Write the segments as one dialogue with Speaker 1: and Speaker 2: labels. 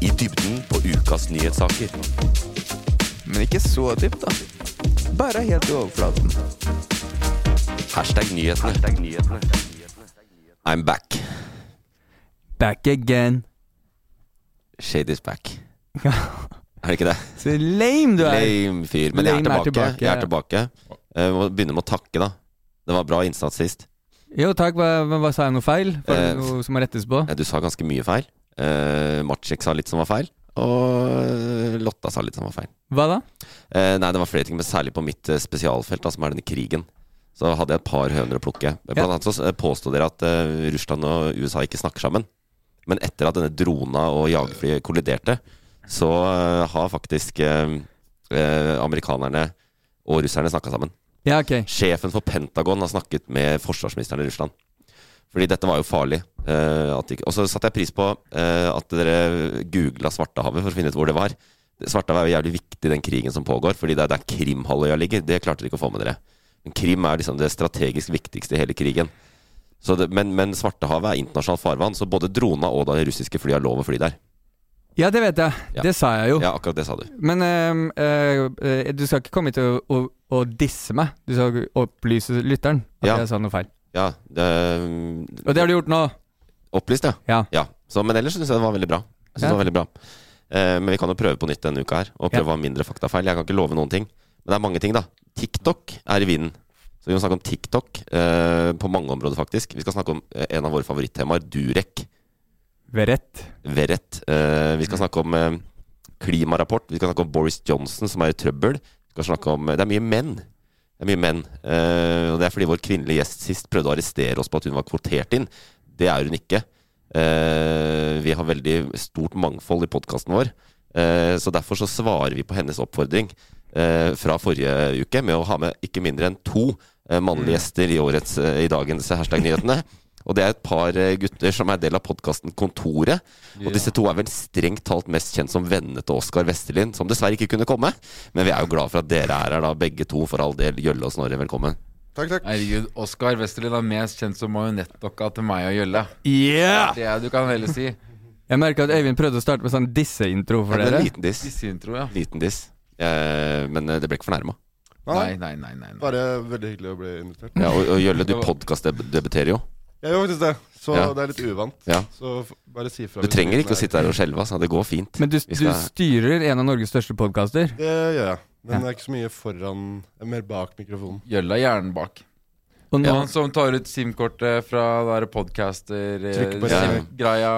Speaker 1: I dybden på ukas nyhetssaker.
Speaker 2: Men ikke så dypt, da. Bare helt i overflaten.
Speaker 1: Hashtag nyhetene. I'm back.
Speaker 2: Back again.
Speaker 1: Shade is back. Er det ikke det?
Speaker 2: Så lame du er!
Speaker 1: Lame fyr. Men jeg er
Speaker 2: Lame er
Speaker 1: tilbake.
Speaker 2: tilbake,
Speaker 1: Jeg
Speaker 2: ja.
Speaker 1: er tilbake. Jeg må begynne med å takke, da. Det var bra innsats sist.
Speaker 2: Jo takk, hva, hva, hva sa jeg noe feil? Var det
Speaker 1: Eh,
Speaker 2: noe som må rettes på?
Speaker 1: Eh, Du sa ganske mye feil. Eh, Maciek sa litt som var feil. Og eh, Lotta sa litt som var feil.
Speaker 2: Hva da?
Speaker 1: Eh, nei, det var flere ting, men særlig på mitt eh, spesialfelt, da, som er denne krigen. Så hadde jeg et par høner å plukke. Blant
Speaker 2: Ja.
Speaker 1: annet så eh, påstod dere at eh, Russland og USA ikke snakker sammen. Men etter at denne drona og jagerflyet kolliderte, så eh, har faktisk eh, eh, amerikanerne og russerne snakka sammen.
Speaker 2: Ja, ok.
Speaker 1: Sjefen for Pentagon har snakket med forsvarsministeren i Russland. Fordi dette var jo farlig. eh, at ikke- og så satte jeg pris på eh, at dere googla Svartehavet for å finne ut hvor det var. Svartehavet er jo jævlig viktig i den krigen som pågår, fordi det er der Krimhalvøya ligger. Det klarte dere ikke å få med dere. Men Krim er liksom det strategisk viktigste i hele krigen. Så det, men, men Svartehavet er internasjonalt farvann, så både drona og de russiske flyene har lov å fly der.
Speaker 2: Ja, det vet jeg.
Speaker 1: Ja.
Speaker 2: Det sa jeg jo.
Speaker 1: Ja, akkurat det sa du.
Speaker 2: Men ehm, eh, eh, du skal ikke komme hit og, og, og disse meg. Du skal opplyse lytteren at
Speaker 1: Ja.
Speaker 2: jeg sa noe feil.
Speaker 1: Ja, det,
Speaker 2: Og det har du gjort nå.
Speaker 1: Opplyst, ja.
Speaker 2: Ja.
Speaker 1: Så, men ellers syns jeg det var veldig bra. Jeg synes
Speaker 2: Ja.
Speaker 1: det var veldig bra Eh, Men vi kan jo prøve på nytt denne uka her, og prøve
Speaker 2: Ja.
Speaker 1: å ha mindre faktafeil. Jeg kan ikke love noen ting. Men det er mange ting, da. TikTok er i vinden. Så vi må snakke om TikTok eh, på mange områder, faktisk. Vi skal snakke om eh, en av våre favorittemaer, Durek.
Speaker 2: Ved rett.
Speaker 1: Verrett. Eh, vi skal snakke om eh, klimarapport. Vi skal snakke om Boris Johnson som er i trøbbel. Vi skal snakke om, eh, det er mye menn. Det er mye menn. Eh, og det er fordi vår kvinnelige gjest sist prøvde å arrestere oss på at hun var kvotert inn. Det er hun ikke. Eh, vi har veldig stort mangfold i podkasten vår. Eh, så derfor så svarer vi på hennes oppfordring eh, fra forrige uke med å ha med ikke mindre enn to eh, mannlige gjester i, årets, eh, i dagens hashtag nyhetene. Og det er et par eh, gutter som er del av podkasten Kontoret. Og disse to er vel strengt talt mest kjent som vennene til Oskar Vestelin, som dessverre ikke kunne komme. Men vi er jo glad for at dere er her, da, begge to, for all del. Gjølle og Snorre, velkommen.
Speaker 3: Takk, takk.
Speaker 4: Herregud, Oskar Westerlin er mest kjent som marionettdokka til meg og Gjølle.
Speaker 2: Yeah!
Speaker 4: Det er du kan heller si.
Speaker 2: Jeg merka at Øyvind prøvde å starte med sånn disse-intro for
Speaker 1: Ja, men
Speaker 2: dere.
Speaker 1: En liten diss.
Speaker 4: Disseintro, ja.
Speaker 1: Liten diss. Eh, men eh, det ble ikke fornærma.
Speaker 4: Nei, nei, nei. nei, nei.
Speaker 3: Bare veldig hyggelig å bli invitert.
Speaker 1: Ja, og, og Gjølle, du podkastdebuterer jo.
Speaker 3: Jeg gjør faktisk det, så
Speaker 1: Ja.
Speaker 3: det er litt uvant.
Speaker 1: Ja.
Speaker 3: Så f- bare si fra.
Speaker 1: Du trenger ikke å sitte her og skjelve, altså. Det går fint.
Speaker 2: Men du,
Speaker 1: Vi
Speaker 2: du
Speaker 1: skal-
Speaker 2: styrer en av Norges største podkaster.
Speaker 3: Det gjør jeg. Men det er ikke så mye foran Mer bak mikrofonen.
Speaker 4: Gjølle er hjernen bak.
Speaker 2: Og nå
Speaker 4: Han som tar ut SIM-kortet fra der podcaster eh,
Speaker 3: Trykker på
Speaker 4: sim-
Speaker 1: ja.
Speaker 4: Greia,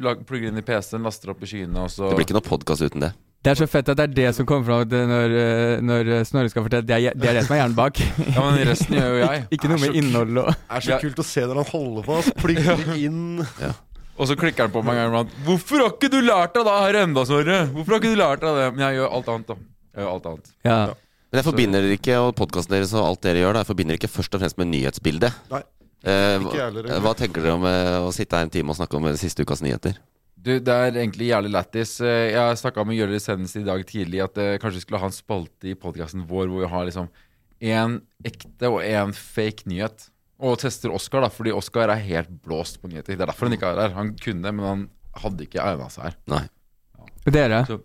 Speaker 4: lag- plugger inn i PC-en, laster opp i skyene, og så
Speaker 1: Det blir ikke noe podkast uten det.
Speaker 2: Det er så fett at det er det som kommer fram at, eh, når, eh, når eh, Snorre skal fortelle. Det er, je- det er det som er hjernen bak.
Speaker 4: Ja, men resten gjør jo jeg.
Speaker 2: Ikke noe med innhold og
Speaker 3: Det er så
Speaker 4: Ja.
Speaker 3: kult å se når han holder på. Så plinker det inn.
Speaker 4: Og så klikker han på meg en gang iblant. 'Hvorfor har ikke du lært av det her enda, Snorre?' Hvorfor har ikke du lært av det? Men jeg gjør alt annet, da. Jeg gjør alt annet.
Speaker 2: Ja.
Speaker 1: Men jeg forbinder dere ikke, og podkasten deres og alt dere gjør, da, jeg forbinder ikke først og fremst med nyhetsbildet.
Speaker 3: Nei.
Speaker 1: Eh,
Speaker 3: Ikke jeg
Speaker 1: hva,
Speaker 3: heller, egentlig.
Speaker 1: hva tenker dere om eh, å sitte her en time og snakke om eh, siste ukas nyheter?
Speaker 4: Du, Det er egentlig jævlig lættis. Eh, Jeg snakka med Gjøller senest i dag tidlig at eh, kanskje vi skulle ha en spalte i podkasten vår hvor vi har liksom én ekte og én fake nyhet. Og tester Oskar, da, fordi Oskar er helt blåst på nyheter. Det er derfor han ikke er her. Han kunne, men han hadde ikke egna seg her.
Speaker 1: Nei.
Speaker 2: Dere?
Speaker 4: Så-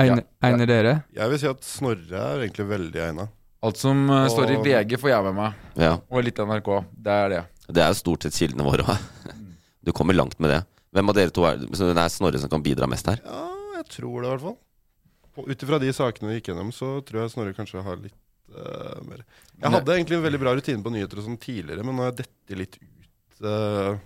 Speaker 2: Egner,
Speaker 4: Ja.
Speaker 2: egner dere?
Speaker 3: Jeg vil si at Snorre er egentlig veldig egna.
Speaker 4: Alt som eh, står i
Speaker 3: Og-
Speaker 4: VG, får jeg med meg.
Speaker 1: Ja.
Speaker 4: Og litt NRK. Det er det.
Speaker 1: Det er jo stort sett kildene våre også. Du kommer langt med det. Hvem av dere to er så det er Snorre som kan bidra mest her?
Speaker 3: Ja, jeg tror det, i hvert fall. På- Ut ifra de sakene vi gikk gjennom, så tror jeg Snorre kanskje har litt eh, mer Jeg hadde egentlig en veldig bra rutine på nyheter og sånn tidligere, men nå har jeg dettet litt ut. eh,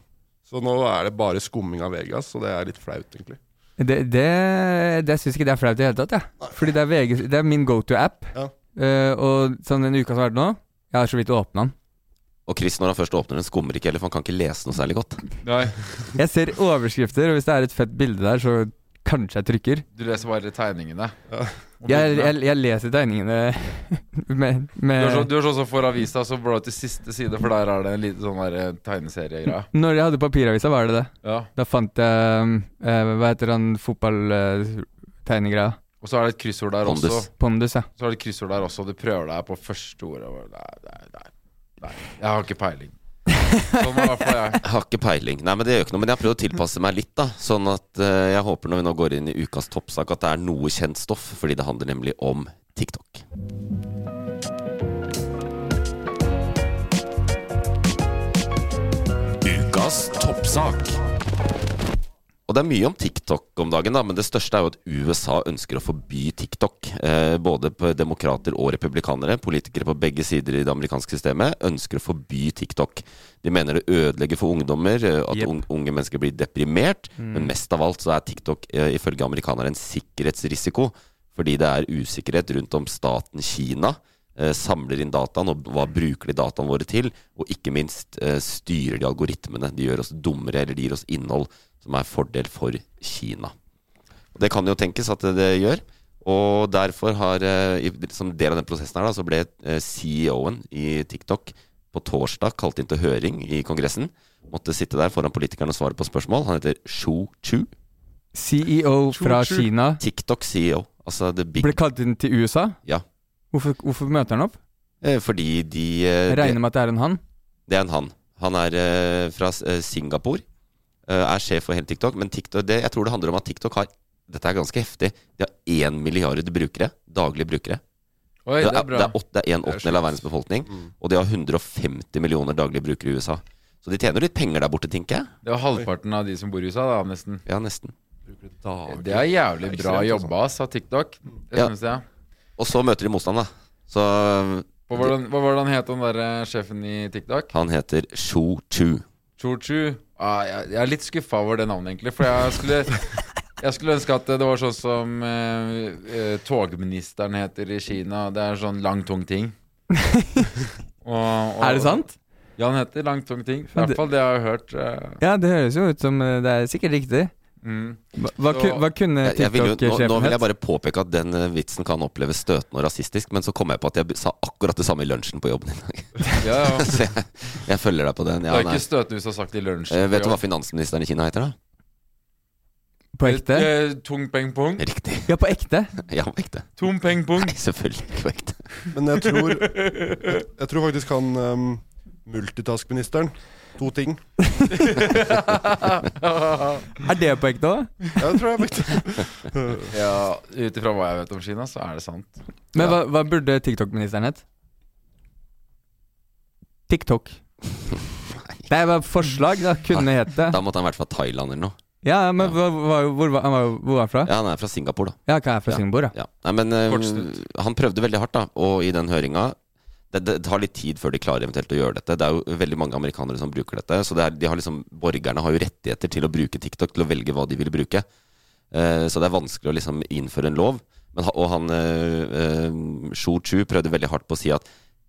Speaker 3: så nå er det bare skumming av Vegas, og det er litt flaut, egentlig.
Speaker 2: Det, det, det syns ikke det er flaut i det hele tatt, jeg. Fordi det er, VG, det er min go to-app.
Speaker 3: Ja.
Speaker 2: og sånn den uka som har vært nå, jeg har så vidt åpna den.
Speaker 1: Og Chris, når han først åpner den, skummer ikke heller, for han kan ikke lese noe særlig godt.
Speaker 4: Nei,
Speaker 2: Jeg ser overskrifter, og hvis det er et fett bilde der, så kanskje jeg trykker.
Speaker 4: du leser bare tegningene.
Speaker 3: Ja.
Speaker 4: Og
Speaker 2: Jeg,
Speaker 4: bildene.
Speaker 2: jeg, jeg leser tegningene med,
Speaker 4: Du er, så,
Speaker 2: med
Speaker 4: du er sånn som får avisa, så blar du til siste side, for der er det en liten sånn der, eh, tegneseriegreie.
Speaker 2: Når jeg hadde papiravisa, var det det.
Speaker 4: Ja.
Speaker 2: Da fant jeg um, eh, Hva heter han fotballtegnegreia?
Speaker 4: Og så er det et kryssord der
Speaker 1: Pondus.
Speaker 4: også.
Speaker 2: Pondus, ja.
Speaker 4: Så er det et kryssord der også, og du prøver deg på første ordet. og Nei, nei, nei, nei. Jeg har ikke peiling. Sånn var i hvert fall jeg.
Speaker 1: Jeg har ikke peiling. Nei, men det gjør ikke noe. Men jeg har prøvd å tilpasse meg litt, da. Sånn at eh, jeg håper når vi nå går inn i ukas toppsak, at det er noe kjent stoff. Fordi det handler nemlig om TikTok. Ukas toppsak. Og det er mye om TikTok om dagen, da, men det største er jo at USA ønsker å forby TikTok. Eh, både på demokrater og republikanere, politikere på begge sider i det amerikanske systemet, ønsker å forby TikTok. De mener det ødelegger for ungdommer, eh, at
Speaker 2: Jep.
Speaker 1: ung- unge mennesker blir deprimert. Men mest av alt så er TikTok eh, ifølge amerikanere en sikkerhetsrisiko. Fordi det er usikkerhet rundt om staten Kina eh, samler inn dataen, og hva bruker de dataene våre til? Og ikke minst eh, styrer de algoritmene. De gjør oss dummere, eller de gir oss innhold som er fordel for Kina. Og det kan jo tenkes at det gjør. Og derfor har, eh, i- som del av den prosessen her, da, så ble eh, CEO-en i TikTok på torsdag kalt inn til høring i Kongressen. Måtte sitte der foran politikerne og svare på spørsmål. Han heter Shu Chu.
Speaker 2: CEO E fra
Speaker 3: Chu-chu.
Speaker 2: Kina
Speaker 1: TikTok-CEO. Altså the big
Speaker 2: ble kalt inn til USA.
Speaker 1: Ja.
Speaker 2: Hvorfor, hvorfor møter han opp?
Speaker 1: eh, Fordi de eh,
Speaker 2: Jeg
Speaker 1: de-
Speaker 2: regner med at det er en han.
Speaker 1: Det er en han. Han er eh, fra eh, Singapore. eh, er sjef for hele TikTok. Men TikTok, det, jeg tror det handler om at TikTok har Dette er ganske heftig. De har én milliard brukere. Daglige brukere.
Speaker 4: Oi,
Speaker 1: det, er,
Speaker 4: det er
Speaker 1: det,
Speaker 4: bra. Mm.
Speaker 1: er åt, det er en åttendel av verdens befolkning. Og de har 150 millioner daglige brukere i USA. Så de tjener litt penger der borte, tenker jeg.
Speaker 4: Det er halvparten av de som bor i USA, da, nesten.
Speaker 1: Ja, nesten.
Speaker 4: Det er jævlig
Speaker 3: Det er
Speaker 4: bra
Speaker 3: ekstremt,
Speaker 4: jobba, sa TikTok. Det
Speaker 1: altså. Ja.
Speaker 4: synes jeg.
Speaker 1: Og så møter de motstand, da. Så
Speaker 4: Hva var den- hva var det han het, han derre sjefen i TikTok?
Speaker 1: han heter Shu Chu.
Speaker 4: Choo-choo. Ah, jeg, jeg er litt skuffa over det navnet, egentlig. For jeg skulle, jeg skulle ønske at det var sånn som eh, eh, togministeren heter i Kina. Det er sånn lang, tung ting. Og- og-
Speaker 2: Er det sant?
Speaker 4: Ja, han heter lang, tung ting. I
Speaker 2: Men
Speaker 4: hvert
Speaker 2: det-
Speaker 4: fall det jeg har hørt. eh,
Speaker 2: Ja, det høres jo ut som eh, Det er sikkert riktig.
Speaker 4: mm.
Speaker 2: Hva, hva,
Speaker 4: Så-
Speaker 2: ku- hva kunne
Speaker 1: Jeg, jeg vil jo, nå, nå
Speaker 2: TikTok-sjefen
Speaker 1: vil jeg
Speaker 2: hett?
Speaker 1: bare påpeke at den eh, vitsen kan oppleves støtende og rasistisk, men så kom jeg på at jeg b- sa akkurat det samme i lunsjen på jobben i dag.
Speaker 4: Ja, ja.
Speaker 1: Så jeg, jeg følger deg på den.
Speaker 4: Det
Speaker 1: Ja,
Speaker 4: er
Speaker 1: nei.
Speaker 4: ikke støtende hvis du har sagt det i lunsjen.
Speaker 1: Eh, vet du
Speaker 4: Ja.
Speaker 1: hva finansministeren i Kina heter, da?
Speaker 2: På ekte?
Speaker 4: Eh, Tung peng pung.
Speaker 1: Riktig.
Speaker 2: Ja, på ekte?
Speaker 1: Ja, på ekte.
Speaker 4: Tung peng pung.
Speaker 1: Nei, selvfølgelig ikke på ekte.
Speaker 3: Men jeg tror, jeg, jeg tror faktisk han um, multitask-ministeren To ting.
Speaker 2: Er det på ekte òg?
Speaker 3: Ja, det tror jeg faktisk.
Speaker 4: Ja, ut ifra hva jeg vet om Kina, så er det sant.
Speaker 2: Men hva, hva burde TikTok-ministeren hett? TikTok. Det er bare forslag, da. Kunne hett det.
Speaker 1: Da måtte han vært fra Thailand eller noe.
Speaker 2: Ja, men hva- hva- hvor var han var- hvor var han fra?
Speaker 1: Ja, han er fra Singapore, da.
Speaker 2: Ja, hva er fra
Speaker 1: Ja.
Speaker 2: Singapore, ja.
Speaker 1: Ja. Nei, men eh,
Speaker 4: Kortsnutt.
Speaker 1: han prøvde veldig hardt, da. Og i den høringa det, det tar litt tid før de klarer eventuelt å gjøre dette. Det er jo veldig mange amerikanere som bruker dette. Så det er, de har liksom, borgerne har jo rettigheter til å bruke TikTok, til å velge hva de vil bruke. Eh, så det er vanskelig å liksom innføre en lov. Men, ha- og han eh, eh, Shu Chu prøvde veldig hardt på å si at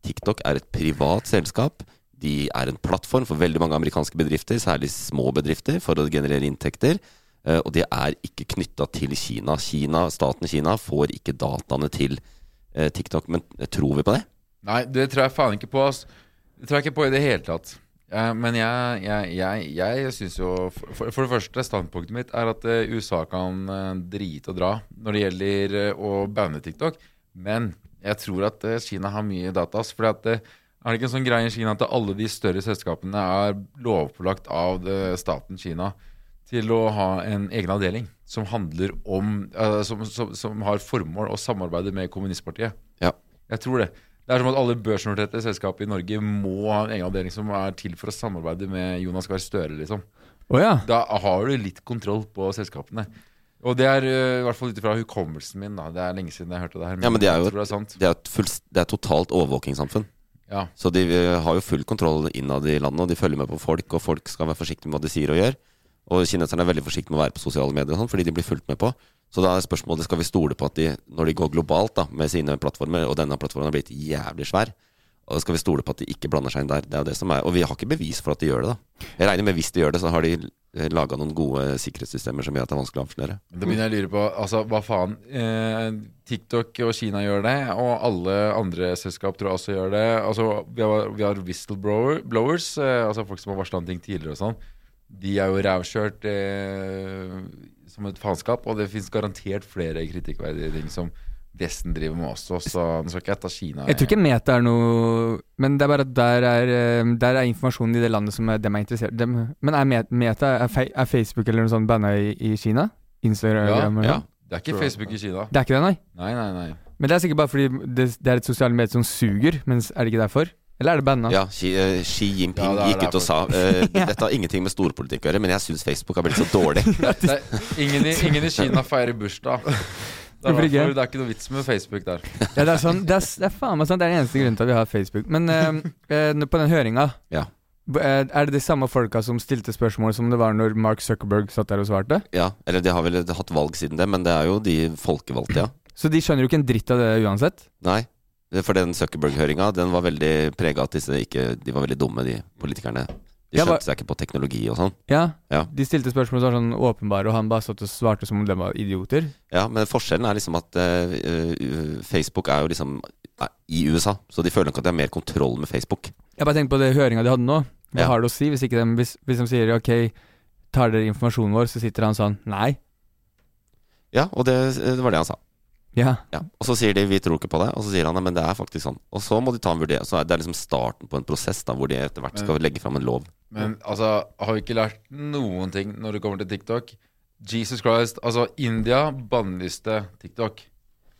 Speaker 1: TikTok er et privat selskap. De er en plattform for veldig mange amerikanske bedrifter, særlig små bedrifter, for å generere inntekter. Eh, Og det er ikke knytta til Kina. Kina. Staten Kina får ikke dataene til eh, TikTok. Men tror vi på det?
Speaker 4: Nei, det tror jeg faen ikke på, ass. Det tror jeg ikke på i det hele tatt. Eh, men jeg, jeg, jeg, jeg syns jo for, for det første, standpunktet mitt er at eh, USA kan eh, drite og dra når det gjelder eh, å banne TikTok. Men jeg tror at eh, Kina har mye data. ass, Fordi at, eh, er det ikke en sånn greie i Kina at alle de større selskapene er lovpålagt av det, staten Kina til å ha en egen avdeling som handler om eh, som, som, som har formål å samarbeide med kommunistpartiet?
Speaker 1: Ja.
Speaker 4: Jeg tror det. Det er som at alle børsnoterte selskap i Norge må ha en egen avdeling som er til for å samarbeide med Jonas Gahr Støre, liksom.
Speaker 2: Å ja.
Speaker 4: Da har du litt kontroll på selskapene. Og det er øh, i hvert fall ut ifra hukommelsen min, da. Det er lenge siden jeg hørte det her.
Speaker 1: Ja, men det er jo-
Speaker 4: jeg tror det er sant.
Speaker 1: Det er et, fullst- det er et totalt overvåkingssamfunn.
Speaker 4: Ja.
Speaker 1: Så de eh, har jo full kontroll innad i landet, og de følger med på folk, og folk skal være forsiktige med hva de sier og gjør. Og kineserne er veldig forsiktige med å være på sosiale medier og sånn, fordi de blir fulgt med på. Så da er spørsmålet skal vi stole på at de, når de går globalt da, med sine plattformer, og denne plattformen har blitt jævlig svær, og skal vi stole på at de ikke blander seg inn der. Det er jo det som er, Og vi har ikke bevis for at de gjør det, da. Jeg regner med hvis de gjør det, så har de laga noen gode eh, sikkerhetssystemer som gjør at det er vanskelig å avsløre.
Speaker 4: Da begynner jeg å lure på altså, hva faen. Eh, TikTok og Kina gjør det, og alle andre selskap tror jeg også gjør det. Altså, vi har, vi har whistleblowers, eh, altså folk som har varsla om ting tidligere og sånn. De er jo rævkjørt eh, som et faenskap, og det fins garantert flere kritikkverdige ting som Vesten driver med også, så nå skal ikke jeg ta Kina
Speaker 2: Jeg tror ikke Meta er noe Men det er bare at der er, eh, der er informasjonen i det landet som er- dem er interessert dem. Men er Met- Meta, er, Fe- er Facebook eller noe sånt banna i, i Kina? Instagram?
Speaker 4: Ja,
Speaker 2: eller noe?
Speaker 1: ja.
Speaker 4: Det er ikke Facebook i Kina.
Speaker 2: Det er ikke det, nei?
Speaker 4: Nei, nei, nei.
Speaker 2: Men det er sikkert bare fordi det, det er et sosialt medie som suger, mens er det ikke derfor? Eller er det banna?
Speaker 1: Ja, Xi, eh, Xi Jinping
Speaker 4: Ja, det er
Speaker 1: gikk ut og
Speaker 4: derfor.
Speaker 1: sa eh, Dette har ingenting med storpolitikk å gjøre, men jeg syns Facebook har blitt så dårlig.
Speaker 4: Det er, ingen, i, ingen i Kina feirer bursdag. Det er,
Speaker 2: Hvorfor ikke?
Speaker 4: derfor, det er ikke noe vits med Facebook der.
Speaker 2: Ja, det er sånn, det er, s- det er faen meg sånn, det er den eneste grunnen til at vi har Facebook. Men eh, eh, nå på den høringa,
Speaker 1: Ja.
Speaker 2: b- eh, er det de samme folka som stilte spørsmål som det var når Mark Zuckerberg satt der og svarte?
Speaker 1: Ja, eller de har vel hatt valg siden det, men det er jo de folkevalgte, ja.
Speaker 2: Så de skjønner jo ikke en dritt av det uansett.
Speaker 1: Nei. For den Zuckerberg-høringa den var veldig prega av at disse ikke De var veldig dumme, de politikerne. De
Speaker 2: Ja, hva-
Speaker 1: skjønte seg ikke på teknologi og sånn.
Speaker 2: Ja,
Speaker 1: Ja.
Speaker 2: De stilte spørsmål som var sånn åpenbare, og han bare satt og svarte som om de var idioter.
Speaker 1: Ja, Men forskjellen er liksom at eh, eh, Facebook er jo liksom eh, i USA, så de føler nok at de har mer kontroll med Facebook.
Speaker 2: Jeg bare tenker på det høringa de hadde nå. Hva
Speaker 1: Ja.
Speaker 2: har det å si hvis, ikke de, hvis, hvis de sier ok, tar dere informasjonen vår, så sitter han sånn nei.
Speaker 1: Ja, og det, det var det han sa.
Speaker 2: Ja.
Speaker 1: Ja. Og så sier de 'vi tror ikke på det', og så sier han 'nei, men det er faktisk sånn'. Og så må de ta en vurdering. Så er det er liksom starten på en prosess da, hvor de etter hvert skal legge fram en lov.
Speaker 4: Men altså, har vi ikke lært noen ting når det kommer til TikTok? Jesus Christ, altså India bannlyste TikTok.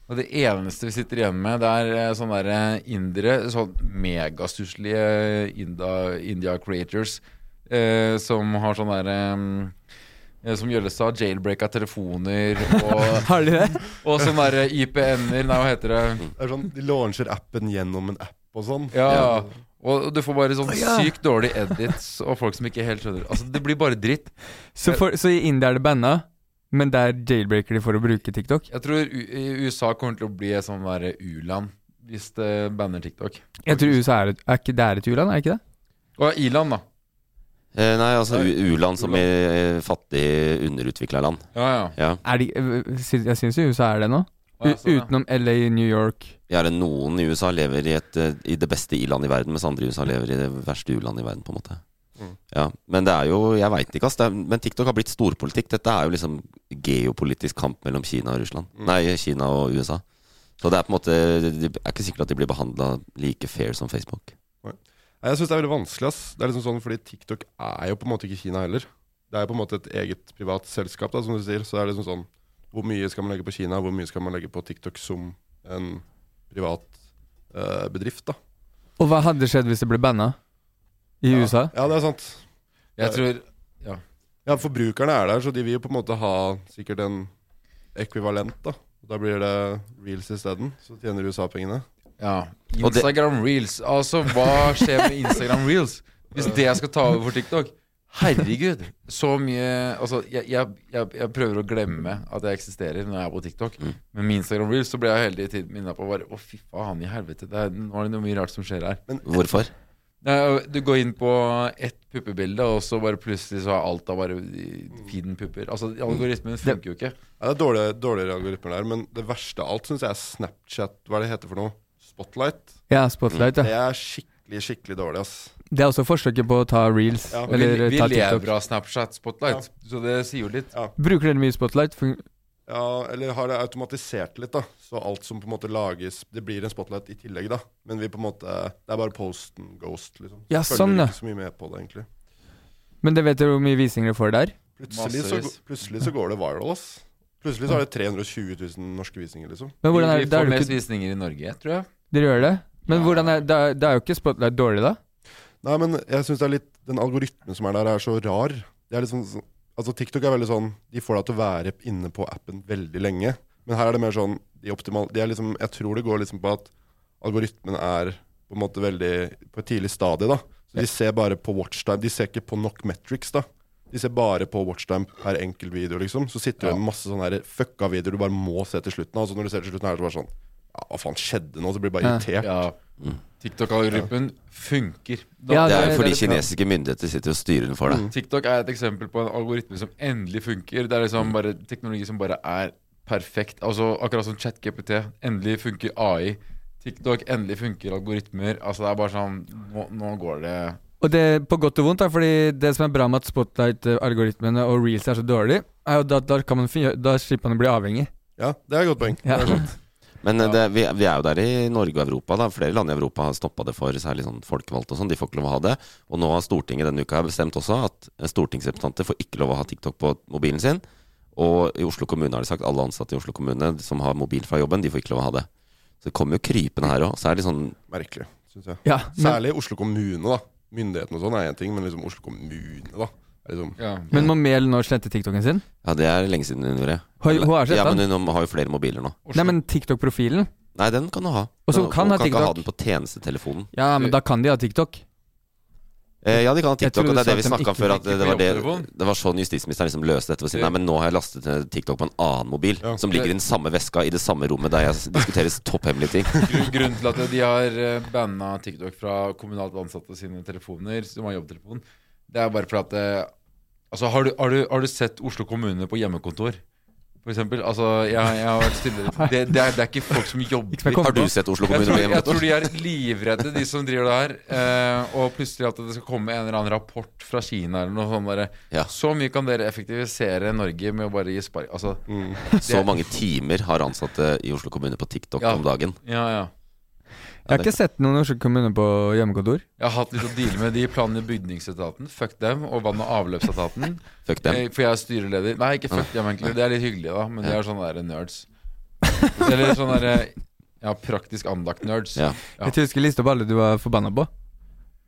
Speaker 4: Og det eneste vi sitter igjen med, det er eh, sånne der eh, indere, sånn megastusslige India, India creators, eh, som har sånn derre eh, Som Gjølle sa, jailbreaka telefoner og,
Speaker 2: Har de det?
Speaker 4: og sånne eh, derre IPN-er, nei, hva heter det?
Speaker 3: Det er sånn, De launcher appen gjennom en app og sånn.
Speaker 4: Ja, og du får bare sånn sykt dårlig edits og folk som ikke helt skjønner Altså, det blir bare dritt.
Speaker 2: Så, for, så i India er det banna, men det er jailbreaker de for å bruke TikTok?
Speaker 4: Jeg tror U i USA kommer til å bli et sånn derre u-land hvis det banner TikTok.
Speaker 2: Jeg tror USA er, et- er ikke, det er et u-land, er det ikke det?
Speaker 4: Og i-land, da.
Speaker 1: Eh, nei, altså
Speaker 4: Nei,
Speaker 1: u- u-land som i eh, fattig, underutvikla land.
Speaker 4: Ja, ja.
Speaker 1: Ja.
Speaker 2: Er de, øh, sy- jeg syns jo USA er det nå.
Speaker 4: Å, ja,
Speaker 2: U-
Speaker 4: sånn, ja.
Speaker 2: Utenom LA, New York
Speaker 1: Ja, er det noen i USA lever i, et, eh, i det beste i-land i verden, mens andre i USA lever i det verste u-land i verden, på en måte. Ja, Men det er jo Jeg veit ikke, ass. Det er, men TikTok har blitt storpolitikk. Dette er jo liksom geopolitisk kamp mellom Kina og Russland. Nei, Kina og USA. Så det er på en måte Det er ikke sikkert at de blir behandla like fair som Facebook.
Speaker 3: Nei, Jeg syns det er veldig vanskelig. ass Det er liksom sånn Fordi TikTok er jo på en måte ikke Kina heller. Det er jo på en måte et eget privat selskap, da som du sier. Så det er liksom sånn Hvor mye skal man legge på Kina, hvor mye skal man legge på TikTok som en privat eh, bedrift, da.
Speaker 2: Og hva hadde skjedd hvis det ble banna i USA?
Speaker 3: Ja, det er sant.
Speaker 4: Jeg tror
Speaker 3: Ja, Forbrukerne er der, så de vil jo på en måte ha sikkert en ekvivalent, da. Da blir det reels isteden. Så tjener USA pengene.
Speaker 4: Ja.
Speaker 1: Og det-
Speaker 4: Instagram reels. Altså, hva skjer med Instagram reels hvis det skal ta over for TikTok? Herregud. Så mye Altså, jeg, jeg, jeg, jeg prøver å glemme at jeg eksisterer når jeg er på TikTok. Men med Instagram reels så blir jeg hele tiden minnet på bare Å, fy faen i helvete. Det er, nå er det noe mye rart som skjer her.
Speaker 1: Hvorfor?
Speaker 4: Nei, Du går inn på ett puppebilde, og så bare plutselig så er alt da bare feeden pupper. Altså, algoritmen funker jo ikke.
Speaker 3: Ja, det er dårlige, dårligere algoritmer der, men det verste av alt syns jeg er Snapchat. Hva er det heter for noe? Spotlight.
Speaker 2: Ja, Spotlight.
Speaker 3: Det
Speaker 2: Ja.
Speaker 3: er skikkelig, skikkelig dårlig, ass.
Speaker 2: Det er også forsøket på å ta reels
Speaker 3: Ja.
Speaker 4: Vi,
Speaker 2: eller
Speaker 4: vi
Speaker 2: ta
Speaker 4: lever
Speaker 2: TikTok.
Speaker 4: av Snapchat Spotlight, så det sier jo litt.
Speaker 2: Bruker dere mye Spotlight? Fun-
Speaker 3: Ja, eller har det automatisert litt, da. Så alt som på en måte lages Det blir en spotlight i tillegg, da. Men vi på en måte Det er bare posten ghost, liksom.
Speaker 2: Ja, sånn, ja.
Speaker 3: ikke så mye med på det, egentlig.
Speaker 2: Men dere vet jo hvor mye visninger dere får der?
Speaker 3: Plutselig så,
Speaker 4: Massevis.
Speaker 3: plutselig så går det viral, ass. Plutselig så er det 320 000 norske visninger, liksom.
Speaker 2: Men hvordan er
Speaker 4: Vi
Speaker 2: det? Da
Speaker 4: får
Speaker 2: er det
Speaker 4: mest
Speaker 2: ikke,
Speaker 4: visninger i Norge, tror jeg.
Speaker 2: dere gjør det? Men hvordan er, det, er, det er jo ikke Spotlight dårlig, da?
Speaker 3: Nei, men jeg synes det er litt Den algoritmen som er der, er så rar. Det er litt sånn, altså TikTok er veldig sånn De får deg til å være inne på appen veldig lenge. Men her er det mer sånn de optimal, de er liksom, Jeg tror det går liksom på at algoritmen er på en måte veldig På et tidlig stadie. da Så De ser bare på watchtime. De ser ikke på nok metrics. da De ser bare på watchtime per enkel video. liksom Så sitter du igjen med masse sånne her fucka videoer du bare må se til slutten. Og så når du ser til slutten, er det bare sånn Ja, hva faen skjedde nå? Så blir du bare
Speaker 2: Ja.
Speaker 3: irritert.
Speaker 4: Ja. TikTok-algoritmen funker. Da-
Speaker 2: Ja,
Speaker 1: Mm. Det er
Speaker 2: det
Speaker 1: jo
Speaker 2: er Mm.
Speaker 1: fordi
Speaker 2: det som er-
Speaker 1: kinesiske myndigheter sitter og styrer den for deg.
Speaker 4: TikTok er et eksempel på en algoritme som endelig funker. Det er liksom bare teknologi som bare er perfekt. Altså Akkurat som ChatGPT. Endelig funker AI. TikTok, endelig funker algoritmer. Altså Det er bare sånn Nå, nå går det
Speaker 2: Og det på godt og vondt, da, fordi det som er bra med at Spotlight-algoritmene og reels er så dårlig, er jo da, da, kan man, fin- da slipper man å bli avhengig.
Speaker 3: Ja, det er et godt poeng.
Speaker 2: Ja.
Speaker 3: Det er sånn sant.
Speaker 1: Men eh, det, vi, vi er jo der i Norge og Europa. Da. Flere land i Europa har stoppa det for særlig sånn folkevalgte og sånn. De får ikke lov å ha det. Og nå har Stortinget denne uka bestemt også at eh, stortingsrepresentanter får ikke lov å ha TikTok på mobilen sin. Og i Oslo kommune har de sagt alle ansatte i Oslo kommune som har mobil fra jobben, de får ikke lov å ha det. Så det kommer jo krypende her òg. Så er det sånn
Speaker 3: Merkelig, syns jeg.
Speaker 2: Ja, men,
Speaker 3: Særlig Oslo kommune, da. Myndighetene og sånn er én ting, men liksom Oslo kommune, da. Er liksom,
Speaker 4: ja.
Speaker 2: men må Mehl nå slette TikToken sin?
Speaker 1: Ja, det er lenge siden hun gjorde.
Speaker 2: Har- hun har sett
Speaker 1: ja,
Speaker 2: den.
Speaker 1: men hun har jo flere mobiler nå.
Speaker 4: Oslo-
Speaker 2: Nei, men TikTok-profilen?
Speaker 1: Nei, den kan du ha.
Speaker 2: Og så
Speaker 1: Den-
Speaker 2: kan
Speaker 1: hun
Speaker 2: ha
Speaker 1: kan ikke
Speaker 2: TikTok.
Speaker 1: ha den på tjenestetelefonen.
Speaker 2: Ja, men da kan de ha TikTok.
Speaker 1: Eh, ja, de kan ha
Speaker 2: Jeg
Speaker 1: TikTok, og
Speaker 2: tror du
Speaker 1: det er det vi
Speaker 2: sa at de
Speaker 1: snakka om
Speaker 2: ikke
Speaker 1: før. At
Speaker 4: fikk
Speaker 1: det,
Speaker 4: det
Speaker 1: var
Speaker 4: på
Speaker 1: det,
Speaker 4: jobbtelefonen.
Speaker 1: det var sånn justisministeren liksom løste dette ved å si
Speaker 4: Ja.
Speaker 1: nei, men nå har jeg lastet ned TikTok på en annen mobil
Speaker 3: Ja.
Speaker 1: som ligger i den samme veska i det samme rommet der jeg s- diskuterer topphemmelige ting.
Speaker 4: Grunn- Grunnen til at de har eh, banna TikTok fra kommunalt ansatte sine telefoner, som har jobbtelefon, det er bare fordi at eh, Altså, har du, har, du, har du sett Oslo kommune på hjemmekontor? For eksempel, altså, jeg, jeg har vært stille det, det, er, det er ikke folk som jobber
Speaker 2: som jeg kommer
Speaker 1: Har du
Speaker 2: på.
Speaker 1: sett Oslo
Speaker 4: Jeg
Speaker 1: kommune
Speaker 4: tror,
Speaker 1: på
Speaker 4: jeg tror
Speaker 1: hjemmekontor?
Speaker 4: de er livredde, de som driver det her. Eh, og plutselig at det skal komme en eller annen rapport fra Kina eller noe sånt. Der.
Speaker 1: Ja.
Speaker 4: Så mye kan dere effektivisere Norge med å bare gi spark. Altså,
Speaker 1: Mm. Så mange timer har ansatte i Oslo kommune på TikTok
Speaker 4: Ja.
Speaker 1: om dagen.
Speaker 4: ja, ja.
Speaker 2: Jeg har ikke sett noen norske kommuner på hjemmekontor.
Speaker 4: Jeg har hatt litt å deale med de planene i bygningsetaten. Fuck dem. Og vann- og avløpsetaten.
Speaker 1: Fuck
Speaker 4: Eh,
Speaker 1: dem.
Speaker 4: For jeg er styreleder. Nei, ikke fuck dem, egentlig. Det er litt hyggelig, da. Men de er sånne der nerds. Eller sånne sånn der, eh, ja, praktisk anlagt-nerds.
Speaker 1: Ja.
Speaker 4: Ja.
Speaker 2: Jeg husker lista opp alle du var forbanna på.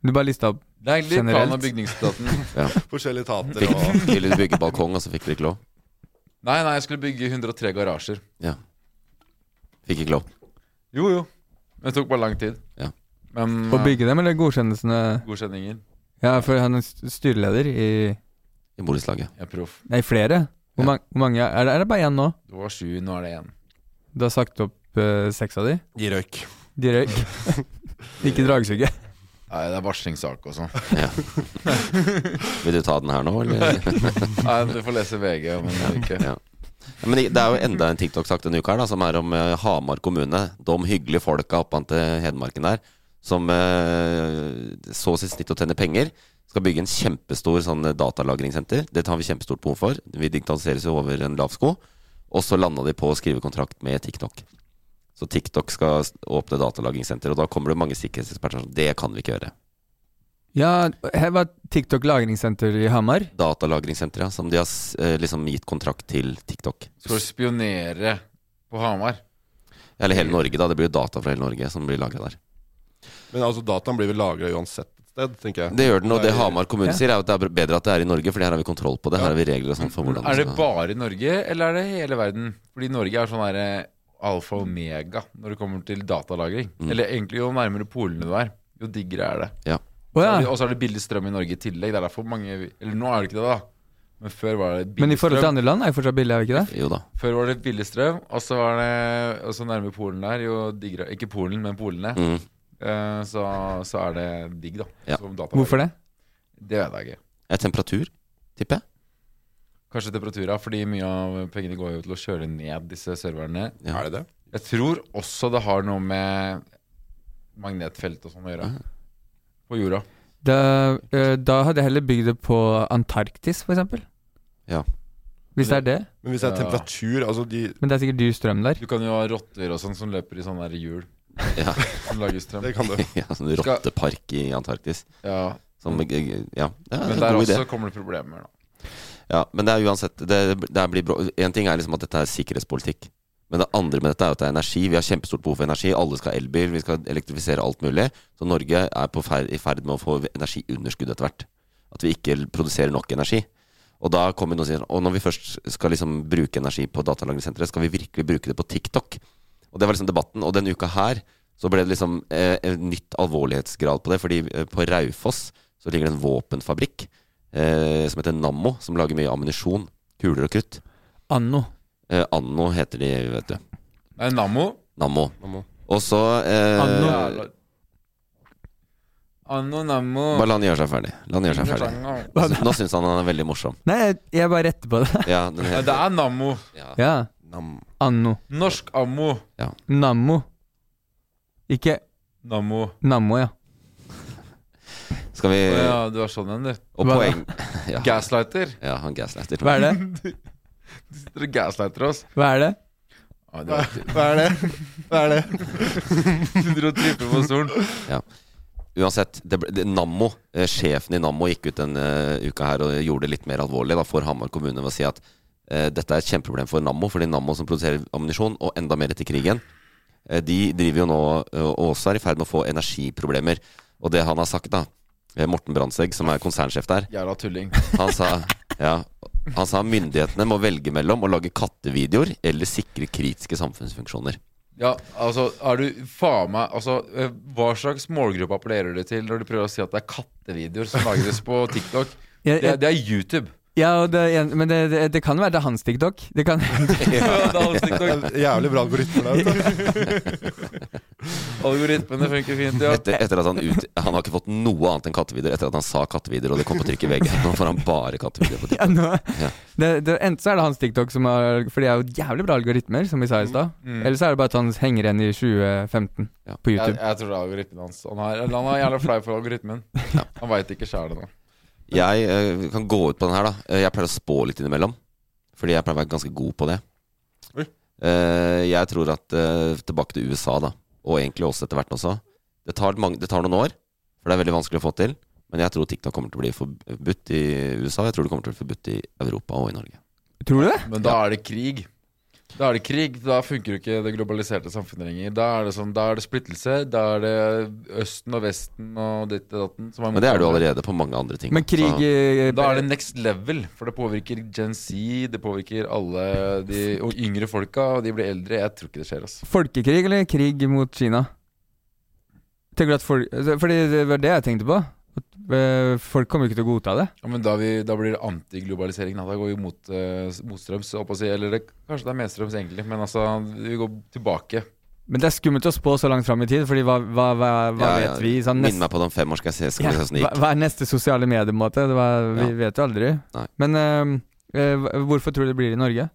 Speaker 2: Du bare lista opp
Speaker 4: Det er egentlig plan- og
Speaker 2: Generelt.
Speaker 4: bygningsetaten.
Speaker 3: Forskjellige etater
Speaker 1: Fikk,
Speaker 3: og
Speaker 1: ville du bygge balkong, og så fikk dere ikke lov?
Speaker 4: Nei, nei, jeg skulle bygge 103 garasjer.
Speaker 1: Ja. Fikk ikke lov.
Speaker 4: Jo, jo. Men det tok bare lang tid.
Speaker 1: Ja.
Speaker 4: Men
Speaker 2: å bygge dem, eller godkjennelsene
Speaker 4: eh, godkjenninger.
Speaker 2: Ja, for han er st- styreleder i
Speaker 1: I borettslaget.
Speaker 4: Jeg er proff.
Speaker 2: Nei, flere. Hvor,
Speaker 1: Ja.
Speaker 2: mang- hvor mange er det, er det bare én nå?
Speaker 4: Det var sju, nå er det én.
Speaker 2: Du har sagt opp eh, seks av de?
Speaker 3: gi røyk.
Speaker 2: De røyk. ikke dragsuget.
Speaker 4: Nei, det er varslingssak også.
Speaker 1: Vil du ta den her nå, eller?
Speaker 4: Nei, Du får lese VG om en uke.
Speaker 1: Ja. Men det det er jo enda en TikTok-sak denne uka her, da, som er om eh, Hamar kommune. De hyggelige folka oppe an til Hedmarken der, som eh, så sitt snitt og tjener penger. Skal bygge en kjempestor sånn eh, datalagringssenter. Det har vi kjempestort behov for. Vi digitaliseres jo over en lav sko. Og så landa de på å skrive kontrakt med TikTok. Så TikTok skal s- åpne datalagringssenter, og da kommer det mange sikkerhetseksperter som det kan vi ikke gjøre.
Speaker 2: Ja, her var TikTok lagringssenter i Hamar.
Speaker 1: Datalagringssenter, ja. Som de har s- eh, liksom gitt kontrakt til TikTok.
Speaker 4: Skal du spionere på Hamar?
Speaker 1: Eller hele Norge, da. Det blir jo data fra hele Norge som blir lagra der.
Speaker 3: Men altså, dataen blir vel lagra uansett et sted, tenker jeg.
Speaker 1: Det gjør den, og det
Speaker 3: Nei.
Speaker 1: Hamar kommune
Speaker 2: Ja.
Speaker 1: sier, er jo at det er bedre at det er i Norge, for her har vi kontroll på det. Her har vi regler og sånn for hvordan
Speaker 4: Er det
Speaker 1: skal-
Speaker 4: bare i Norge, eller er det hele verden? Fordi Norge er sånn derre alfa og omega når det kommer til datalagring.
Speaker 2: Mm.
Speaker 4: Eller egentlig jo nærmere polene du er, jo diggere er det.
Speaker 2: Å
Speaker 4: Så er det-
Speaker 2: ja.
Speaker 4: Og så er det billig strøm i Norge i tillegg. Det er derfor mange Eller nå er det ikke det, da. Men før var det billig
Speaker 2: Men i forhold til
Speaker 4: strøm.
Speaker 2: andre land er jo fortsatt billig, er vi ikke det?
Speaker 1: Jo da.
Speaker 4: Før var det billig strøm, og så var det Og så nærme Polen der, jo diggere Ikke Polen, men polene.
Speaker 1: Mm.
Speaker 4: Eh, Så, så er det digg, da.
Speaker 1: Ja.
Speaker 4: Som data-
Speaker 2: Hvorfor det?
Speaker 4: Det vet jeg ikke.
Speaker 1: Er det temperatur, tipper jeg.
Speaker 4: Kanskje temperatura, fordi mye av pengene går jo til å kjøle ned disse serverne.
Speaker 1: Ja.
Speaker 3: Er det det?
Speaker 4: Jeg tror også det har noe med magnetfelt og sånn å gjøre. På jorda.
Speaker 2: Da, eh, da hadde jeg heller bygd det på Antarktis, for eksempel.
Speaker 1: Ja.
Speaker 2: Hvis det er det.
Speaker 3: Men hvis det er
Speaker 4: Ja.
Speaker 3: temperatur Altså, de
Speaker 2: Men det er sikkert dyr strøm der.
Speaker 4: Du kan jo ha rotter og sånn som løper i sånne der hjul
Speaker 1: Ja.
Speaker 4: som lager strøm.
Speaker 3: Det kan du.
Speaker 1: ja sånn rottepark i Antarktis.
Speaker 4: Ja,
Speaker 1: Som, ja, det er
Speaker 4: Mm. Men
Speaker 1: en
Speaker 4: der
Speaker 1: god
Speaker 4: også
Speaker 1: idé.
Speaker 4: kommer det problemer, da.
Speaker 1: Ja, men det er uansett det, det er- blir brå- En ting er liksom at dette er sikkerhetspolitikk. Men det andre med dette er at det er energi. Vi har kjempestort behov for energi. Alle skal ha elbil, vi skal elektrifisere alt mulig. Så Norge er på fer i ferd med å få energiunderskudd etter hvert. At vi ikke produserer nok energi. Og da kommer noen og sier Og når vi først skal liksom bruke energi på datalagringssenteret, skal vi virkelig bruke det på TikTok? Og det var liksom debatten. Og denne uka her så ble det liksom eh, en nytt alvorlighetsgrad på det. Fordi eh, på Raufoss så ligger det en våpenfabrikk eh, som heter Nammo, som lager mye ammunisjon. Kuler og krutt.
Speaker 2: Anno.
Speaker 1: Eh, Anno heter de, vet du.
Speaker 4: Nei, Nammo.
Speaker 1: Nammo.
Speaker 3: Nammo.
Speaker 1: Og så eh,
Speaker 2: Anno.
Speaker 4: Anno Nammo.
Speaker 1: Bare la han gjøre seg ferdig. La han gjøre seg ferdig. Så Nå syns han han er veldig morsom.
Speaker 2: Nei, jeg, jeg bare retter på det.
Speaker 1: Ja, den
Speaker 4: Ja,
Speaker 1: heter,
Speaker 4: det er Nammo.
Speaker 1: ja.
Speaker 2: Ja.
Speaker 3: Nam.
Speaker 2: Anno.
Speaker 4: Norsk ammo.
Speaker 2: Nammo. Ikke
Speaker 4: Nammo.
Speaker 2: Nammo, ja.
Speaker 1: Skal vi
Speaker 4: Å Ja, du er sånn en, du.
Speaker 1: Og
Speaker 2: Hva da?
Speaker 1: poeng ja.
Speaker 4: Gaslighter.
Speaker 1: ja, han gaslighter.
Speaker 2: Hva er det?
Speaker 4: Dere gaslighter oss.
Speaker 2: Hva er det?
Speaker 4: Ja, det var
Speaker 3: Hva er det? Hva er det?
Speaker 4: Sitter og tripper på stolen.
Speaker 1: Uansett, det ble, det, Nammo, eh, sjefen i Nammo gikk ut denne eh, uka her og gjorde det litt mer alvorlig da, for Hamar kommune ved å si at eh, dette er et kjempeproblem for Nammo, fordi Nammo som produserer ammunisjon, og enda mer etter krigen, eh, de driver jo nå eh, og også er i ferd med å få energiproblemer. Og det han har sagt, da, eh, Morten Brandtzæg, som er konsernsjef der,
Speaker 4: Jævla tulling.
Speaker 1: han sa, ja, han sa myndighetene må velge mellom å lage kattevideoer eller sikre kritiske samfunnsfunksjoner.
Speaker 4: Ja, altså, er du faen meg Altså, eh, hva slags målgruppe appellerer du til når du prøver å si at det er kattevideoer som lagres på TikTok?
Speaker 2: Jeg,
Speaker 4: Det,
Speaker 2: jeg,
Speaker 4: det er YouTube.
Speaker 2: ja, og det, er en- men det, det, det kan være det er hans TikTok. Det kan,
Speaker 4: Ja, det er hans TikTok.
Speaker 3: Jævlig bra algoritmer der ute.
Speaker 4: Algoritmene funker fint, ja.
Speaker 1: Etter, etter at Han ut, Han har ikke fått noe annet enn kattevideoer etter at han sa kattevideoer, og det kom på trykk i VG. Nå får han bare kattevideoer på trykk.
Speaker 2: ja, nå,
Speaker 1: Ja.
Speaker 2: det, det, enten så er det hans TikTok, som har, for de er jo jævlig bra algoritmer, som vi sa i stad.
Speaker 4: Mm.
Speaker 2: Eller så er det bare at han henger igjen i 2015
Speaker 1: Ja.
Speaker 2: på
Speaker 4: Jeg,
Speaker 2: YouTube.
Speaker 4: jeg tror det er algoritmen hans. Han er, eller han er jævla flau for algoritmen. Han veit ikke sjæl ennå.
Speaker 1: Jeg eh, kan gå ut på den her, da. Eh, Jeg pleier å spå litt innimellom. Fordi jeg pleier å være ganske god på det.
Speaker 3: Oi.
Speaker 1: Eh, Jeg tror at eh, tilbake til USA, da. Og egentlig oss etter hvert også. Det tar, mange, det tar noen år, for det er veldig vanskelig å få til. Men jeg tror TikTok kommer til å bli forbudt i USA. og Jeg tror det kommer til å bli forbudt i Europa og i Norge.
Speaker 2: Tror du det?
Speaker 4: Men da er det krig. Da er det krig, da funker jo ikke det globaliserte samfunnet lenger. Da er det, sånn, da er det splittelse. Da er det Østen og Vesten og ditt og datten som er
Speaker 1: Men det er det jo
Speaker 4: motstandere.
Speaker 1: allerede på mange andre ting.
Speaker 2: Men krig
Speaker 1: Så,
Speaker 2: eh,
Speaker 4: Da er det next level, for det påvirker Gen Z, det påvirker alle de og yngre folka, og de blir eldre. Jeg tror ikke det skjer, altså.
Speaker 2: Folkekrig eller krig mot Kina? Tenker du at folk altså, Fordi det var det jeg tenkte på. At eh, folk kommer jo ikke til å godta det.
Speaker 4: Ja, men da, vi, da blir det antiglobalisering. Da. da går vi mot, eh, motstrøms, holdt på å si. Eller det, kanskje det er medstrøms, egentlig. Men altså, vi går tilbake.
Speaker 2: Men det er skummelt å spå så langt fram i tid, Fordi hva, hva, hva, hva
Speaker 1: ja, ja,
Speaker 2: vet vi? Sånn,
Speaker 1: Minn meg på det om fem år, skal jeg se, skal
Speaker 2: Ja,
Speaker 1: vi se hvordan det
Speaker 2: hva,
Speaker 1: gikk.
Speaker 2: hva er neste sosiale medier, på en måte? Det var, vi
Speaker 1: Ja.
Speaker 2: vet jo aldri.
Speaker 1: Nei.
Speaker 2: Men eh, eh, hva- hvorfor tror du det blir i Norge?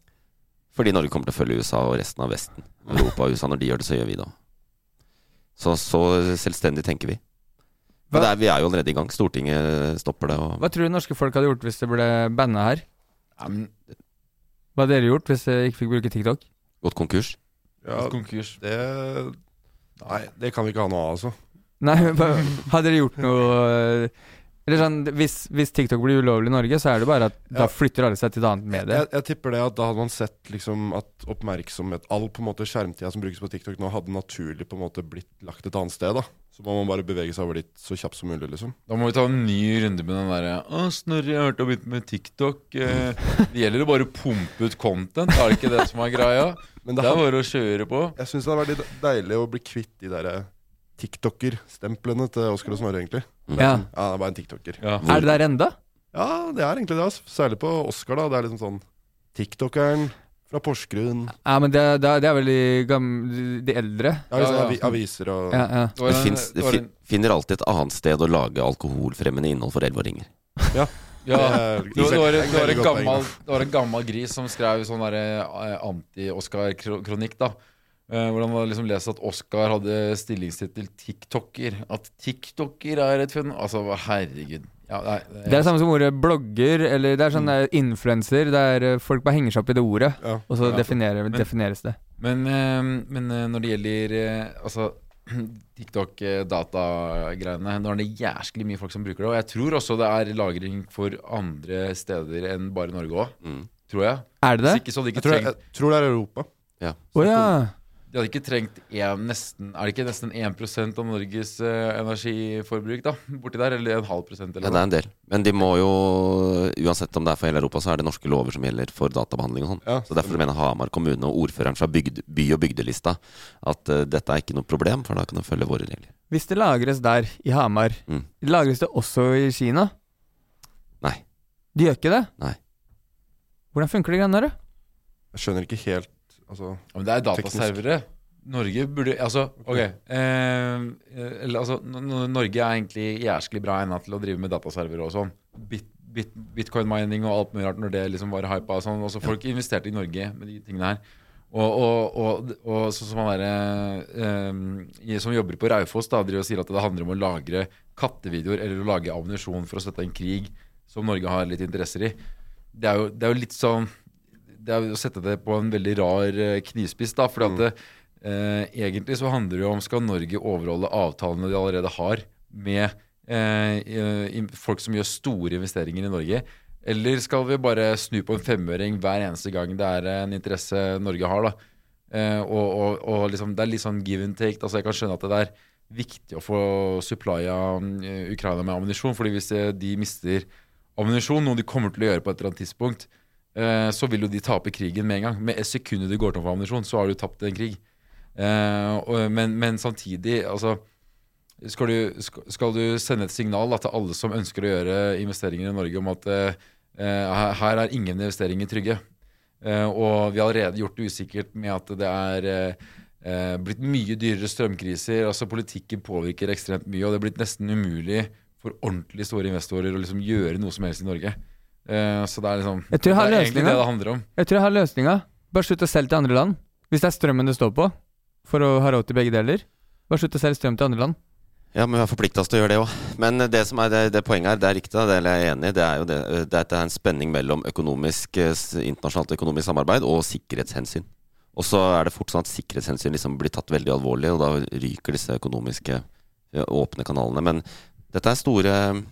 Speaker 1: Fordi Norge kommer til å følge USA og resten av Vesten. Europa og USA, når de gjør det, så gjør vi det òg. Så, så selvstendig tenker vi. Men
Speaker 2: Hva-
Speaker 1: det er, vi er jo allerede i gang. Stortinget stopper det. Og
Speaker 2: Hva tror du norske folk hadde gjort hvis det ble banna her?
Speaker 4: Ja, men
Speaker 2: Hva hadde dere gjort hvis dere ikke fikk bruke TikTok?
Speaker 1: gått konkurs.
Speaker 3: Ja,
Speaker 4: konkurs.
Speaker 3: det Nei, det kan vi ikke ha noe av, altså.
Speaker 2: Nei, men hva- hadde dere gjort noe eh, Eller sånn, hvis, hvis TikTok blir ulovlig i Norge, så er det bare at da
Speaker 3: Ja.
Speaker 2: flytter alle seg til et annet medie.
Speaker 3: Jeg, jeg tipper det at da hadde man sett liksom at oppmerksomhet All på en måte skjermtida som brukes på TikTok nå, hadde naturlig på en måte blitt lagt et annet sted. da Så må man bare bevege seg over dit så kjapt som mulig, liksom.
Speaker 4: Da må vi ta en ny runde med den derre Å, Snorre, jeg hørte om begynt med TikTok. Eh, Det gjelder jo bare å pumpe ut content, er det ikke det som er greia?
Speaker 3: Men
Speaker 4: Det
Speaker 3: det
Speaker 4: er
Speaker 3: hadde,
Speaker 4: bare å kjøre på.
Speaker 3: jeg syns det hadde vært litt deilig å bli kvitt de derre TikToker-stemplene til Oskar og Snorre, egentlig.
Speaker 1: Mm.
Speaker 2: Ja.
Speaker 3: Ja, det er bare en TikToker.
Speaker 4: Ja.
Speaker 2: Er det der enda?
Speaker 3: Ja, det er egentlig det, altså. Særlig på Oskar, da. Det er liksom sånn TikTokeren fra Porsgrunn.
Speaker 2: Ja, men det, det, det er vel de, gamle, de eldre.
Speaker 3: Ja, liksom,
Speaker 4: Ja, ja.
Speaker 3: avi- Aviser og
Speaker 2: Ja, ja.
Speaker 4: var
Speaker 1: Det,
Speaker 4: en-
Speaker 1: finnes, det
Speaker 4: var
Speaker 1: fi,
Speaker 4: en-
Speaker 1: finner alltid et annet sted å lage alkoholfremmende innhold for elleveåringer.
Speaker 4: Ja.
Speaker 3: er-
Speaker 4: Det var, det, var,
Speaker 3: er
Speaker 4: det, var
Speaker 3: veldig
Speaker 4: en
Speaker 3: godt poeng,
Speaker 4: gammel,
Speaker 3: da.
Speaker 4: det var en gammel gris som skrev sånn der, eh, anti-Oscar-kronikk. da Eh, Hvor han hadde liksom lest at Oscar hadde stillingstittel TikToker. At TikToker er et funn Altså, herregud. Ja, nei, det-
Speaker 2: Det er det samme som ordet blogger, eller det er sånn mm. influenser. Der eh, folk bare henger seg opp i det ordet,
Speaker 3: Ja.
Speaker 2: og så
Speaker 4: Ja.
Speaker 2: definerer, defineres det.
Speaker 4: Men, eh, men eh, når det gjelder eh, altså, TikTok-datagreiene Nå er det jæsklig mye folk som bruker det. Og jeg tror også det er lagring for andre steder enn bare Norge òg.
Speaker 1: Mm.
Speaker 4: Tror jeg.
Speaker 2: Er det
Speaker 4: Hvis
Speaker 2: det?
Speaker 4: ikke så hadde de
Speaker 3: Jeg
Speaker 4: ikke
Speaker 3: tror, jeg,
Speaker 4: trengt
Speaker 3: tror det er Europa.
Speaker 1: Ja.
Speaker 2: Å ja.
Speaker 4: De hadde ikke trengt en, nesten, er det ikke nesten 1 av Norges eh, energiforbruk da, borti der? Eller en halv prosent?
Speaker 1: Ja,
Speaker 4: Eller
Speaker 1: det
Speaker 4: noe?
Speaker 1: er en del. Men de må jo, uansett om det er for hele Europa, så er det norske lover som gjelder for databehandling og sånn.
Speaker 3: Ja.
Speaker 1: Så derfor mener Hamar kommune og ordføreren fra bygd, by- og bygdelista at eh, dette er ikke noe problem, for da kan de følge våre regler.
Speaker 2: Hvis det lagres der, i Hamar,
Speaker 1: Mm.
Speaker 2: lagres det også i Kina?
Speaker 1: Nei.
Speaker 2: De gjør ikke det?
Speaker 1: Nei.
Speaker 2: Hvordan funker de greiene der, da?
Speaker 3: Jeg skjønner ikke helt Altså
Speaker 4: Ja, men det er
Speaker 3: Teknisk.
Speaker 4: dataservere. Norge burde Altså, ok. Eh, eller, altså, N- N- Norge er egentlig jæsklig bra egna til å drive med dataservere og sånn. Bit, bit, Bitcoin mining og alt mulig rart når det liksom var hypa og sånn. Også folk investerte i Norge med de tingene her. Og, og, og, og sånn som han derre eh, som jobber på Raufoss, da, driver og sier at det handler om å lagre kattevideoer eller å lage ammunisjon for å støtte en krig som Norge har litt interesser i. Det er jo, det er jo litt sånn det er jo å sette det på en veldig rar eh, knivspiss, da. For at det, eh, egentlig så handler det jo om skal Norge overholde avtalene de allerede har med eh, eh, im- folk som gjør store investeringer i Norge. Eller skal vi bare snu på en femøring hver eneste gang det er en interesse Norge har, da. Eh, og, og, og liksom, det er litt sånn give and take. Altså, jeg kan skjønne at det er viktig å få supplya eh, Ukraina med ammunisjon. fordi hvis eh, de mister ammunisjon, noe de kommer til å gjøre på et eller annet tidspunkt, eh, så vil jo de tape krigen med en gang. Med sekundet du går tom for ammunisjon, så har du tapt en krig. Eh, og, men, men samtidig, altså skal du, sk- skal du sende et signal da, til alle som ønsker å gjøre investeringer i Norge om at eh, eh, her- her er ingen investeringer trygge? Eh, og vi har allerede gjort det usikkert med at det er eh, eh, blitt mye dyrere strømkriser. altså Politikken påvirker ekstremt mye, og det er blitt nesten umulig for ordentlig store investorer å liksom gjøre noe som helst i Norge. Eh, så det er liksom
Speaker 2: Jeg tror jeg har
Speaker 4: det er egentlig
Speaker 2: løsningen.
Speaker 4: det det handler om.
Speaker 2: Jeg tror jeg har løsninga. Bare slutt å selge til andre land. Hvis det er strømmen det står på, for å ha råd til begge deler. Bare slutt å selge strøm til andre land.
Speaker 1: Ja, men vi har forplikta oss til å gjøre det òg. Men det som er det, det poenget her, det er riktig, da, det er jeg enig i, det er jo det, det er at det er en spenning mellom økonomisk, eh, s- internasjonalt økonomisk samarbeid og sikkerhetshensyn. Og så er det fort sånn at sikkerhetshensyn liksom blir tatt veldig alvorlig, og da ryker disse økonomiske eh, åpne kanalene. Men dette er store eh,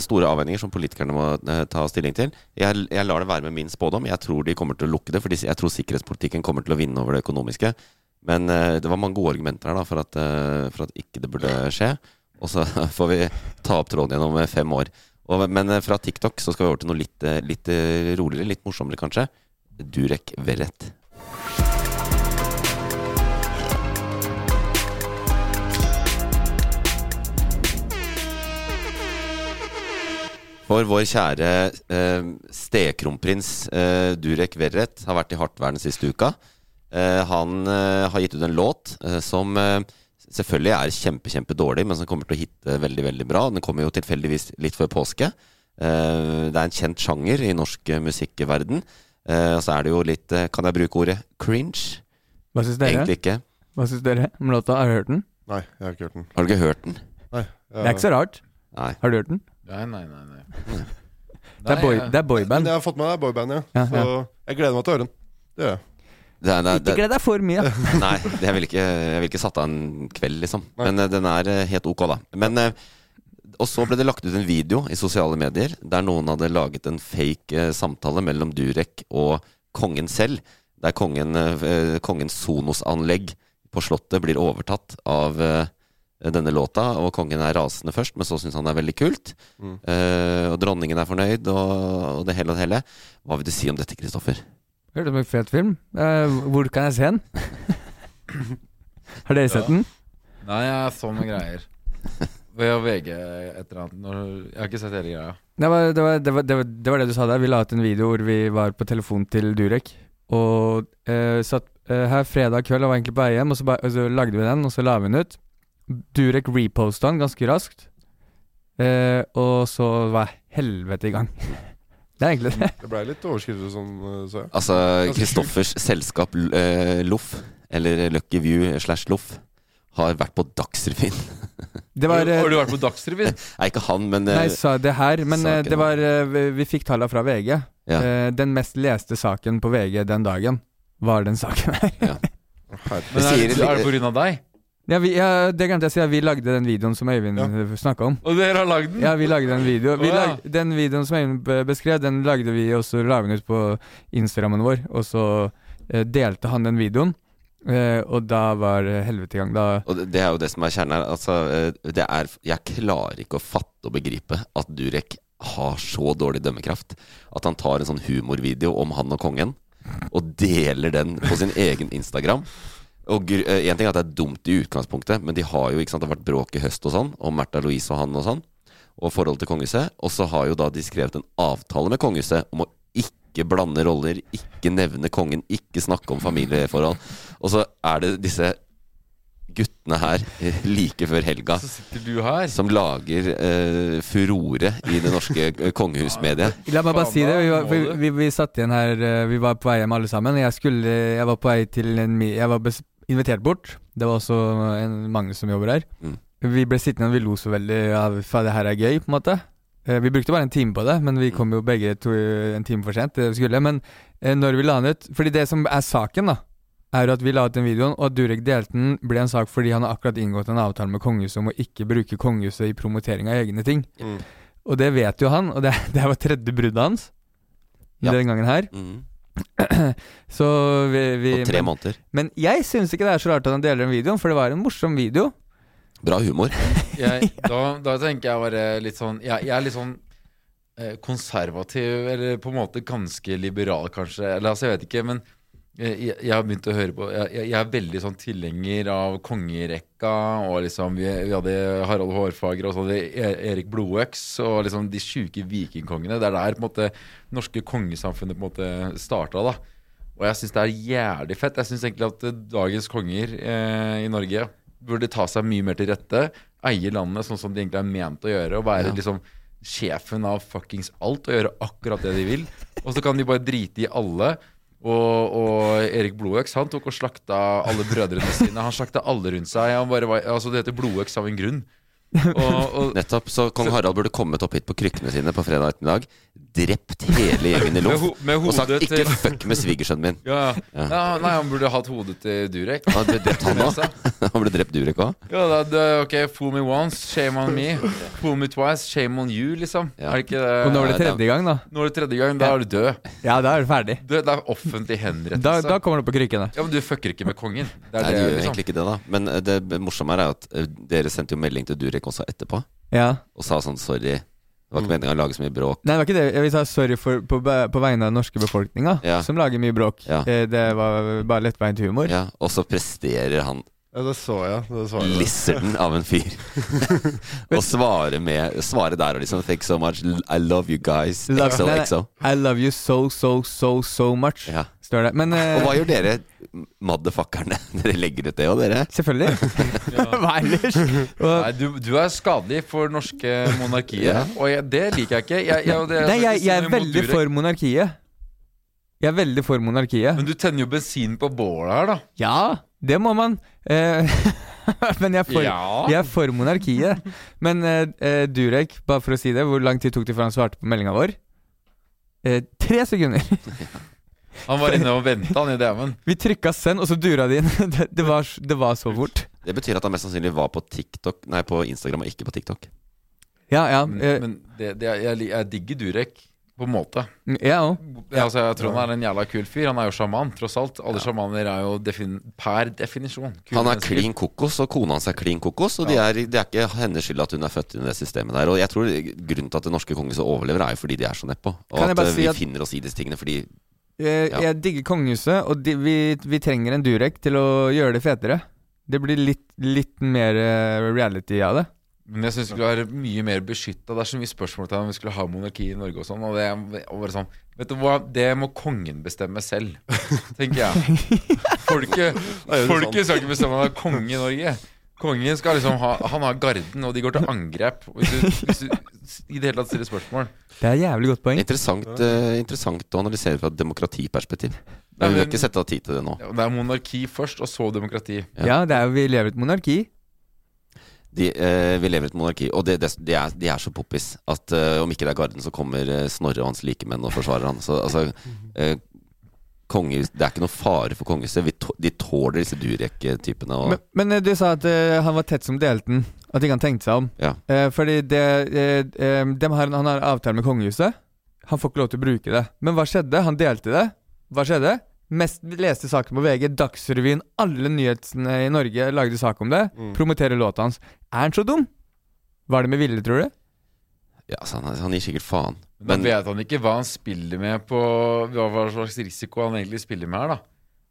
Speaker 1: Store avveininger som politikerne må eh, ta stilling til. Jeg, jeg lar det være med min spådom. Jeg tror de kommer til å lukke det, for jeg tror sikkerhetspolitikken kommer til å vinne over det økonomiske. Men eh, det var mange gode argumenter her da, for at, eh, for at ikke det burde skje. Og så får vi ta opp tråden gjennom eh, fem år. Og, men eh, fra TikTok så skal vi over til noe litt, eh, litt eh, roligere, litt morsommere kanskje. Durek Verrett. For vår kjære eh, stekronprins eh, Durek Verrett har vært i hardt vær den siste uka. Eh, han eh, har gitt ut en låt eh, som eh, selvfølgelig er kjempe, kjempe dårlig, men som kommer til å hitte veldig, veldig bra. Den kommer jo tilfeldigvis litt før påske. Eh, det er en kjent sjanger i norsk eh, musikkverden. Eh, og så er det jo litt, eh, kan jeg bruke ordet, cringe?
Speaker 2: Hva syns dere?
Speaker 1: Egentlig ikke.
Speaker 2: Hva syns dere om låta? Har du hørt den?
Speaker 3: Nei, jeg har ikke hørt den.
Speaker 1: Har du ikke hørt den?
Speaker 3: Nei,
Speaker 2: Det er ikke så rart.
Speaker 1: Nei.
Speaker 2: Har du hørt den?
Speaker 4: Nei, nei, nei. nei. eh,
Speaker 2: Det er, boy,
Speaker 4: jeg-
Speaker 2: det er
Speaker 3: Men
Speaker 2: boyband.
Speaker 3: jeg har fått med meg boyband, ja.
Speaker 2: Ja,
Speaker 3: Så jeg gleder meg til å høre den. Det gjør jeg.
Speaker 1: Det er, det er,
Speaker 2: Ikke gled deg for mye.
Speaker 1: Nei, det- jeg ville ikke, jeg vil ikke satt av en kveld, liksom.
Speaker 3: Nei.
Speaker 1: Men eh, den er eh, helt ok, da. Men, eh, og så ble det lagt ut en video i sosiale medier der noen hadde laget en fake eh, samtale mellom Durek og kongen selv. Der kongen, eh, kongens Sonos-anlegg på Slottet blir overtatt av eh, denne låta, og kongen er rasende først, men så syns han det er veldig kult. Eh, og dronningen er fornøyd, og, og det hele og det hele. Hva vil du si om dette, Kristoffer?
Speaker 2: Hørte om en fet film. Eh, hvor kan jeg se den? Har dere sett den?
Speaker 4: Nei, jeg så noen greier. Ved å VG et eller annet. Når, jeg har ikke sett hele greia.
Speaker 2: Det var det, var, det, var, det, var, det var det du sa der. Vi la ut en video hvor vi var på telefon til Durek. Og eh, satt eh, her fredag kveld og var egentlig på vei hjem, og så, ba, og så lagde vi den, og så la vi den ut. Durek reposta den ganske raskt. Eh, og så var helvete i gang. Det er egentlig det.
Speaker 3: Mm. Det blei litt overskrifter sånn, eh, så jeg.
Speaker 1: Altså
Speaker 3: kult.
Speaker 1: Kristoffers selskap L- eh, Loff, eller Lucky View slash Loff, har vært på Dagsrevyen.
Speaker 2: Det var eh,
Speaker 4: har du vært på Dagsrevyen?
Speaker 1: Nei, ikke han, men eh,
Speaker 2: Nei, sa det her, men eh,
Speaker 1: saken,
Speaker 2: det var eh, Vi, vi fikk tallene fra VG.
Speaker 1: Ja.
Speaker 2: Eh, den mest leste saken på VG den dagen, var den saken her.
Speaker 1: Det
Speaker 4: Men er,
Speaker 1: sier
Speaker 4: det-
Speaker 1: litt-
Speaker 4: er det pga. deg?
Speaker 2: ja, vi, ja, det glemte jeg å si, ja, vi lagde den videoen som Øyvind
Speaker 3: Ja.
Speaker 2: ja. snakka om.
Speaker 4: Og dere har lagd den?
Speaker 2: Ja, vi lagde en video. Vi
Speaker 4: Å, ja.
Speaker 2: lag, den videoen som Øyvind be- beskrev, den lagde vi, og så la vi den ut på Instagrammen vår. Og så eh, delte han den videoen, eh, og da var eh, helvete i gang. Da
Speaker 1: Og det, det er jo det som er kjernen her. Altså, eh, det er, jeg klarer ikke å fatte og begripe at Durek har så dårlig dømmekraft at han tar en sånn humorvideo om han og kongen og deler den på sin egen Instagram. Og gr- eh, en ting er at det er dumt i utgangspunktet, men de har jo, ikke sant, det har vært bråk i høst og sånn, om Märtha Louise og han og sånn, og forholdet til kongehuset. Og så har jo da de skrevet en avtale med kongehuset om å ikke blande roller, ikke nevne kongen, ikke snakke om familieforhold. Og så er det disse guttene her eh, like før helga
Speaker 4: Så sitter du her.
Speaker 1: som lager eh, furore i det norske eh, kongehusmediet.
Speaker 2: La meg bare
Speaker 4: Faen,
Speaker 2: si det. Vi var,
Speaker 4: da må
Speaker 2: vi,
Speaker 4: du.
Speaker 2: vi, vi satt igjen her eh, Vi var på vei hjem alle sammen. Jeg, skulle, jeg var på vei til en mi- Jeg var bes invitert bort. Det var også en Magnus som jobber her.
Speaker 1: Mm.
Speaker 2: Vi ble sittende og vi lo så veldig av at det her er gøy, på en måte. Eh, Vi brukte bare en time på det, men
Speaker 4: Mm.
Speaker 2: vi kom jo begge to eh, en time for sent. Det vi skulle, men eh, når vi la den ut Fordi det som er saken, da, er jo at vi la ut den videoen, og at Durek delte den, ble en sak fordi han har akkurat inngått en avtale med kongehuset om å ikke bruke kongehuset i promotering av egne ting.
Speaker 3: Mm.
Speaker 2: Og det vet jo han, og det, det var tredje bruddet hans.
Speaker 1: Ja.
Speaker 2: Den gangen her.
Speaker 1: Mm.
Speaker 2: Så vi, vi
Speaker 1: På tre
Speaker 2: men,
Speaker 1: måneder.
Speaker 2: men jeg syns ikke det er så rart at han deler den videoen, for det var en morsom video.
Speaker 1: Bra humor.
Speaker 4: jeg, da, da tenker jeg bare litt sånn Jeg, jeg er litt sånn eh, konservativ, eller på en måte ganske liberal, kanskje. Eller altså, jeg vet ikke, men eh, jeg, jeg har begynt å høre på Jeg, jeg jeg er veldig sånn tilhenger av kongerekka, og liksom Vi, vi hadde Harald Hårfagre og sånn, det er Erik Blodøks og liksom de sjuke vikingkongene. Det er der på en måte norske kongesamfunnet på en måte starta, da. Og jeg syns det er jævlig fett. Jeg syns egentlig at eh, dagens konger eh, i Norge burde ta seg mye mer til rette. Eie landet sånn som de egentlig er ment å gjøre. Og være liksom sjefen av fuckings alt og gjøre akkurat det de vil. Og så kan de bare drite i alle. Og, og Erik Blodøks han tok og slakta alle brødrene sine. Han slakta alle rundt seg. Han bare var, altså Det heter Blodøks av en grunn. Og, og
Speaker 1: Nettopp. Så kong Harald burde kommet opp hit på krykkene sine på fredag ettermiddag, drept hele gjengen i
Speaker 4: Med
Speaker 1: loff
Speaker 4: ho- med
Speaker 1: og sagt
Speaker 4: hodet
Speaker 1: 'ikke
Speaker 4: til-
Speaker 1: fuck med svigersønnen min'.
Speaker 4: ja, ja. ja, Nei, han burde hatt hodet til Durek.
Speaker 1: Han ble drept, han
Speaker 4: Med
Speaker 1: òg.
Speaker 4: seg.
Speaker 1: Han ble drept Durek òg.
Speaker 4: Ja, da, da, ok, fool me once, shame on me. Fool me twice, shame on you, liksom.
Speaker 1: Ja.
Speaker 4: Er det ikke
Speaker 2: Og nå
Speaker 4: det?
Speaker 2: var
Speaker 1: Nei, Eh,
Speaker 2: det
Speaker 1: da-
Speaker 2: tredje gang, da.
Speaker 4: Nå er det tredje gang, da er du død.
Speaker 2: Ja, da er det ferdig.
Speaker 4: Du, det er offentlig henrettelse.
Speaker 2: Da, da kommer det på krykkene.
Speaker 4: Ja, men du fucker ikke med kongen. Det er
Speaker 1: Nei, de
Speaker 4: det,
Speaker 1: gjør
Speaker 4: liksom.
Speaker 1: egentlig ikke det, da. Men eh, det b- morsomme her er at eh, dere sendte jo melding til Durek også etterpå,
Speaker 2: Ja.
Speaker 1: og sa sånn 'sorry', det var ikke meningen å lage så mye bråk.
Speaker 2: Nei, det var ikke det. Jeg vil si sorry for, på, be- på vegne av den norske befolkninga,
Speaker 1: Ja.
Speaker 2: som lager mye bråk.
Speaker 1: Ja.
Speaker 2: Eh, Det var bare lettbeint humor.
Speaker 1: Ja, og så presterer han
Speaker 3: Ja, det så jeg. Det så jeg.
Speaker 1: Lizarden av en fyr. og svare med Svare der og liksom Thanks so much. I love you guys.
Speaker 2: Love-
Speaker 1: XO,
Speaker 2: Nei, nei.
Speaker 1: XO.
Speaker 2: I love you so, so, so, so much,
Speaker 1: Ja.
Speaker 2: står det. Men
Speaker 1: Og
Speaker 2: eh,
Speaker 1: hva gjør dere motherfuckerne? Dere legger ut det, og dere?
Speaker 2: selvfølgelig. Hva ellers? Og,
Speaker 4: Nei, du, du er skadelig for norske monarkiet,
Speaker 1: Ja.
Speaker 4: og jeg, det liker jeg ikke. Jeg, jeg, og det, sånn
Speaker 2: Nei, jeg, jeg er
Speaker 4: mot
Speaker 2: veldig
Speaker 4: Durek.
Speaker 2: for monarkiet. Jeg er veldig for monarkiet.
Speaker 4: Men du tenner jo bensin på bålet her, da.
Speaker 2: Ja, det må man. Eh, men jeg er, for,
Speaker 4: Ja.
Speaker 2: jeg er for monarkiet. Men eh, eh, Durek, bare for å si det, hvor lang tid tok det før han svarte på meldinga vår? Eh, tre sekunder.
Speaker 4: Han var inne og venta, han i DM-en.
Speaker 2: Vi trykka send, og så dura det inn. Det, det, var, s- det var så fort.
Speaker 1: Det betyr at han mest sannsynlig var på TikTok Nei, på Instagram og ikke på TikTok.
Speaker 2: Ja, ja.
Speaker 4: Men,
Speaker 2: eh,
Speaker 4: men det, det, jeg, li- jeg digger Durek, på en måte.
Speaker 2: Mm, jeg òg.
Speaker 4: Ja, altså, jeg tror han er en jævla kul fyr. Han er jo sjaman, tross alt. Alle sjamaner er jo defin per definisjon kule
Speaker 1: Han er
Speaker 4: mennesker.
Speaker 1: klin kokos, og kona hans er klin kokos. Og de er, det er ikke hennes skyld at hun er født inn i det systemet der. Og jeg tror grunnen til at det norske kongehuset overlever, er jo fordi de er så nedpå. Og
Speaker 2: Kan jeg
Speaker 1: at
Speaker 2: bare
Speaker 1: eh,
Speaker 2: si
Speaker 1: vi
Speaker 2: at-
Speaker 1: finner oss i disse tingene fordi
Speaker 2: Jeg,
Speaker 1: Ja.
Speaker 2: Eh, jeg digger kongehuset, og de, vi, vi trenger en Durek til å gjøre det fetere. Det blir litt, litt mer eh, reality av det.
Speaker 4: Men jeg syns vi skulle være mye mer beskytta. Det er så mye spørsmål til om vi skulle ha monarki i Norge og sånn. Og det er og bare sånn Vet du hva, det må kongen bestemme selv, tenker jeg. Folket,
Speaker 3: jo
Speaker 1: sånn.
Speaker 4: folket skal ikke bestemme om han er konge i Norge. Kongen skal liksom ha Han har garden, og de går til angrep. Og hvis du, hvis du i det hele tatt stiller spørsmål
Speaker 2: Det er et jævlig godt poeng.
Speaker 1: Interessant, eh, interessant å analysere fra et demokratiperspektiv.
Speaker 4: Nei,
Speaker 1: Men vi
Speaker 4: men-
Speaker 1: har ikke sett av tid til det nå.
Speaker 4: ja, Det er monarki først, og så demokrati.
Speaker 1: Ja.
Speaker 2: Ja, det er, jo- vi lever i et monarki.
Speaker 1: De, eh, vi lever i et monarki, og det, det, de, er, de er så poppis at eh, om ikke det er Garden, så kommer eh, Snorre og hans likemenn og forsvarer han. Så altså eh, kongehus, Det er ikke noe fare for kongehuset. Vi tå- De tåler disse Durek-typene. Og,
Speaker 2: Men, men eh, du sa at eh, han var tett som delten. At ikke han tenkte seg om.
Speaker 1: Ja.
Speaker 2: Eh, fordi det, eh, eh, dem har, han har avtale med kongehuset. Han får ikke lov til å bruke det. Men hva skjedde? Han delte det. Hva skjedde? mest leste saken på VG, Dagsrevyen, alle nyhetene i Norge lagde sak om det.
Speaker 3: Mm.
Speaker 2: Promoterer låta hans. Er han så dum? Var det med vilje, tror du?
Speaker 1: Ja, så han, han gir sikkert faen.
Speaker 4: Da
Speaker 1: Men
Speaker 4: vet han ikke hva han spiller med på Hva hva slags risiko han egentlig spiller med her, da.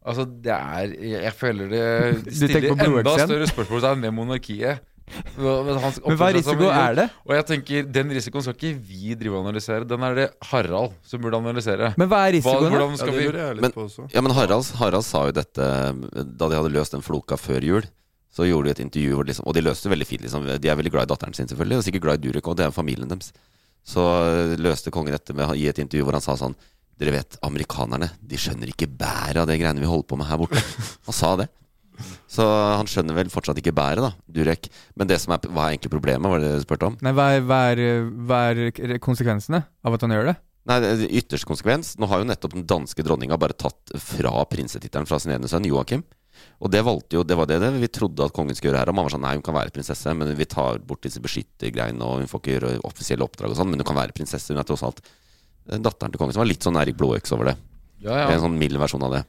Speaker 4: Altså, det er Jeg føler det
Speaker 2: Du tenker
Speaker 4: stiller
Speaker 2: på
Speaker 4: enda
Speaker 2: blodeksem?
Speaker 4: større spørsmålstegn ved monarkiet. Men
Speaker 2: Men hva risiko er det?
Speaker 4: Og jeg tenker, Den risikoen skal ikke vi drive og analysere. Den er det Harald som burde analysere.
Speaker 2: Men hva er
Speaker 4: Hva,
Speaker 2: risikoen? da?
Speaker 4: hvordan
Speaker 3: Ja,
Speaker 4: skal
Speaker 3: det
Speaker 4: vi
Speaker 3: lurer jeg litt
Speaker 1: Men-
Speaker 3: på også.
Speaker 1: Ja, men Harald, Harald sa jo dette Da de hadde løst den floka før jul Så gjorde de et intervju hvor de liksom, Og de løste det veldig fint liksom. De er veldig glad i datteren sin selvfølgelig Og sikkert glad i Durek Og det er jo familien deres Så øh, løste kongen dette med, i et intervju hvor han sa sånn Dere vet, amerikanerne De skjønner ikke bæret av det greiene vi holder på med her borte Han sa det Så han skjønner vel fortsatt ikke bæret da Durek Men det som er, hva er egentlig problemet Var det du spurte om?
Speaker 2: Nei, hva er, hva, er, hva er konsekvensene av at han gjør det?
Speaker 1: Nei, det er ytterste konsekvens. Nå har jo nettopp den danske dronninga bare tatt fra prinsetittelen fra sin ene sønn, Joakim. Og det valgte jo, det var det, det vi trodde at kongen skulle gjøre her. Og man var sånn, nei, hun kan være prinsesse, men vi tar bort disse beskyttergreiene, og hun får ikke gjøre offisielle oppdrag og sånn, men hun kan være prinsesse. Hun er tross alt eh, datteren til kongen, som var litt sånn Erik Blåøks over det.
Speaker 4: ja, ja.
Speaker 1: En sånn mild versjon av det.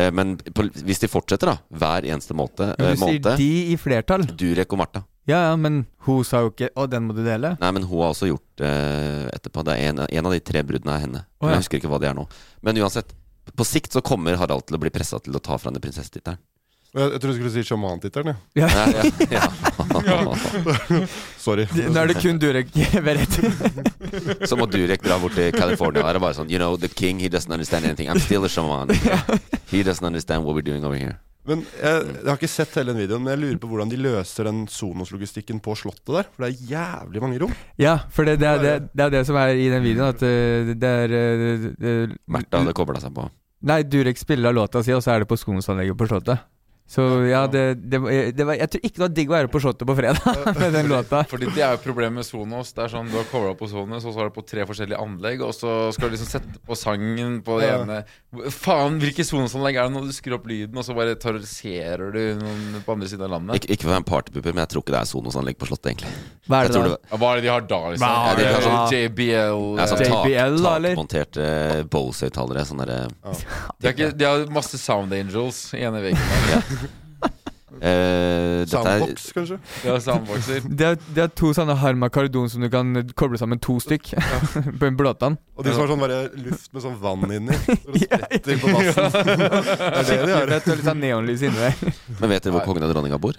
Speaker 1: Eh, Men på, hvis de fortsetter, da, hver eneste måte,
Speaker 2: Men
Speaker 1: eh,
Speaker 2: du sier
Speaker 1: måned
Speaker 2: de i flertall.
Speaker 1: Durek og Martha.
Speaker 2: Ja, ja, men hun sa jo ikke 'Å, den må du dele'.
Speaker 1: Nei, men hun har også gjort eh, etterpå. Det er en, en av de tre bruddene er henne.
Speaker 2: Å, ja.
Speaker 1: Jeg husker ikke hva det er nå. Men uansett, på sikt så kommer Harald til å bli pressa til å ta fra henne prinsessetittelen.
Speaker 3: Jeg, jeg tror du skulle si sjamantittelen, jeg.
Speaker 2: Ja.
Speaker 1: Nei, ja, ja.
Speaker 3: Sorry.
Speaker 2: Nå er det kun Durek ved rett.
Speaker 1: Så må Durek dra bort til California. Og er det bare sånn You know, the king, he doesn't understand anything. I'm still a shaman. He doesn't understand what we're doing over here.
Speaker 3: Men jeg, jeg har ikke sett hele den videoen, men jeg lurer på hvordan de løser den Sonos-logistikken på Slottet der. For det er jævlig mange rom.
Speaker 2: Ja, for det, det, er, det, det er det som er i den videoen, at eh, det er eh, eh,
Speaker 1: Märtha hadde kobla seg på.
Speaker 2: Nei, Durek spiller av låta si, og så er det på Skonsanlegget på Slottet. Så ja, det, det, var- det var Jeg tror ikke det var digg å være på Slottet på fredag med den låta.
Speaker 4: Fordi Det er jo problemet med Sonos. Det er sånn Du har covra på Sonos, og så er det på tre forskjellige anlegg, og så skal du liksom sette på sangen på det
Speaker 3: Ja.
Speaker 4: ene Faen, hvilke Sonos-anlegg er det når du skrur opp lyden, og så bare terroriserer du noen på andre siden av landet?
Speaker 1: Ik ikke for å være en partypooper, men jeg tror ikke det er Sonos-anlegg på Slottet, egentlig.
Speaker 2: Hva er
Speaker 1: Jeg
Speaker 2: det
Speaker 1: tror
Speaker 2: da?
Speaker 1: det var
Speaker 4: Ja, Hva er det de har da, liksom?
Speaker 2: Hva
Speaker 1: er det de har
Speaker 4: sånn
Speaker 2: sånn-
Speaker 4: JBL
Speaker 1: det er sånn
Speaker 4: eh,
Speaker 1: tak,
Speaker 2: JBL da, eller?
Speaker 1: takmonterte Bose-høyttalere. Sånne der,
Speaker 4: de, har ikke, de har masse Sound Angels i ene veggen.
Speaker 1: eh, dette er-
Speaker 3: Soundbox, kanskje.
Speaker 4: De har soundboxer.
Speaker 2: Det er, det er to sånne Harma Kardon som du kan koble sammen to stykk på en blåtann.
Speaker 3: Og de som har sånn bare luft med sånn vann inni. Så det spretter på dassen. det er det de
Speaker 2: Skikkelig
Speaker 3: gjør.
Speaker 2: fett og litt sånn neonlys inni der.
Speaker 1: Men vet dere hvor kongen og dronninga bor?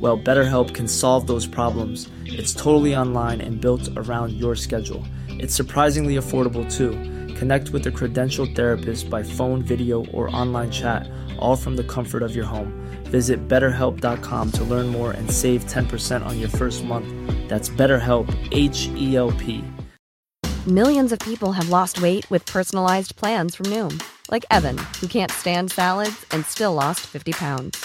Speaker 5: Well, BetterHelp can solve those problems. It's totally online and built around your schedule. It's surprisingly affordable too. Connect with a credentialed therapist by phone, video, or online chat, all from the comfort of your home. Visit betterhelp.com to learn more and save 10% on your first month. That's BetterHelp, H E L P.
Speaker 6: Millions of people have lost weight with personalized plans from Noom, like Evan, who can't stand salads and still lost 50 pounds.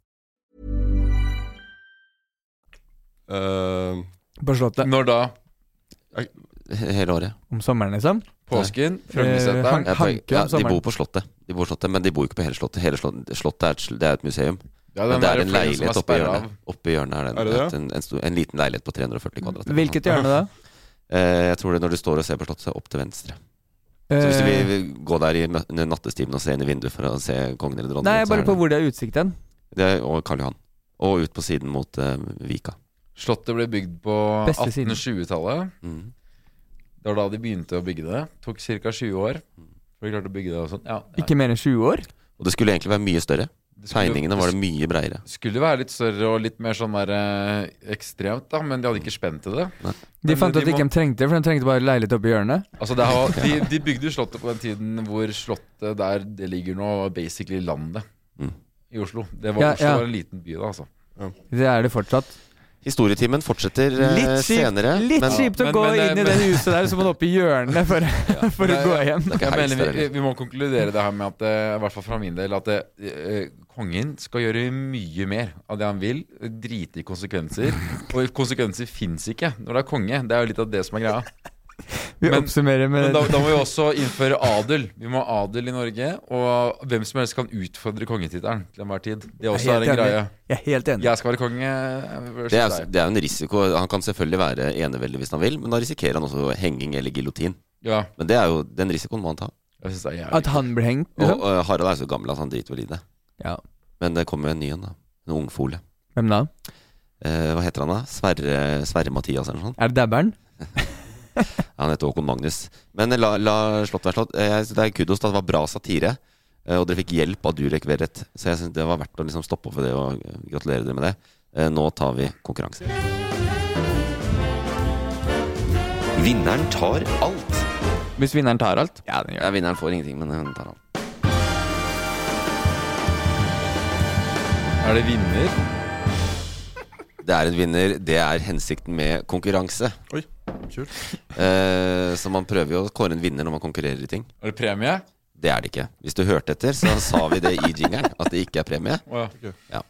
Speaker 3: Eh,
Speaker 2: På Slottet.
Speaker 4: Når da?
Speaker 1: Hele året.
Speaker 2: Om sommeren, liksom.
Speaker 4: Påsken?
Speaker 2: Eh, han-
Speaker 4: Frognerseteren?
Speaker 1: Jeg tar-
Speaker 2: Hanke om
Speaker 1: ja, de
Speaker 2: sommeren.
Speaker 1: bor på Slottet. De bor på slottet, Men de bor jo ikke på hele Slottet. Hele Slottet, slottet er, et, sl- det er et museum.
Speaker 4: Ja,
Speaker 1: Men
Speaker 4: den
Speaker 1: det er
Speaker 4: der
Speaker 1: en
Speaker 4: flere som
Speaker 1: leilighet
Speaker 4: er
Speaker 1: oppe i
Speaker 4: sperret
Speaker 1: hjørnet. Oppe i hjørnet er det en,
Speaker 3: Er det det?
Speaker 1: et- En, en, stor, en liten leilighet på 340 kvadrat. liksom.
Speaker 2: Hvilket hjørne da?
Speaker 1: Eh, jeg tror det er når du står og ser på Slottet, så opp til venstre. Så hvis du
Speaker 2: Eh,
Speaker 1: vil gå der i mø- nattestimen og se inn i vinduet for å se kongen eller dronningen
Speaker 2: Nei, jeg
Speaker 1: så
Speaker 2: er bare
Speaker 1: er
Speaker 2: på
Speaker 1: det-
Speaker 2: hvor det er utsikt hen.
Speaker 1: Det er, og Karl Johan. Og ut på siden mot eh, Vika.
Speaker 4: Slottet ble bygd på
Speaker 2: Beste siden.
Speaker 4: 1820-tallet.
Speaker 1: Mm.
Speaker 4: Det var da de begynte å bygge det. Tok ca. 20 år. For de klarte å bygge det og sånn. Ja, ja.
Speaker 2: Ikke mer enn 20 år.
Speaker 1: Og det skulle egentlig være mye større.
Speaker 4: Det skulle-
Speaker 1: Tegningene var det mye breiere.
Speaker 4: skulle være litt større og litt mer sånn der eh, ekstremt, da, men de hadde ikke spent til det.
Speaker 2: De
Speaker 4: Men
Speaker 2: fant
Speaker 4: de
Speaker 2: ut at de ikke
Speaker 4: må-
Speaker 2: trengte det, for de trengte bare leilighet oppi hjørnet.
Speaker 4: Altså det har, de, de bygde jo Slottet på den tiden hvor Slottet der det ligger nå, var basically landet
Speaker 1: Mm.
Speaker 4: i Oslo. Det var,
Speaker 2: Ja,
Speaker 4: Oslo
Speaker 2: ja.
Speaker 4: var en liten by da, altså.
Speaker 2: Det er det fortsatt.
Speaker 1: Historietimen fortsetter eh,
Speaker 2: Litt kjipt,
Speaker 1: senere.
Speaker 2: litt
Speaker 1: men
Speaker 2: kjipt å
Speaker 4: men-
Speaker 2: gå
Speaker 4: men, eh,
Speaker 2: inn i
Speaker 4: men-
Speaker 2: det huset der, så må du opp i hjørnet for, for å
Speaker 4: Nei,
Speaker 2: gå hjem.
Speaker 1: det er
Speaker 4: Jeg
Speaker 1: ikke heis
Speaker 4: mener
Speaker 1: der
Speaker 4: vi,
Speaker 1: heller.
Speaker 4: vi må konkludere det her med at eh, i hvert fall fra min del at eh, kongen skal gjøre mye mer av det han vil. Drite i konsekvenser. Og konsekvenser fins ikke når det er konge. Det er jo litt av det som er greia.
Speaker 2: Vi
Speaker 4: Men-
Speaker 2: oppsummerer
Speaker 4: Men
Speaker 2: med
Speaker 4: da, da må vi også innføre adel. Vi må ha adel i Norge. Og hvem som helst kan utfordre kongetittelen til enhver tid. Det
Speaker 2: Jeg er
Speaker 4: også er en
Speaker 2: helt enig.
Speaker 4: greie.
Speaker 2: Jeg er helt enig.
Speaker 4: Jeg skal være konge. eh, versus
Speaker 1: Det er, altså-
Speaker 4: deg.
Speaker 1: det er jo en risiko. Han kan selvfølgelig være eneveldig hvis han vil, men da risikerer han også henging eller giljotin.
Speaker 4: Ja,
Speaker 1: Men det er jo den risikoen må han ta.
Speaker 4: jeg synes det er jævlig.
Speaker 2: At han blir hengt,
Speaker 1: Og,
Speaker 2: liksom.
Speaker 1: og Harald er så gammel at han driter vel i det.
Speaker 2: Ja.
Speaker 1: Men det kommer jo en ny en, da. En ungfole.
Speaker 2: Hvem da?
Speaker 1: Eh, hva heter han da? Sverre, Sverre Mathias eller noe sånt?
Speaker 2: Er det dabberen?
Speaker 1: Ja, Han heter Håkon Magnus. Men la, la slott være slott. Eh, jeg synes det er kudos, da. Det var bra satire. Eh, og dere fikk hjelp av Durek Verrett. Så jeg synes det var verdt å liksom stoppe opp for det og eh, gratulere dere med det. Eh, nå tar vi konkurranse. Vinneren tar alt.
Speaker 2: Hvis vinneren tar alt? Ja, den
Speaker 1: Ja, vinneren får ingenting, men hun tar alt.
Speaker 4: Er det vinner?
Speaker 1: Det er en vinner. Det er hensikten med konkurranse.
Speaker 3: Oi, kult.
Speaker 1: Eh, så man prøver jo å kåre en vinner når man konkurrerer i ting.
Speaker 4: Er det premie?
Speaker 1: Det er det ikke. Hvis du hørte etter, så sa vi det i jingeren, at det ikke er premie.
Speaker 4: Å, ja.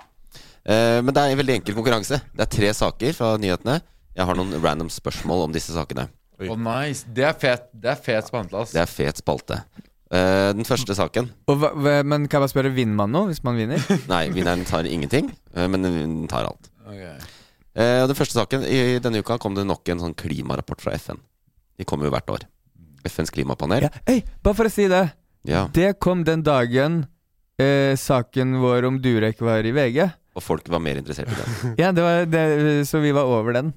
Speaker 1: Eh, men det er en veldig enkel konkurranse. Det er tre saker fra nyhetene. Jeg har noen random spørsmål om disse sakene.
Speaker 3: Oi.
Speaker 4: Å, nice. Det er fet, det er fet spantla, ass.
Speaker 1: Det er fet spalte. Eh, den første saken
Speaker 2: Og hva, hva- men kan jeg bare spørre, vinner man nå hvis man vinner?
Speaker 1: Nei, vinneren tar ingenting, eh, men den tar alt.
Speaker 4: Ok.
Speaker 1: Eh, og den første saken I denne uka kom det nok en sånn klimarapport fra FN. De kommer jo hvert år. FNs klimapanel.
Speaker 2: Ja. Hei, bare for å si det.
Speaker 1: Ja.
Speaker 2: Det kom den dagen eh, saken vår om Durek var i VG.
Speaker 1: Og folk var mer interessert i den.
Speaker 2: Ja, det var det, Så vi var over den.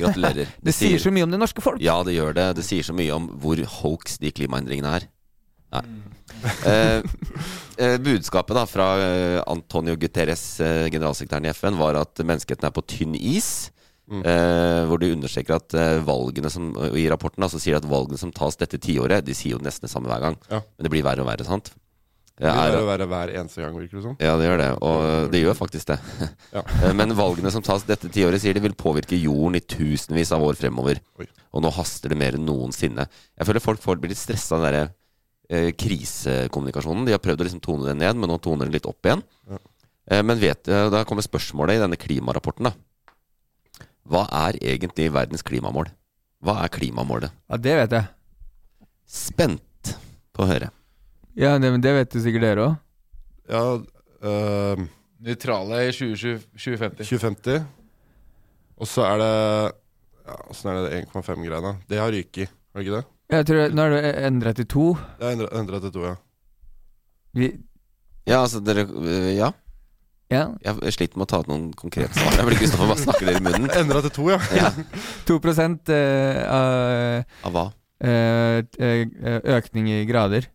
Speaker 1: Gratulerer.
Speaker 2: Det sier så mye om det norske folk.
Speaker 1: Ja, det gjør det. Det sier så mye om hvor hoax de klimaendringene er. Nei. Eh, eh, budskapet da fra eh, Antonio Guterres, eh, generalsekretæren i FN, var at menneskeheten er på tynn is.
Speaker 3: mm.
Speaker 1: Eh, hvor de understreker at eh, valgene som og I rapporten da, så sier de at valgene som tas dette tiåret De sier jo nesten det samme hver gang,
Speaker 3: Ja.
Speaker 1: men det blir verre og verre, sant?
Speaker 3: Det
Speaker 1: Ja,
Speaker 3: er
Speaker 1: er,
Speaker 3: å være hver eneste gang, virker det som.
Speaker 1: ja, det gjør det. Og det gjør faktisk det.
Speaker 3: Ja.
Speaker 1: Eh, Men valgene som tas dette tiåret, sier de vil påvirke jorden i tusenvis av år fremover.
Speaker 3: Oi.
Speaker 1: Og nå haster det mer enn noensinne. Jeg føler folk får blir litt stressa av den derre eh, krisekommunikasjonen. De har prøvd å liksom tone den ned, men nå toner den litt opp igjen.
Speaker 3: Ja.
Speaker 1: Eh, men vet, eh, da kommer spørsmålet i denne klimarapporten, da. Hva er egentlig verdens klimamål? Hva er klimamålet?
Speaker 2: Ja, det vet jeg.
Speaker 1: Spent på å høre.
Speaker 2: Ja, det, men det vet jo sikkert dere òg.
Speaker 3: Ja, eh,
Speaker 4: Nøytrale i 2020 2050.
Speaker 3: 2050. Og så er det ja, Åssen er det 1,5-greiene? Det har ryket i, har det ikke det?
Speaker 2: Jeg tror Nå er det endra til to.
Speaker 3: Det er endra til to, ja.
Speaker 2: Vi,
Speaker 1: Ja, altså dere eh, Ja.
Speaker 2: ja,
Speaker 1: Jeg sliter med å ta ut noen konkrete svar. Jeg blir Kristoffer, hva snakker dere i munnen?
Speaker 3: Endra til to, ja.
Speaker 1: Ja,
Speaker 2: 2 eh, av
Speaker 1: Av hva?
Speaker 2: eh, eh, økning i grader.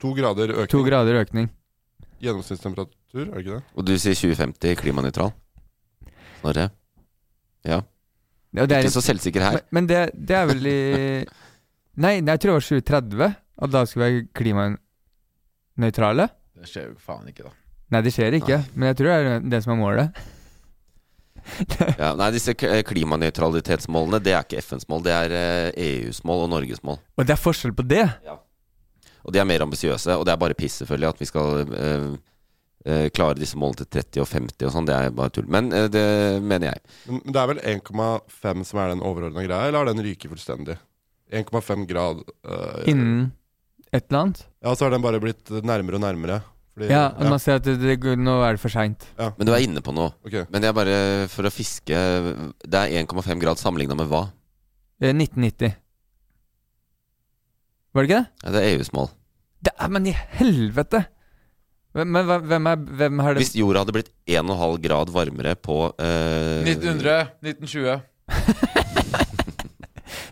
Speaker 3: To grader
Speaker 2: To
Speaker 3: økning.
Speaker 2: grader økning.
Speaker 3: Gjennomsnittstemperatur, er det ikke det?
Speaker 1: Og du sier 2050 klimanøytral? Snorre?
Speaker 2: Ja, det er,
Speaker 1: Ikke så selvsikker her.
Speaker 2: men men det, det er vel i Nei, nei, jeg tror det var 2030 at da skal vi være klimanøytrale.
Speaker 4: Det skjer jo faen ikke, da.
Speaker 2: Nei, det skjer ikke, men jeg tror det er det som er målet.
Speaker 1: Ja, nei, disse k- eh, klimanøytralitetsmålene Det er ikke FNs mål, det er eh, EUs mål og Norges mål.
Speaker 2: Og det er forskjell på det!
Speaker 1: Og de er mer ambisiøse, og det er bare piss, selvfølgelig, at vi skal eh, eh, klare disse målene til 30 og 50 og sånn. Det er bare tull. Men eh, det mener jeg.
Speaker 3: Men men det er vel 1,5 som er den overordna greia, eller har den ryket fullstendig? 1,5 grad eh,
Speaker 2: Innen et eller annet.
Speaker 3: Ja, så har den bare blitt nærmere og nærmere. Fordi,
Speaker 2: Ja, og man ser at det, det, går- nå er det for seint.
Speaker 1: Men du er inne på noe.
Speaker 3: ok.
Speaker 1: Men jeg bare, for å fiske Det er 1,5 grad sammenligna med hva?
Speaker 2: Eh, 1990. Var det ikke det?
Speaker 1: Ja, det er EUs mål.
Speaker 2: Det er, men i helvete! Men, men hvem- hvem er, hvem er det
Speaker 1: Hvis jorda hadde blitt 1,5 grad varmere på eh,
Speaker 4: 1900, 1920.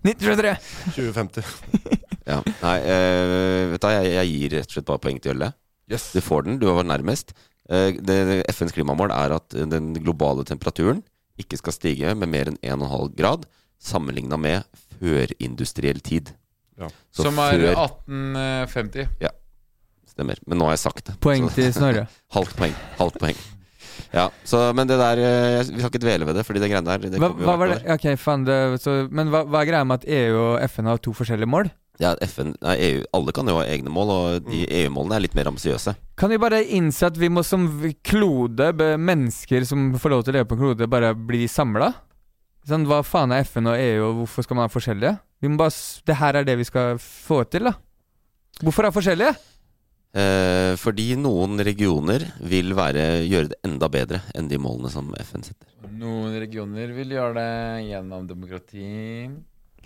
Speaker 2: 1923!
Speaker 3: 2050.
Speaker 1: Ja. Nei, eh, vet du, hva, jeg, jeg gir rett og slett bare poeng til Jølle.
Speaker 4: Yes.
Speaker 1: Du får den, du var nærmest. Eh, det, det- FNs klimamål er at den globale temperaturen ikke skal stige med mer enn 1,5 grad sammenligna med førindustriell tid.
Speaker 3: Ja.
Speaker 1: Så
Speaker 4: Som er
Speaker 1: før
Speaker 4: 1850.
Speaker 1: stemmer. Men nå har jeg sagt det.
Speaker 2: Poeng
Speaker 1: Så-
Speaker 2: til Snorre.
Speaker 1: Halvt poeng. Halvt poeng. Ja, så, men det der eh, Vi skal ikke dvele ved det, fordi det greiene der det
Speaker 2: Hva,
Speaker 1: kommer jo
Speaker 2: hva
Speaker 1: hvert
Speaker 2: var
Speaker 1: år.
Speaker 2: det? Ok, faen det, så, Men hva, hva er greia med at EU og FN har to forskjellige mål?
Speaker 1: Ja, FN, nei, EU, alle kan jo ha egne mål, og
Speaker 2: Mm.
Speaker 1: de EU-målene er litt mer ambisiøse.
Speaker 2: Kan vi bare innse at vi må som v- klode, be- mennesker som får lov til å leve på en klode, bare bli samla? Sånn, hva faen er FN og EU, og hvorfor skal man ha forskjellige? Vi må bare, s- det her er det vi skal få til, da. Hvorfor ha forskjellige?
Speaker 1: Eh, fordi noen regioner vil være, gjøre det enda bedre enn de målene som FN setter.
Speaker 4: Noen regioner vil gjøre det gjennom demokrati.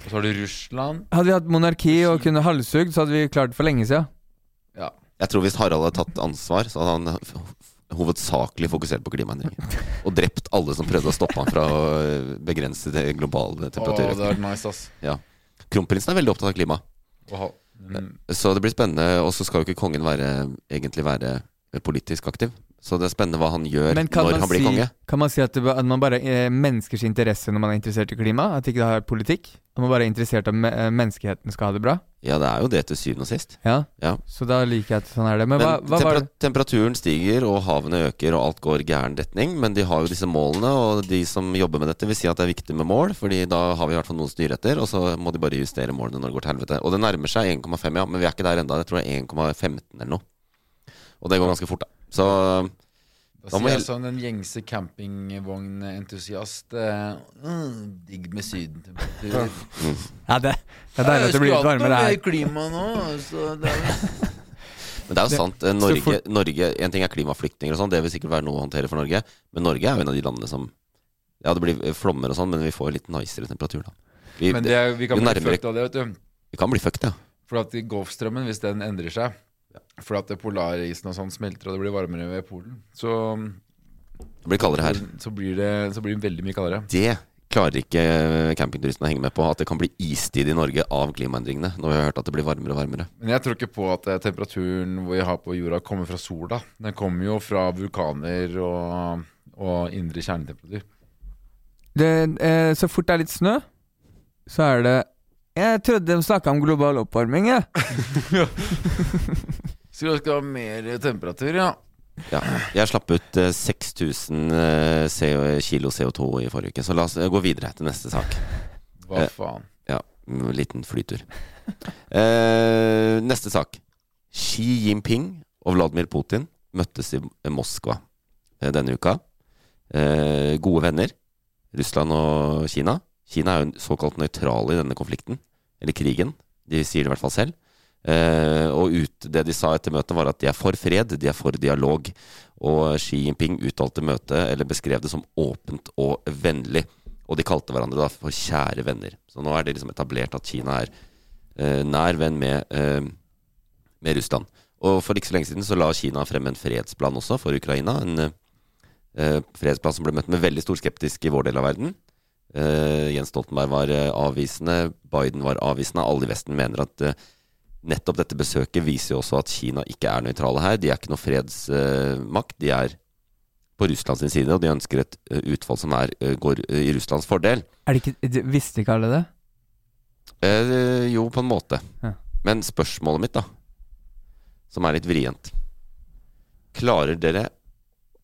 Speaker 4: Og så har du Russland.
Speaker 2: Hadde vi hatt monarki og kunne halshugd, så hadde vi klart det for lenge siden.
Speaker 4: Ja.
Speaker 1: Jeg tror hvis Harald hadde tatt ansvar, så hadde han ho- hovedsakelig fokusert på klimaendringer. Og drept alle som prøvde å stoppe ham fra å eh, begrense det globale
Speaker 4: Å, det hadde
Speaker 1: temperaturen.
Speaker 4: vært nice, ass.
Speaker 1: Kronprinsen er veldig opptatt av klima,
Speaker 4: Å ha. Mm.
Speaker 1: så det blir spennende. Og så skal jo ikke kongen være, egentlig være politisk aktiv. Så det er spennende hva han gjør
Speaker 2: Men kan
Speaker 1: når
Speaker 2: man,
Speaker 1: han blir
Speaker 2: si,
Speaker 1: konge.
Speaker 2: kan man si at, det, ba- at man bare er menneskers interesse når man er interessert i klima? At ikke det har politikk? At man bare er interessert i at me- eh, menneskeheten skal ha det bra?
Speaker 1: Ja, det er jo det til syvende og sist.
Speaker 2: Ja,
Speaker 1: Ja.
Speaker 2: så da liker jeg at sånn er det.
Speaker 1: Men
Speaker 2: Men, hva, hva var
Speaker 1: tempera
Speaker 2: det?
Speaker 1: temperaturen stiger, og havene øker, og alt går gæren retning. Men de har jo disse målene, og de som jobber med dette, vil si at det er viktig med mål, Fordi da har vi i hvert fall noe å styre etter, og så må de bare justere målene når det går til helvete. Og det nærmer seg 1,5, ja, men vi er ikke der ennå. Jeg tror det er 1,15 eller noe. Og det går ganske fort, da. Så
Speaker 4: Da
Speaker 1: Da må
Speaker 4: sier jeg
Speaker 1: jeg-
Speaker 4: sånn en gjengse campingvognentusiast eh, mm, Digg med Syden. Det
Speaker 1: mm.
Speaker 2: Ja, det, det er deilig at det blir litt varmere her.
Speaker 4: klima nå, så det er
Speaker 1: Men det er jo sant. eh,
Speaker 2: så
Speaker 1: Norge,
Speaker 2: fort-
Speaker 1: Norge En ting er klimaflyktninger og sånn, det vil sikkert være noe å håndtere for Norge. Men Norge er jo en av de landene som Ja, det blir eh, flommer og sånn, men vi får litt nicere temperatur, da. Vi,
Speaker 4: Men det, vi kan
Speaker 1: jo
Speaker 4: bli
Speaker 1: nærmere-
Speaker 4: fucked av det, vet du.
Speaker 1: vi kan bli fucked, ja.
Speaker 4: For at Golfstrømmen, hvis den endrer seg For at polarisen og sånn smelter, og det blir varmere ved Polen, så, mm,
Speaker 1: Det blir kaldere her.
Speaker 4: så, blir, det, så blir det veldig mye kaldere.
Speaker 1: Det klarer ikke campingturistene å henge med på. At det kan bli istid i Norge av klimaendringene. Når vi har hørt at det blir varmere og varmere.
Speaker 4: Men jeg tror ikke på at eh, temperaturen vi har på jorda, kommer fra sola. Den kommer jo fra vulkaner og, og indre kjernetemperatur.
Speaker 2: Det, eh, så fort det er litt snø, så er det Jeg trodde de snakka om global oppvarming, jeg.
Speaker 4: Så vi skal ha mer temperatur, ja.
Speaker 1: Ja. Jeg slapp ut eh, 6000 eh, CO kilo CO2 i forrige uke, så la oss eh, gå videre til neste sak.
Speaker 4: Hva
Speaker 1: Eh.
Speaker 4: faen.
Speaker 1: Ja, mm, liten flytur. Eh, neste sak. Xi Jinping og Vladimir Putin møttes i Moskva eh, denne uka. Eh, gode venner, Russland og Kina. Kina er jo såkalt nøytrale i denne konflikten, eller krigen. De sier det i hvert fall selv. Eh, og ut, det de sa etter møtet, var at de er for fred, de er for dialog. Og Xi Jinping uttalte møtet, eller beskrev det som åpent og vennlig. Og de kalte hverandre da for kjære venner. Så nå er det liksom etablert at Kina er eh, nær venn med, eh, med Russland. Og for ikke så lenge siden så la Kina frem en fredsplan også for Ukraina. En eh, eh, fredsplan som ble møtt med veldig stor skeptisk i vår del av verden. Eh, Jens Stoltenberg var eh, avvisende, Biden var avvisende. Alle i Vesten mener at eh, nettopp dette besøket viser jo også at Kina ikke er nøytrale her. De er ikke noe fredsmakt. de er på Russlands side, og de ønsker et eh, utfall som er, eh, går eh, i Russlands fordel.
Speaker 2: Er det ikke, de- visste ikke alle det?
Speaker 1: Eh, jo, på en måte.
Speaker 2: Ja.
Speaker 1: Men spørsmålet mitt, da, som er litt vrient Klarer dere,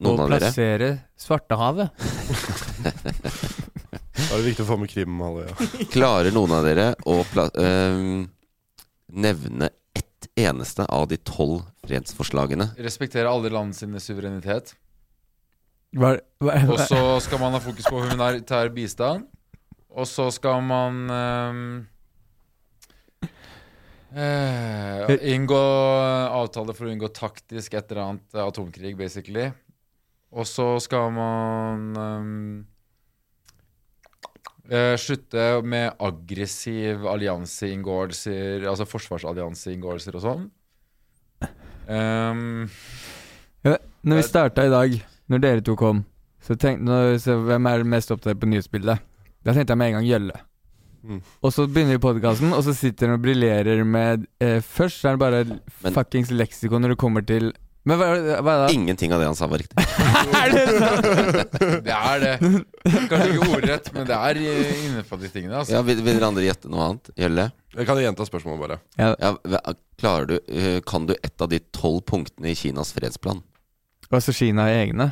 Speaker 1: noen
Speaker 2: Å
Speaker 1: av dere
Speaker 2: plassere Svartehavet.
Speaker 3: Da er det viktig å få med Krim. Alle, ja.
Speaker 1: Klarer noen av dere å pla ehm, nevne ett eneste av de tolv fredsforslagene?
Speaker 4: Respektere alle land sine suverenitet.
Speaker 2: Hva, hva,
Speaker 4: Og så skal man ha fokus på humanitær bistand. Og så skal man ehm, eh, Inngå avtale for å unngå taktisk et eller annet atomkrig, basically. Og så skal man ehm, Eh, slutte med aggressiv allianseinngåelser, altså forsvarsallianseinngåelser og sånn. Ehm,
Speaker 2: Ja, når vi starta i dag, når dere to kom, så tenkte når, så hvem er mest opptatt på nyhetsbildet? Da tenkte jeg med en gang Gjølle.
Speaker 3: Mm.
Speaker 2: Og så begynner vi podkasten, og så sitter han og briljerer med eh, Først så er det bare
Speaker 1: Men-
Speaker 2: fuckings leksikon når det kommer til Men hva, hva er det da?
Speaker 1: Ingenting av det han sa var riktig.
Speaker 2: Er det sant?
Speaker 4: det er det. Kanskje ikke ordrett, men det er eh, innenfor de tingene. Altså.
Speaker 1: Ja, vil, vil dere andre gjette noe annet? Gjelle?
Speaker 3: Jeg kan gjenta spørsmålet, bare.
Speaker 1: Ja, hva- klarer du, eh, kan du ett av de tolv punktene i Kinas fredsplan?
Speaker 2: Altså Kina er egne?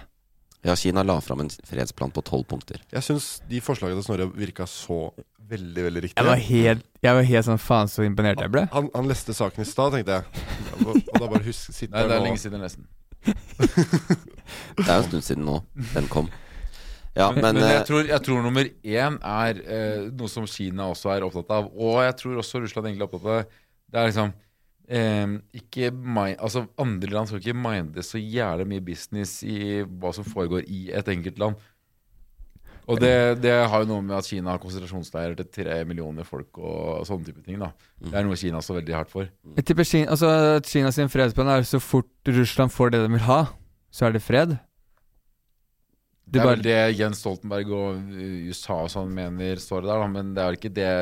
Speaker 1: Ja, Kina la fram en fredsplan på tolv punkter.
Speaker 3: Jeg syns de forslagene til Snorre virka så veldig, veldig
Speaker 2: Jeg var
Speaker 3: riktige.
Speaker 2: helt, jeg var helt sånn faen så imponert jeg ble.
Speaker 3: Han, han leste saken i stad, tenkte jeg. Og da bare husk, sitter
Speaker 4: Nei, det
Speaker 3: jeg
Speaker 4: er
Speaker 3: nå
Speaker 4: lenge siden jeg leste den.
Speaker 1: Det er jo en stund siden nå den kom. Ja,
Speaker 4: Men,
Speaker 1: men,
Speaker 4: jeg,
Speaker 1: eh,
Speaker 4: tror, jeg tror nummer én er eh, noe som Kina også er opptatt av. Og jeg tror også Russland egentlig er opptatt av det. Det er liksom eh, ikke mi- altså Andre land skal ikke minde så jævlig mye business i hva som foregår i et enkelt land. Og det, det har jo noe med at Kina har konsentrasjonsleirer til tre millioner folk og sånne type ting. da Det er noe Kina også er veldig hardt for.
Speaker 2: Jeg tipper Kina, altså, at Kina sin fredsplan er så fort Russland får det de vil ha, så er det fred. Du
Speaker 4: Det er
Speaker 2: bare-
Speaker 4: vel det Jens Stoltenberg og uh, USA og sånn mener står der, da, men det er jo ikke det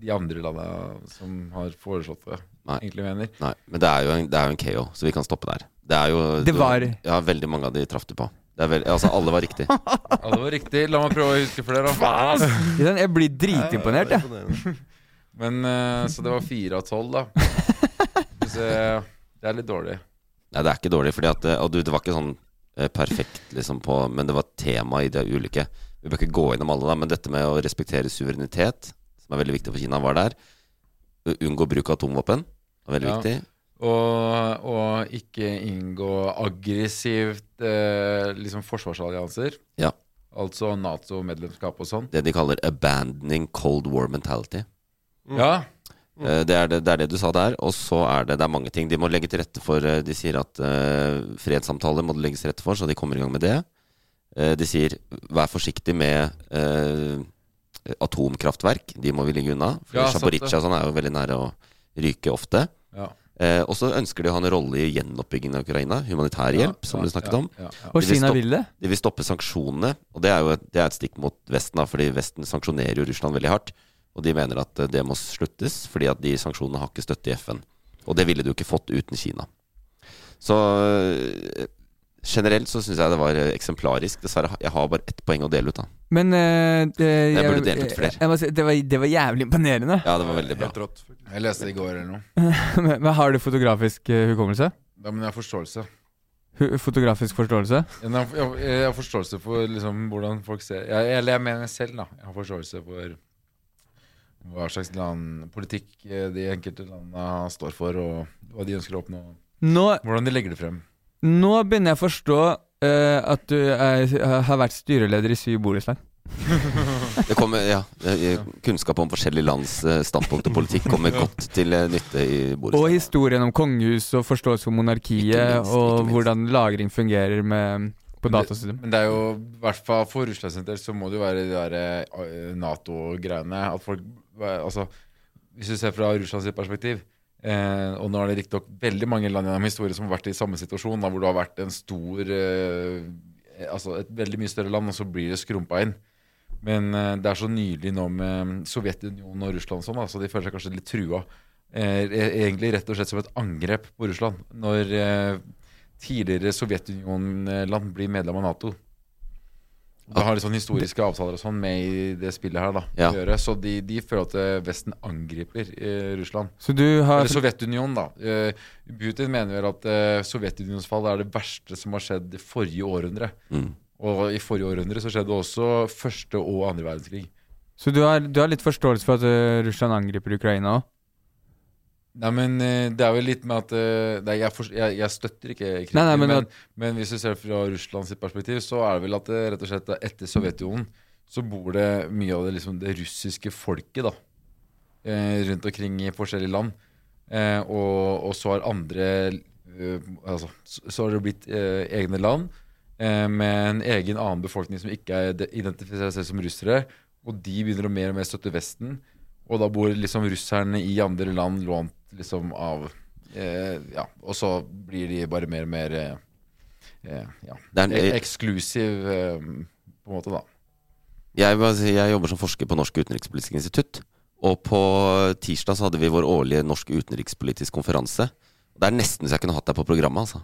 Speaker 4: de andre landene som har foreslått det,
Speaker 1: Nei.
Speaker 4: egentlig mener.
Speaker 1: nei, men det er jo en, det er jo en KO, så vi kan stoppe der. Det er jo
Speaker 2: Det var-
Speaker 1: Ja, veldig mange av de traff du på. Det er vel, altså, alle var riktig.
Speaker 4: Ja, det var riktig. La meg prøve å huske flere, da.
Speaker 2: Ikke sant? sånn, Jeg blir dritimponert, jeg.
Speaker 3: Imponerende.
Speaker 4: Men, uh, så det var fire av tolv, da. Så uh, det er litt dårlig.
Speaker 1: Nei, det er ikke dårlig, fordi at eh, Og du, det var ikke sånn eh, perfekt, liksom, på Men det var tema i de ulike Vi bør ikke gå innom alle, da, men dette med å respektere suverenitet, som er veldig viktig for Kina, var der. U- Unngå bruk av atomvåpen, var veldig
Speaker 4: Ja.
Speaker 1: viktig.
Speaker 4: Og, og ikke inngå aggressivt uh, liksom forsvarsallianser.
Speaker 1: Ja.
Speaker 4: Altså Nato-medlemskap og sånn.
Speaker 1: Det de kaller 'abandoning cold war mentality'. Mm.
Speaker 4: Ja.
Speaker 1: Eh, Det er det, det er det du sa der. Og så er det, det er mange ting de må legge til rette for. eh, De sier at eh, fredssamtaler må det legges til rette for, så de kommer i gang med det. Eh, de sier vær forsiktig med eh, atomkraftverk. De må vi ligge unna. For
Speaker 4: Ja, sant det.
Speaker 1: Zaporizjzja og sånn er jo veldig nære å ryke ofte.
Speaker 4: ja.
Speaker 1: Eh, og så ønsker de å ha en rolle i gjenoppbyggingen av Ukraina. Humanitær hjelp, som
Speaker 4: ja,
Speaker 1: du snakket
Speaker 4: ja,
Speaker 1: om.
Speaker 4: Ja, ja.
Speaker 2: Og
Speaker 1: De vil
Speaker 2: Kina
Speaker 1: stoppe-
Speaker 2: vil det.
Speaker 1: De vil stoppe sanksjonene, og det er jo et, det er et stikk mot Vesten, da, fordi Vesten sanksjonerer jo Russland veldig hardt. Og de mener at eh, det må sluttes, fordi at de sanksjonene har ikke støtte i FN. Og det ville du ikke fått uten Kina. Så eh, generelt så syns jeg det var eh, eksemplarisk. Dessverre, jeg har bare ett poeng å dele ut, da.
Speaker 2: Men eh, det,
Speaker 1: Jeg burde delt ut flere.
Speaker 2: Jeg, må si, det, var, det var jævlig imponerende.
Speaker 1: Ja, det var veldig bra.
Speaker 3: Helt rått.
Speaker 4: Jeg leste det i går eller noe.
Speaker 2: men, men har du fotografisk eh, hukommelse?
Speaker 4: Ja, men jeg har forståelse.
Speaker 2: Hu- Fotografisk forståelse?
Speaker 4: Jeg har, jeg, jeg har forståelse for liksom, hvordan folk ser jeg, Eller jeg mener selv, da. Jeg har forståelse for hva slags land, politikk eh, de enkelte landene står for, og hva de ønsker å oppnå.
Speaker 2: Nå,
Speaker 4: Hvordan de legger det frem.
Speaker 2: nå begynner jeg å forstå eh, at du er, har vært styreleder i syv borettslag.
Speaker 1: Det kommer, ja, eh, Kunnskap om forskjellige lands eh, standpunkt og politikk kommer godt til eh, nytte i
Speaker 2: Og
Speaker 1: bordet.
Speaker 2: historien om kongehuset og forståelse for monarkiet,
Speaker 1: Ikke minst, ikke
Speaker 2: og
Speaker 1: minst.
Speaker 2: hvordan lagring fungerer med, på datastudium.
Speaker 4: Men det er jo, i hvert fall for Russland sin del, så må det jo være de der eh, Nato-greiene. At folk eh, Altså, hvis du ser fra Russlands sitt perspektiv eh, Og nå er det riktignok veldig mange land gjennom historien som har vært i samme situasjon, da, hvor det har vært en stor eh, Altså et veldig mye større land, og så blir det skrumpa inn. Men eh, det er så nylig nå med Sovjetunionen og Russland og sånn, da, så de føler seg kanskje litt trua. Eh, e- egentlig rett og slett som et angrep på Russland. Når eh, tidligere Sovjetunionen-land blir medlem av Nato. Det har litt sånn historiske avtaler og sånn med i det spillet her da,
Speaker 1: Ja.
Speaker 4: å gjøre. Så de, de føler at eh, Vesten angriper eh, Russland.
Speaker 2: Så du har
Speaker 4: Eller Sovjetunionen, da. Eh, Putin mener vel at eh, Sovjetunionens fall er det verste som har skjedd i forrige århundre.
Speaker 1: Mm.
Speaker 4: Og i forrige århundre så skjedde også første og andre verdenskrig.
Speaker 2: Så du har, du har litt forståelse for at eh, Russland angriper Ukraina òg?
Speaker 4: Nei, men eh, det er vel litt med at eh, nei, jeg, forst- jeg, jeg støtter ikke krigen.
Speaker 2: Nei, nei, men
Speaker 4: men, men, hvis du ser fra Russlands perspektiv, så er det vel at det, rett og slett da, etter Sovjetunionen så bor det mye av det, liksom, det russiske folket da, eh, rundt omkring i forskjellige land. Eh, og, og så har andre eh, altså, så, så har det blitt eh, egne land eh, med en egen annen befolkning som ikke er- identifiserer seg som russere. Og de begynner å mer og mer støtte Vesten. Og da bor liksom russerne i andre land lånt liksom av eh, Ja, og så blir de bare mer og mer eh, eh, ja,
Speaker 1: Det er en-
Speaker 4: ek- eksklusiv, eh, på en måte, da.
Speaker 1: Jeg, må si, jeg jobber som forsker på Norsk utenrikspolitisk institutt. Og på tirsdag så hadde vi vår årlige norsk utenrikspolitisk konferanse. Det er nesten så jeg kunne hatt deg på programmet, altså.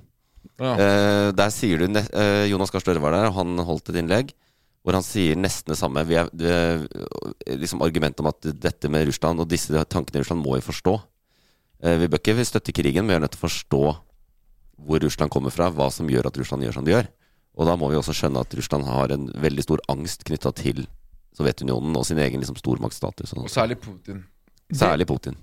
Speaker 4: Ja.
Speaker 1: Eh, der sier du ne eh, Jonas Gahr Støre var der, og han holdt et innlegg hvor han sier nesten det samme. Vi er, det, liksom argumentet om at dette med Russland og disse tankene i Russland må vi forstå. Eh, vi bør ikke støtte krigen, men vi er nødt til å forstå hvor Russland kommer fra, hva som gjør at Russland gjør som de gjør. Og da må vi også skjønne at Russland har en veldig stor angst knytta til Sovjetunionen og sin egen liksom, stormaktsstatus. og
Speaker 4: Og
Speaker 1: sånt.
Speaker 4: særlig Putin.
Speaker 1: Særlig Putin.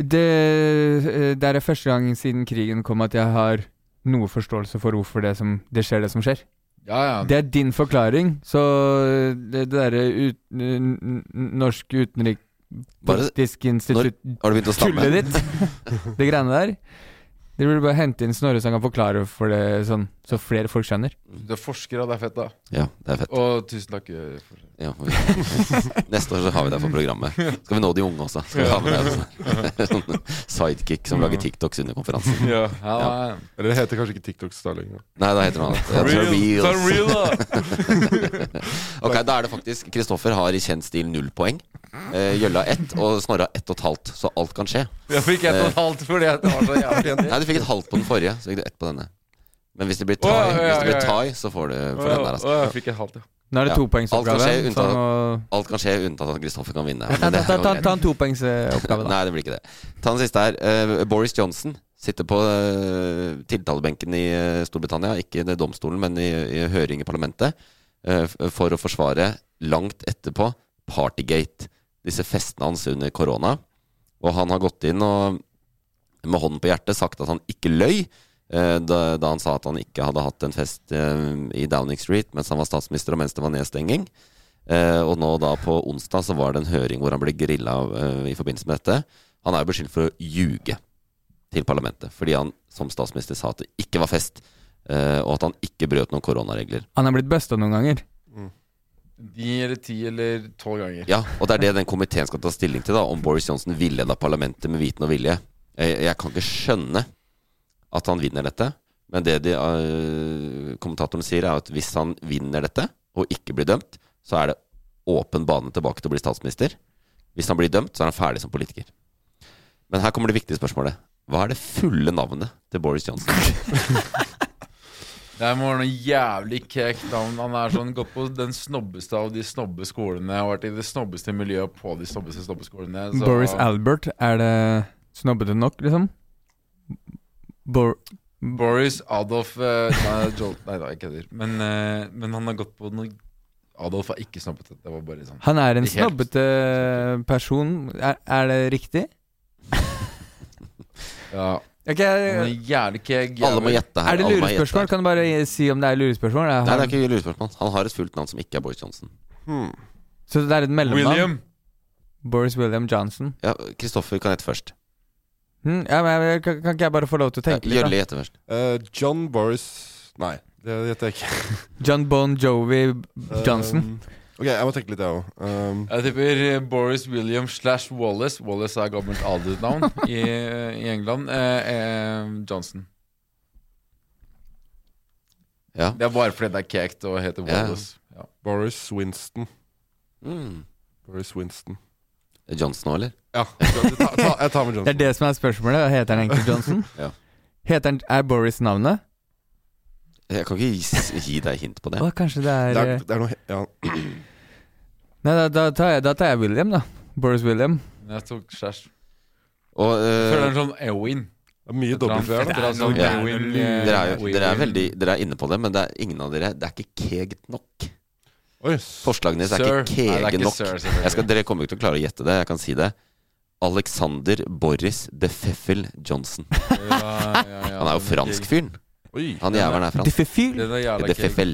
Speaker 2: Det, det er første gang siden krigen kom at jeg har noe forståelse for hvorfor det, som, det skjer, det som skjer.
Speaker 4: Ja, ja.
Speaker 2: Det er din forklaring, så eh, det, det derre ut, n- n- norske
Speaker 1: Bare-
Speaker 2: utenrikspolitiske institutt
Speaker 1: Har du begynt å stamme?
Speaker 2: Tullet ditt! Det greiene der. Dere burde bare hente inn Snorre så han kan forklare for det sånn, så flere folk skjønner.
Speaker 4: Du er forsker, og det er fett, da.
Speaker 1: Ja, det er fett.
Speaker 4: Og tusen takk eh, for
Speaker 1: Ja, vi, neste år så har vi deg
Speaker 4: Mm.
Speaker 1: for programmet. Skal vi nå de unge også? Skal vi ha med deg en sånn sidekick som lager TikToks under konferansen?
Speaker 4: Ja, ja.
Speaker 3: Eller det heter kanskje ikke TikTok Starling. da.
Speaker 1: Nei, da heter han det. Jeg tror Reels. Ok, da er det faktisk Kristoffer har i kjent stil null poeng. Eh, Gjølla ett, og Snorre har ett og et halvt, så alt kan skje.
Speaker 4: Jeg fikk ett og
Speaker 1: Eh.
Speaker 4: et halvt fordi at det var så jævlig
Speaker 1: Nei, du fikk et halvt på den forrige, så fikk du ett på denne. Men hvis det blir
Speaker 4: Å,
Speaker 1: tie,
Speaker 4: ja, ja,
Speaker 1: hvis det blir
Speaker 4: ja, ja.
Speaker 1: tie så får du for den der,
Speaker 4: Å,
Speaker 1: altså.
Speaker 4: jeg fikk et halvt, ja.
Speaker 2: Nå er det
Speaker 1: Ja.
Speaker 2: topoengsoppgave.
Speaker 1: Alt kan skje unntatt-
Speaker 2: Sånn, og-
Speaker 1: Alt kan skje unntatt at Kristoffer kan vinne. men
Speaker 2: ta, ta,
Speaker 1: det er
Speaker 2: ta,
Speaker 1: jo
Speaker 2: ta,
Speaker 1: greit.
Speaker 2: ta en topoengsoppgave, da.
Speaker 1: Nei, det blir ikke det. Ta den siste her. Eh, Boris Johnson sitter på eh, tiltalebenken i eh, Storbritannia, ikke i domstolen, men i, i høring i parlamentet, eh, f- for å forsvare langt etterpå Partygate. Disse festene hans under korona. Og han har gått inn og med hånden på hjertet sagt at han ikke løy. eh, Da, da han sa at han ikke hadde hatt en fest eh, i Downing Street mens han var statsminister og mens det var nedstenging. Eh, og nå da på onsdag så var det en høring hvor han ble grilla eh, i forbindelse med dette. Han er jo beskyldt for å ljuge til parlamentet, fordi han som statsminister sa at det ikke var fest, eh, og at han ikke brøt noen koronaregler.
Speaker 2: Han er blitt busta noen ganger.
Speaker 4: Ni eller ti eller tolv ganger.
Speaker 1: Ja, og det er det den komiteen skal ta stilling til, da, om Boris Johnson villeda parlamentet med viten og vilje. Jeg, jeg kan ikke skjønne at han vinner dette, men det de, eh, kommentatoren sier, er at hvis han vinner dette, og ikke blir dømt, så er det åpen bane tilbake til å bli statsminister. Hvis han blir dømt, så er han ferdig som politiker. Men her kommer det viktige spørsmålet. Hva er det fulle navnet til Boris Johnson?
Speaker 4: Det må være noe jævlig kekt navn. Han er sånn gått på den snobbeste av de snobbe skolene. Har vært i det snobbeste miljøet på de snobbeste snobbeskolene.
Speaker 1: Altså-
Speaker 4: så-
Speaker 2: Boris Albert, er det snobbete nok, liksom? Bor
Speaker 4: Boris Adolf eh, Nei, Jolt, nei da, jeg kødder. Men, eh, men han har gått på noe Adolf har ikke snobbet det. Det var bare sånn.
Speaker 2: han er en
Speaker 4: Helt.
Speaker 2: snobbete person. Er, er det riktig?
Speaker 4: Ja,
Speaker 2: Ok,
Speaker 4: han er
Speaker 2: Er
Speaker 4: jævlig keg.
Speaker 1: Alle må gjette her.
Speaker 2: det
Speaker 1: alle må gjette her.
Speaker 2: lurespørsmål? Kan du bare si om det er lurespørsmål? Er
Speaker 1: Nei, det
Speaker 2: han,
Speaker 1: er ikke lurespørsmål. Han har et fullt navn som ikke er Boris Johnson.
Speaker 3: Hmm.
Speaker 2: så det er et mellomnavn?
Speaker 4: William.
Speaker 2: Boris William Johnson.
Speaker 1: Ja, Kristoffer kan gjette først.
Speaker 2: Hm, ja, men jeg, kan, kan ikke jeg bare få lov til å tenke litt?
Speaker 1: Gjølle gjetter først.
Speaker 3: Eh, John Boris Nei, det gjetter jeg ikke.
Speaker 2: da? John Bon Jovi eh, Johnson.
Speaker 3: Um, ok, jeg må tenke litt, jeg òg. Um,
Speaker 4: Jeg tipper eh, Boris William slash Wallace. Wallace er gammelt adelsnavn i, i England. Eh, eh, Johnson.
Speaker 1: Ja.
Speaker 4: Det er bare fordi det er kekt og heter
Speaker 1: Ja.
Speaker 4: Wallace. Ja.
Speaker 3: Boris Winston.
Speaker 1: Mm.
Speaker 3: Boris Winston.
Speaker 1: Johnson òg, eller?
Speaker 3: Ja, jeg tar, ta, jeg tar med
Speaker 2: Det er
Speaker 3: Johnson.
Speaker 2: det som er spørsmålet. Heter han egentlig Johnson?
Speaker 1: Ja.
Speaker 2: Heter han, Er Boris navnet?
Speaker 1: Jeg kan ikke gi, s- gi deg hint på det.
Speaker 2: Å, kanskje det er, eh,
Speaker 3: Det er, det er noe he- ja.
Speaker 2: Nei, da, da, tar jeg, da tar jeg William, da. Boris William.
Speaker 4: Men Jeg tok slash.
Speaker 1: Og
Speaker 4: Jeg
Speaker 1: eh,
Speaker 4: føler det er en sånn Ewin.
Speaker 3: Det er Mye W her, da.
Speaker 4: Etter han sa
Speaker 2: noe- det er
Speaker 4: Ewin,
Speaker 2: noe-
Speaker 4: eh,
Speaker 1: dere er jo dere er
Speaker 4: Ewin.
Speaker 1: veldig Dere er inne på det, men det er ingen av dere Det er ikke kegt nok.
Speaker 3: Oi, s-
Speaker 1: Forslagene deres er ikke
Speaker 4: Sir. Nei, det er
Speaker 1: kege
Speaker 4: ikke
Speaker 1: nok.
Speaker 4: sir, selvfølgelig.
Speaker 1: Jeg skal, dere kommer ikke til å klare å gjette det. Jeg kan si det. Alexander Boris de Feffel Johnson.
Speaker 4: Ja, ja, ja.
Speaker 1: Han er jo fransk fyren.
Speaker 3: oi.
Speaker 1: Han jævelen er fransk.
Speaker 2: Defefil.
Speaker 4: Den er jævla
Speaker 1: De
Speaker 4: keg.
Speaker 1: Feffel.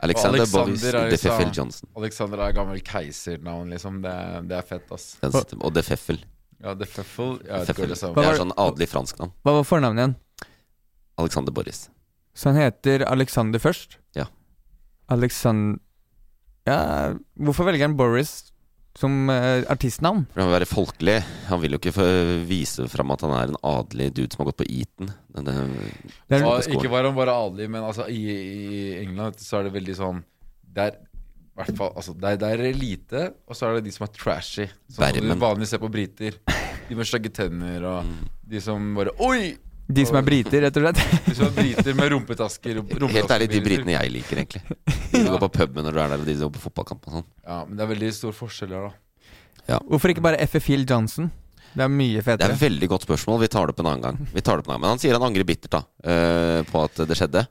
Speaker 1: Alexander
Speaker 4: Alexander
Speaker 1: Boris
Speaker 4: er jo
Speaker 1: de
Speaker 4: sa-
Speaker 1: Feffel Johnson.
Speaker 4: Alexander er gammel keisernavn, liksom. Det er, det er fett, ass.
Speaker 1: Den sitter- Og de Feffel.
Speaker 4: Ja, The Fuffle. Ja, det, går
Speaker 1: Feffel.
Speaker 4: liksom.
Speaker 1: Det
Speaker 2: var
Speaker 1: er
Speaker 2: det-
Speaker 1: sånn adelig fransk navn.
Speaker 2: Hva var fornavnet igjen?
Speaker 1: Alexander Boris.
Speaker 2: Så han heter Alexander først?
Speaker 1: Ja.
Speaker 2: Alexander Ja, hvorfor velger han Boris Som eh, artistnavn.
Speaker 1: For han vil være folkelig. Han vil jo ikke få- vise fram at han er en adelig dude som har gått på Eton. Men eh, det-
Speaker 2: Det er,
Speaker 4: Ja,
Speaker 1: Skål.
Speaker 4: ikke var han bare adelig, men altså, i, i England vet du, så er det veldig sånn Det er i hvert fall altså, det, er, det er elite, og så er det de som er trashy. Sånn som
Speaker 1: Bermen.
Speaker 4: du vanligvis ser på briter. De med stygge tenner og de som bare Oi!
Speaker 2: de som er briter, rett og slett.
Speaker 4: De som er briter med rumpetasker. og
Speaker 1: Helt ærlig, de
Speaker 4: rumpetaskebriller.
Speaker 1: britene jeg liker, egentlig. De som går på puben når du er der, og de som går på fotballkamp og sånn.
Speaker 4: Ja, men det er veldig stor forskjell her, da.
Speaker 2: Hvorfor ikke bare FF Phil Johnson? Det er mye
Speaker 1: Det er
Speaker 2: fetere.
Speaker 1: et veldig godt spørsmål. Vi tar det opp en annen gang. Vi tar det opp en annen. Men han sier han angrer bittert da eh, på at det skjedde.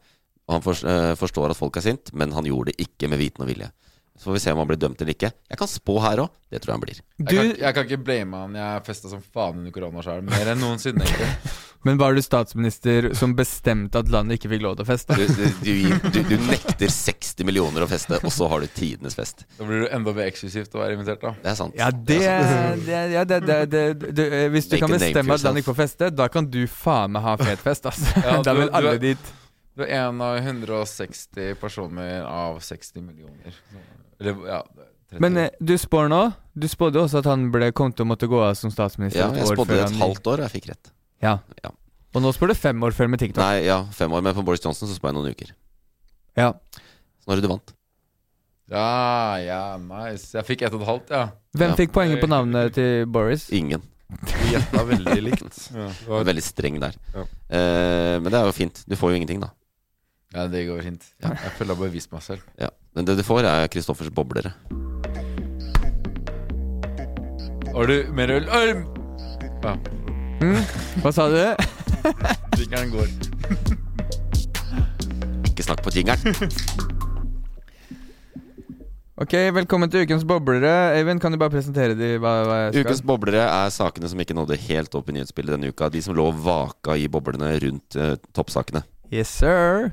Speaker 1: Og han fors- eh, forstår at folk er sint, men han gjorde det ikke med viten og vilje. Så får vi se om han blir dømt eller ikke. Jeg kan spå her òg. Det tror jeg han blir.
Speaker 2: Du,
Speaker 4: Jeg, kan, jeg kan ikke blame han. Jeg festa som faen under korona sjøl. Mer enn noensinne. egentlig.
Speaker 2: men var du statsminister som bestemte at landet ikke fikk lov til å feste?
Speaker 1: Du, du, du, gir- du, du nekter 60 millioner å feste, og så har du tidenes fest.
Speaker 4: Da blir det enda mer eksklusivt å være invitert, da.
Speaker 1: Det er sant.
Speaker 2: Ja, det, det, ja, det, det, det, du, eh, Hvis du
Speaker 1: Make a
Speaker 2: kan
Speaker 1: name
Speaker 2: bestemme
Speaker 1: for
Speaker 2: at landet
Speaker 1: yourself.
Speaker 2: ikke får feste, da kan du faen meg ha fet fest, altså.
Speaker 4: Ja,
Speaker 2: da
Speaker 4: du-
Speaker 2: vil
Speaker 4: du
Speaker 2: alle
Speaker 4: er-
Speaker 2: dit.
Speaker 4: Du er en av 160 personer av 60 millioner. Eller, ja, 30.
Speaker 2: Men eh, du spår nå Du spådde også at han ble, kom til å måtte gå av som statsminister.
Speaker 1: Ja,
Speaker 2: et
Speaker 1: jeg
Speaker 2: år
Speaker 1: spådde
Speaker 2: før
Speaker 1: et
Speaker 2: han-
Speaker 1: halvt år, og jeg fikk rett.
Speaker 2: Ja.
Speaker 1: Ja.
Speaker 2: Og nå spår du fem år før med TikTok.
Speaker 1: Nei, ja, fem år. Men på Boris Johnson så spør jeg noen uker.
Speaker 2: Ja.
Speaker 1: Så når er det du vant?
Speaker 4: Ja, ja, nice. Jeg fikk ett og et halvt, ja.
Speaker 2: Hvem
Speaker 1: Ja.
Speaker 2: fikk poenget på navnet til Boris?
Speaker 1: Ingen.
Speaker 3: Vi gjetta veldig likt.
Speaker 1: Jeg er Veldig streng der.
Speaker 3: Ja.
Speaker 1: Eh, men det er jo fint. Du får jo ingenting, da.
Speaker 4: Ja, Det går fint. Jeg føler jeg har bevist meg selv.
Speaker 1: Ja. Men det du får, er Kristoffers boblere.
Speaker 4: Har du mer øl? Øl! Ja,
Speaker 2: Hva sa du?
Speaker 4: drikkeren går.
Speaker 1: Ikke snakk på jingeren.
Speaker 2: Ok, Velkommen til ukens boblere. Eivind, kan du bare presentere de hva, hva jeg skal?
Speaker 1: Ukens boblere er sakene som ikke nådde helt opp i nyhetsbildet denne uka. De som lå vaka i boblene rundt eh, toppsakene.
Speaker 2: Yes, sir.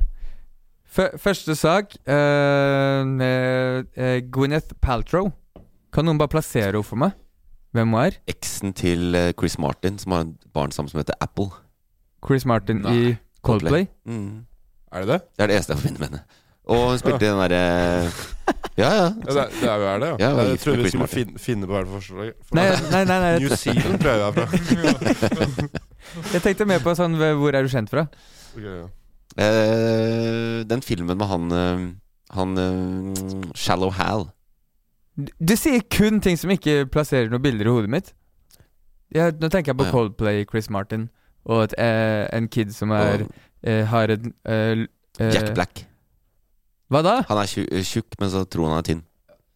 Speaker 2: Fø- første sak eh, med, eh, Gwyneth Paltrow. Kan noen bare plassere henne for meg? Hvem hun er?
Speaker 1: Eksen til eh, Chris Martin, som har et barn sammen som heter Apple.
Speaker 2: Chris Martin
Speaker 4: Nei,
Speaker 2: i Coldplay.
Speaker 1: Mm.
Speaker 3: Er det det?
Speaker 1: Det er det eneste jeg forbinder med henne. Og hun spilte i den derre Ja, ja.
Speaker 3: Ja, det, er, det er jo er det, ja.
Speaker 1: Ja, og
Speaker 3: Nei, jeg
Speaker 1: gift
Speaker 3: trodde
Speaker 1: med
Speaker 3: vi
Speaker 1: Chris
Speaker 3: skulle
Speaker 1: Martin.
Speaker 3: fin, finne på hvert forslag. For
Speaker 2: Nei, nei, nei, nei
Speaker 3: New
Speaker 2: jeg,
Speaker 3: Zealand prøver jeg fra.
Speaker 2: jeg tenkte mer på sånn hve- Hvor er du kjent fra?
Speaker 3: Ok, ja.
Speaker 1: Eh, den filmen med han eh, Han eh, Shallow Hal.
Speaker 2: Du, du sier kun ting som ikke plasserer noen bilder i hodet mitt. Ja, nå tenker jeg på
Speaker 1: Å, ja.
Speaker 2: Coldplay, Chris Martin, og et, eh, en kid som er
Speaker 1: Og
Speaker 2: eh, har et eh, l- eh,
Speaker 1: Jack Black.
Speaker 2: Hva da?
Speaker 1: Han er tju- eh, tjukk, men så tror han er tynn.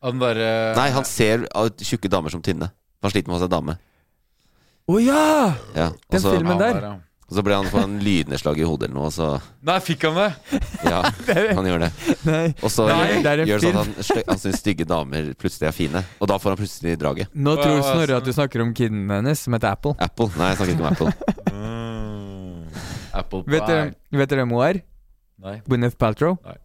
Speaker 4: Han derre
Speaker 1: Nei, han ser ah, tjukke damer som tynne. Han sliter med å se dame.
Speaker 2: Å ja!
Speaker 1: Ja. Og
Speaker 2: Den
Speaker 1: så,
Speaker 2: filmen der.
Speaker 4: ja.
Speaker 1: og så ble han på en lydnedslag i hodet eller noe, og så
Speaker 4: Nei, fikk han det?
Speaker 1: Ja, han gjør det.
Speaker 2: Nei.
Speaker 1: Og så
Speaker 2: Nei, det er en
Speaker 1: gjør det sånn at han, sty- han syns stygge damer plutselig er fine. Og da får han plutselig draget.
Speaker 2: Nå
Speaker 4: Hva-
Speaker 2: tror
Speaker 4: hva-
Speaker 2: Snorre at du snakker om kiden hennes, som heter Apple.
Speaker 1: Apple. Nei, jeg snakker ikke om Apple. Mm.
Speaker 4: Apple Pie.
Speaker 2: Vet dere, vet dere hvem hun er?
Speaker 4: Nei.
Speaker 2: Gwyneth Paltrow?
Speaker 4: Nei.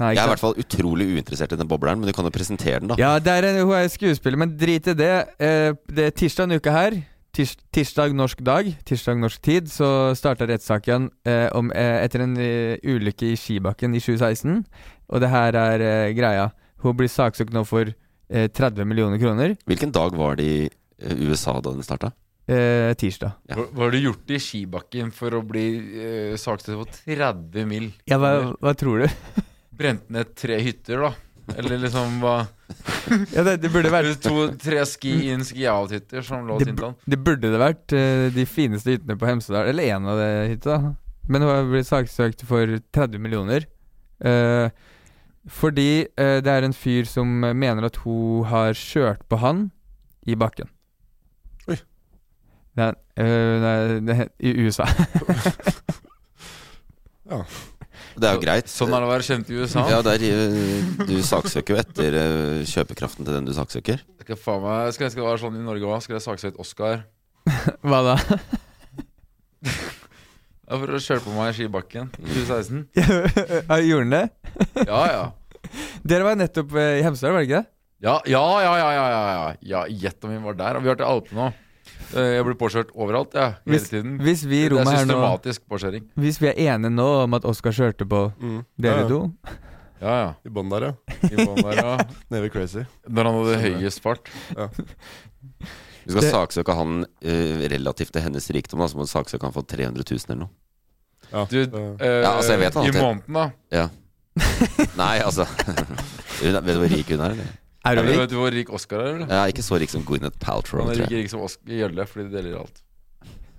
Speaker 2: Nei,
Speaker 1: Jeg er
Speaker 2: ikke
Speaker 1: i
Speaker 2: sant?
Speaker 1: hvert fall utrolig uinteressert i den bobleren, men du kan jo presentere den, da.
Speaker 2: Ja, det er en, hun er skuespiller, men drit i det. Eh, det er tirsdag denne uka her. Tirs, tirsdag norsk dag, tirsdag norsk tid, så starta rettssaken eh, om, eh, etter en eh, ulykke i skibakken i 2016. Og det her er eh, greia. Hun blir saksøkt nå for eh, 30 millioner kroner
Speaker 1: Hvilken dag var det i eh, USA da den starta?
Speaker 2: eh, tirsdag.
Speaker 1: Ja.
Speaker 4: Hva, hva har du gjort i skibakken for å bli uh, saksøkt for 30 mill.?
Speaker 2: Ja, hva, hva tror du?
Speaker 4: Brent ned tre hytter, da? Eller liksom hva
Speaker 2: Ja, det, det burde vært
Speaker 4: To-tre ski in, ski out-hytter som lå
Speaker 2: Det
Speaker 4: til han.
Speaker 2: Det burde det vært. eh, De fineste hyttene på Hemsedal. Eller én av de hyttene. Men hun har blitt saksøkt for 30 millioner. Eh, fordi eh, det er en fyr som eh, mener at hun har kjørt på han i bakken.
Speaker 3: Oi.
Speaker 2: Nei, eh, nei, det, I USA.
Speaker 1: Det er jo greit.
Speaker 4: Sånn er det å være kjent i USA.
Speaker 1: Ja, der, eh, du saksøker jo etter eh, kjøpekraften til den du saksøker.
Speaker 4: Skal, faen meg, skal, skal det være sånn i Norge òg? Skal jeg saksøke Oscar?
Speaker 2: Hva da?
Speaker 4: Ja, For å kjøre på meg i skibakken i 2016?
Speaker 2: Ja, Gjorde han det?
Speaker 4: Ja, ja.
Speaker 2: Dere var nettopp eh, i Hemsedal, var det ikke det?
Speaker 4: Ja, ja, ja, ja, ja, ja, ja. ja Gjett om vi var der. Har Vi har vært i Alpene òg. Jeg blir påkjørt overalt, ja, hele
Speaker 2: Hvis,
Speaker 4: tiden.
Speaker 2: hvis vi i
Speaker 4: Det er
Speaker 2: rommet her nå
Speaker 4: systematisk påkjøring.
Speaker 2: Hvis vi er enige nå om at Oskar kjørte på
Speaker 3: Mm.
Speaker 2: dere
Speaker 3: Ja, ja.
Speaker 2: to
Speaker 4: Ja, ja.
Speaker 3: I bånn der, ja.
Speaker 4: I bånn der, ja.
Speaker 3: Nede ved Crazy.
Speaker 4: Når han hadde høyest fart.
Speaker 1: Du skal
Speaker 2: Det-
Speaker 1: saksøke han eh, relativt til hennes rikdom, da, så må du saksøke han for 300 000 eller noe.
Speaker 3: Ja.
Speaker 4: Du, eh,
Speaker 1: Ja, altså, jeg vet han
Speaker 4: I
Speaker 1: alltid-
Speaker 4: måneden, da.
Speaker 1: Ja. Nei, altså Hun er- Vet du hvor rik hun er, eller?
Speaker 2: Er
Speaker 4: Vet
Speaker 2: du
Speaker 4: du
Speaker 2: rik?
Speaker 4: vet du hvor rik Oscar er, eller?
Speaker 1: Ja, ikke så rik som Gwyneth Paltrow,
Speaker 4: Han er
Speaker 1: tror
Speaker 4: like
Speaker 1: jeg.
Speaker 4: rik som Oscar Gjølle, fordi de deler alt.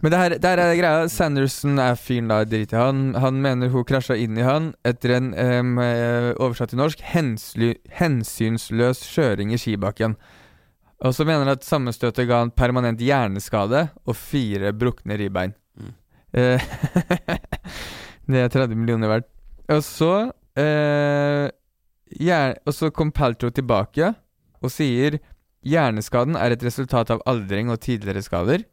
Speaker 2: Men det her, det her er greia. Sanderson er fyren da, drit i han. Han mener hun krasja inn i han etter en em, eh, oversatt til norsk hensly, hensynsløs kjøring i skibakken. Og så mener han at sammenstøtet ga han permanent hjerneskade og fire brukne ribbein.
Speaker 1: Mm.
Speaker 2: Eh, det er 30 millioner verdt. Og så eh, hjer- Og så kom Paltrow tilbake og sier hjerneskaden er et resultat av aldring og tidligere skader.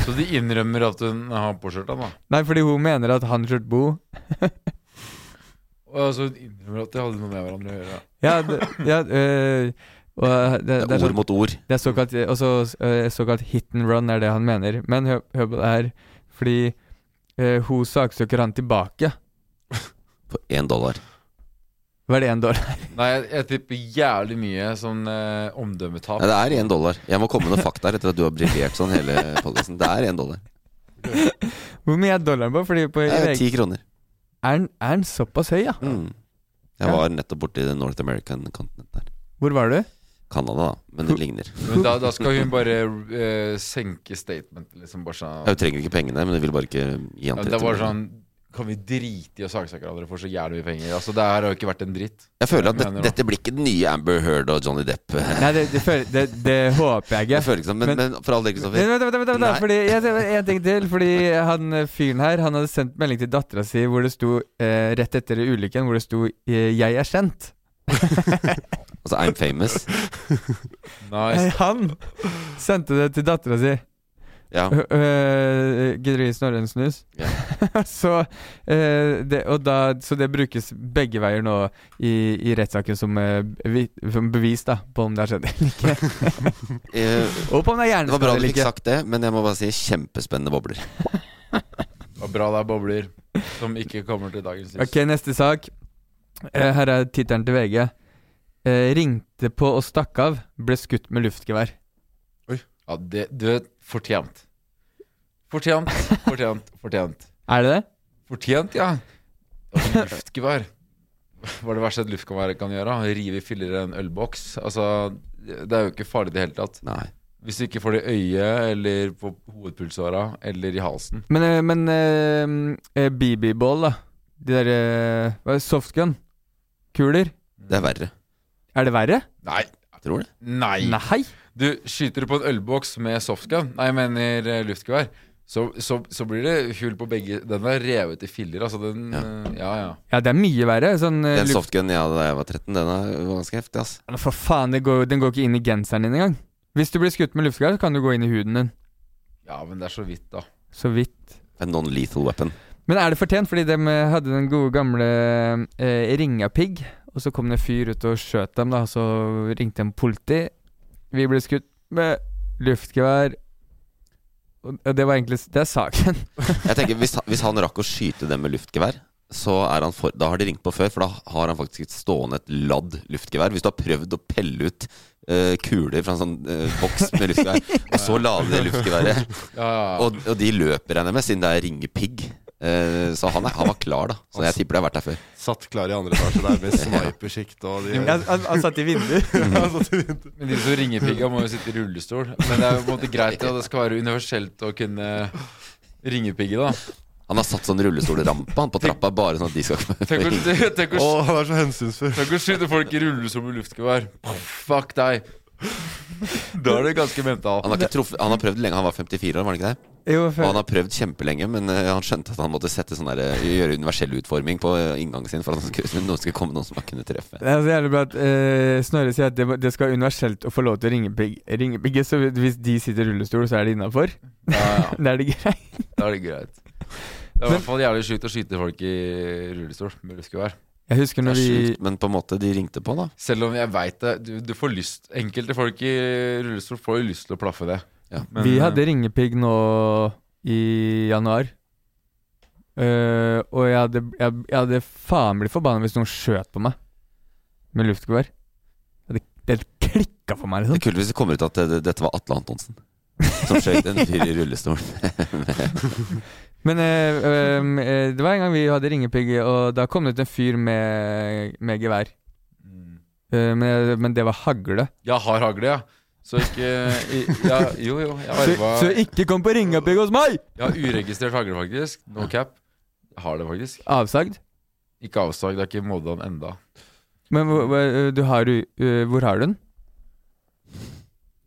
Speaker 4: Så de innrømmer at hun har påkjørt han, da.
Speaker 2: Nei, fordi hun mener at han kjørte Bo.
Speaker 4: Og så Altså, innrømmer at de hadde noe med hverandre å gjøre.
Speaker 2: Ja, det, ja øh, og det,
Speaker 1: Det
Speaker 2: det, er
Speaker 1: er ord
Speaker 2: sånn,
Speaker 1: mot ord.
Speaker 2: det er såkalt, også, øh, såkalt hit and run, er det han mener. Men hør, hør på det her, fordi øh, hun saksøker han tilbake.
Speaker 1: For én dollar.
Speaker 2: Hva er det en dollar?
Speaker 4: Nei, jeg, jeg tipper jævlig mye sånn eh, omdømmetap.
Speaker 1: Nei, det er én dollar. Jeg må komme med noen fakta her etter at du har briljert sånn hele podkasten. Det er én dollar.
Speaker 2: Hvor mye er dollaren på? Fordi på
Speaker 1: Det er
Speaker 2: er,
Speaker 1: ti kroner.
Speaker 2: den, er den såpass høy, ja?
Speaker 1: Mm. Jeg
Speaker 2: Ja.
Speaker 1: var nettopp borti the North American continent der.
Speaker 2: Hvor var du?
Speaker 1: Canada, da. Men det ligner.
Speaker 4: Men da, da skal hun bare eh, senke statementet, liksom. Bare sånn
Speaker 1: Jeg trenger ikke pengene, men jeg vil bare ikke gi han
Speaker 4: ja,
Speaker 1: 30
Speaker 4: Det var
Speaker 1: millioner.
Speaker 4: sånn Kan vi drite i å saksøke hverandre for så jævlig mye penger? Altså, det her har jo ikke vært en dritt.
Speaker 1: Jeg føler at
Speaker 4: Jeg
Speaker 1: det,
Speaker 4: mener det.
Speaker 1: dette blir ikke den nye Amber Heard og Johnny Depp.
Speaker 2: Nei, det, det, føler- det, det håper jeg
Speaker 1: Jeg
Speaker 2: ikke.
Speaker 1: føler ikke sånn, men, men for all del,
Speaker 2: Nei,
Speaker 1: Kristoffer.
Speaker 2: Vent, vent, vent, vent,
Speaker 1: Nei.
Speaker 2: vent, fordi jeg, jeg, en ting til. Fordi han eh, fyren her Han hadde sendt melding til dattera si hvor det sto eh, rett etter ulykken hvor det sto eh, 'Jeg er kjent'.
Speaker 1: Altså, I'm famous.
Speaker 4: Nice.
Speaker 2: Nei, han sendte det til dattera si.
Speaker 1: Ja.
Speaker 2: Øh, øh, Gidder du gi Snorre en snus?
Speaker 1: Ja.
Speaker 2: så, øh, det, og da, så det brukes begge veier nå i, i rettssaken som, øh, vi- som bevis da på om det har skjedd eller ikke.
Speaker 1: Eh,
Speaker 2: og på om det er
Speaker 1: Det var bra du
Speaker 2: hjerneskade eller
Speaker 1: fikk
Speaker 2: ikke.
Speaker 1: sagt det, men jeg må bare si kjempespennende bobler.
Speaker 4: Det var bra det er bobler som ikke kommer til dagens lys.
Speaker 2: Ok, neste sak. Eh, her er tittelen til VG. Eh, ringte på og stakk av, ble skutt med luftgevær.
Speaker 4: Ja, det, du vet, fortjent. Fortjent, fortjent, fortjent.
Speaker 2: Er det det?
Speaker 4: Fortjent, ja. Altså, Luftgevær. Hva er det verste et luftgevær kan gjøre? Rive filler i en ølboks. Altså, det er jo ikke farlig i det hele tatt.
Speaker 1: Nei.
Speaker 4: Hvis du ikke får det i øyet eller på hovedpulsåra eller i halsen.
Speaker 2: Men, eh, men eh, eh, BB-ball, da. De derre eh, hva er det, Softgun. Kuler.
Speaker 1: Det er verre.
Speaker 2: Er det verre?
Speaker 4: Nei.
Speaker 1: Tror du?
Speaker 4: Nei.
Speaker 2: Nei.
Speaker 4: Du skyter på en ølboks med softgun, nei, jeg mener eh, luftgevær, så, så, så blir det hull på begge Den er revet i filler, altså. Den
Speaker 1: Ja.
Speaker 4: eh, Ja, ja.
Speaker 2: Ja, det er mye verre. Sånn eh,
Speaker 1: Den
Speaker 2: luft-
Speaker 1: softgunen jeg hadde da jeg var 13, den er var ganske heftig, ass.
Speaker 2: Men For faen, det går, jo- den går ikke inn i genseren din engang. Hvis du blir skutt med luftgevær, så kan du gå inn i huden din.
Speaker 4: Ja, men det er så vidt, da.
Speaker 2: Så vidt.
Speaker 1: En non-lethal weapon.
Speaker 2: Men er det fortjent? Fordi de hadde den gode gamle eh, ringapigg, og så kom det en fyr ut og skjøt dem, da, og så ringte en politi. Vi ble skutt med luftgevær. Og og det var egentlig s- Det er saken.
Speaker 1: Jeg tenker, hvis, han- hvis han rakk å skyte dem med luftgevær, så er han for, da har de ringt på før, for da har han faktisk et stående et ladd luftgevær. Hvis du har prøvd å pelle ut eh, kuler fra en sånn eh, boks med luftgevær, og så lade det luftgeværet,
Speaker 4: Ja, ja.
Speaker 1: og, og de løper regner jeg med, siden det er ringepigg. Eh, så han, er, han var klar, da. Så jeg tipper det har vært der før.
Speaker 3: Satt klar i andre etasje der med snipersjikt og de
Speaker 2: Han, han, han satt i vinduet.
Speaker 4: Men de som ringer pigga, må jo sitte i rullestol. Men det er jo på en måte greit at det skal være universelt å kunne ringe pigge, da.
Speaker 1: Han har satt sånn rullestolrampe han, på trappa, bare sånn at de skal komme
Speaker 4: Tenk å, tenk å,
Speaker 3: Å, han er så hensynsfull.
Speaker 4: tenk å skyte folk i rullestol med luftgevær. Fuck deg. Da er du ganske mental.
Speaker 1: Han har, ikke truffet, han har prøvd lenge, han var 54 år, var han ikke det?
Speaker 2: Jo,
Speaker 1: Og
Speaker 2: for,
Speaker 1: han har prøvd kjempelenge, men eh, han skjønte at han måtte sette sånn der, eh, gjøre universell utforming på eh, inngangen sin for at han skulle, noen skulle komme noen som han kunne treffe.
Speaker 2: Det er så jævlig bra at eh, Snorre sier at det, det skal være universelt å få lov til å ringe pigg- ringe pigger, så hvis de sitter i rullestol, så er det innafor?
Speaker 4: Ja, ja.
Speaker 2: Da er det greit.
Speaker 4: Da er det greit. Det er i hvert fall jævlig sjukt å skyte folk i rullestol med luftgevær.
Speaker 2: Jeg husker
Speaker 1: Det
Speaker 2: når
Speaker 1: er
Speaker 2: vi
Speaker 1: sjukt, men på en måte de ringte på, da.
Speaker 4: Selv om jeg veit det, du, du får lyst Enkelte folk i rullestol får jo lyst til å plaffe det.
Speaker 1: Ja.
Speaker 4: Men,
Speaker 2: Vi
Speaker 4: eh,
Speaker 2: hadde ringepigg nå i januar. Eh, og jeg hadde, jeg, jeg hadde faen blitt forbanna hvis noen skjøt på meg med luftgevær. Det, det klikka for meg,
Speaker 1: Det er
Speaker 2: liksom.
Speaker 1: kult hvis det kommer ut at eh, det, det, dette var Atle Antonsen. Som skjøt en fyr i rullestol.
Speaker 2: Men eh, ehm, eh, det var en gang vi hadde ringepigg, og da kom det ut en fyr med, med gevær. Eh, men, jeg- men det var hagle.
Speaker 4: mm. Jeg har hagle, ja. Så ikke i- ja, Jo, jo. Jeg
Speaker 2: Så,
Speaker 4: arva
Speaker 2: så ikke kom på ringepigg hos meg!
Speaker 4: Jeg har uregistrert hagle, faktisk. No cap. Jeg har det faktisk.
Speaker 2: Avsagd.
Speaker 4: Ikke avsag. Det er ikke Moldan enda.
Speaker 2: Men hvor, hvor- eh, du har, u- eh, hvor har du den?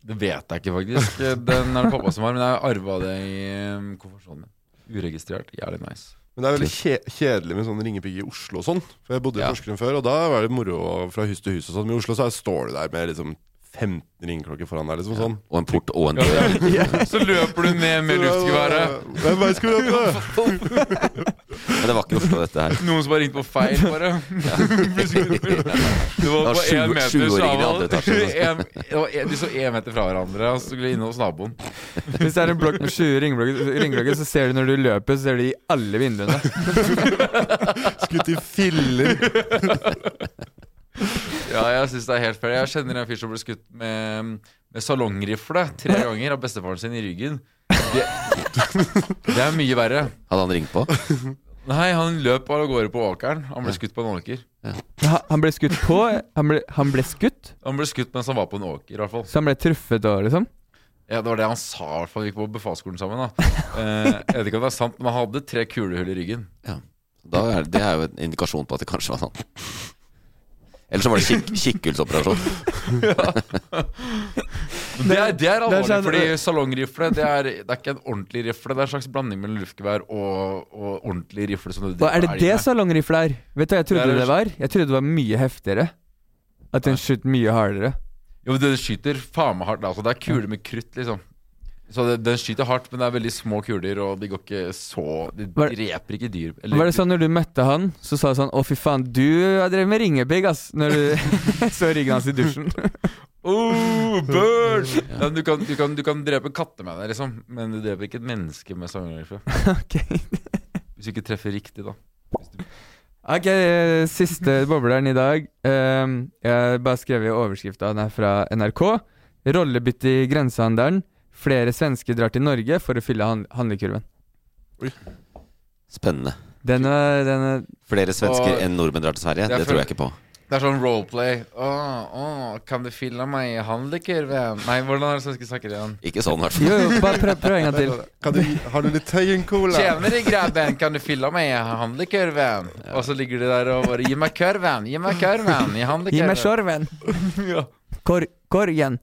Speaker 4: Det vet jeg ikke, faktisk. Den er det pappa som har, men jeg arva det i um, konfirmasjonen min. Uregistrert. Jævlig nice.
Speaker 3: Men det er veldig kje kjedelig med sånn ringepigg i Oslo og sånn. For jeg bodde i
Speaker 4: Ja.
Speaker 3: Porsgrunn før, og da var det moro fra hus til hus og sånn. Men i Oslo så er- står du der med liksom 15 ringeklokker foran deg, liksom sånn.
Speaker 1: Og en port og en dør.
Speaker 4: Så løper du ned med luftgeværet.
Speaker 3: Hvem vei skulle du løpe?
Speaker 1: Men det var ikke i Oslo, dette her.
Speaker 4: Noen som har ringt på feil, bare. Plutselig- det var
Speaker 1: Det var
Speaker 4: på
Speaker 1: sju-
Speaker 4: én meter så
Speaker 1: sjuåringer i
Speaker 4: var
Speaker 1: andre etasje.
Speaker 4: en, det var en, De så én meter fra hverandre, og så skulle de innom hos naboen.
Speaker 2: Hvis det er en blokk med 20 ringeklokker, ringeklokker, så ser du når du løper, så ser du i alle vinduene.
Speaker 3: Skutt i filler.
Speaker 4: Ja, jeg synes det er helt fair. Jeg kjenner en fyr som ble skutt med, um, med salongrifle tre ganger av bestefaren sin i ryggen. Det, det er mye verre.
Speaker 1: Hadde han ringt på?
Speaker 4: Nei, han løp bare av gårde på åkeren. Han ble skutt på en åker.
Speaker 2: Ha- Han ble skutt på? Han ble, han ble skutt?
Speaker 4: Han ble skutt mens han var på en åker, i hvert fall.
Speaker 2: Så han ble truffet og liksom?
Speaker 4: Ja, Det var det han sa, i hvert fall. Vi gikk på befalsskolen sammen. da eh, Jeg vet ikke om det er sant, men han hadde tre kulehull i ryggen.
Speaker 1: Da er, det er jo en indikasjon på at det kanskje var han. Eller så var det kikk, kikkhullsoperasjon.
Speaker 4: Men det er, det er alvorlig,
Speaker 2: det er sånn-
Speaker 4: fordi salongrifle det er, det er ikke en ordentlig rifle. Det er en slags blanding mellom luftgevær og, og ordentlig rifle. som du
Speaker 2: Og er det
Speaker 4: dreper elg
Speaker 2: det
Speaker 4: med.
Speaker 2: salongrifle er? Vet du hva jeg
Speaker 4: Det
Speaker 2: trodde
Speaker 4: er-
Speaker 2: det var? Jeg trodde det var mye heftigere. At den skjøt mye hardere.
Speaker 4: Jo, den skyter faen meg hardt. da. Altså, det er kuler med krutt, liksom. Så det, Den skyter hardt, men det er veldig små kuler, og de går ikke så De
Speaker 2: Var-
Speaker 4: dreper ikke dyr. Eller,
Speaker 2: Var det sånn når du møtte han, så sa du sånn 'Å, fy faen, du har drevet med ringepigg', ass', når du så ryggen hans i dusjen.
Speaker 4: Oh, bird! Ja, du, kan, du, kan, du kan drepe katter med det, liksom, men du dreper ikke et menneske med sangrifle.
Speaker 2: Ok,
Speaker 4: Hvis du ikke treffer riktig, da.
Speaker 2: Ok, eh, siste bobleren i dag. Ehm, jeg har bare skrevet overskrifta, den er fra NRK. 'Rollebytte i grensehandelen'. Flere svensker drar til Norge for å fylle hand handlekurven.
Speaker 1: Spennende.
Speaker 2: Den er, den er
Speaker 1: Flere svensker
Speaker 4: Og-
Speaker 1: enn nordmenn drar til Sverige.
Speaker 4: Det er
Speaker 1: Det tror jeg ikke på.
Speaker 4: Det er sånn roleplay. Å, å, kan du fylle meg i handlekurven? Nei, hvordan er det svenske snakker igjen?
Speaker 1: Ikke sånn, i hvert fall.
Speaker 2: Jo, jo, bare prøv, prøv en gang til.
Speaker 3: Kan du, har du litt tøyencola?
Speaker 4: Tjenere, grabben, kan du fylle meg i handlekurven? Og så ligger de der og bare Gi meg kurven! Gi meg kurven! I handlekurven!
Speaker 2: Gi meg skjorven. Kor korgen.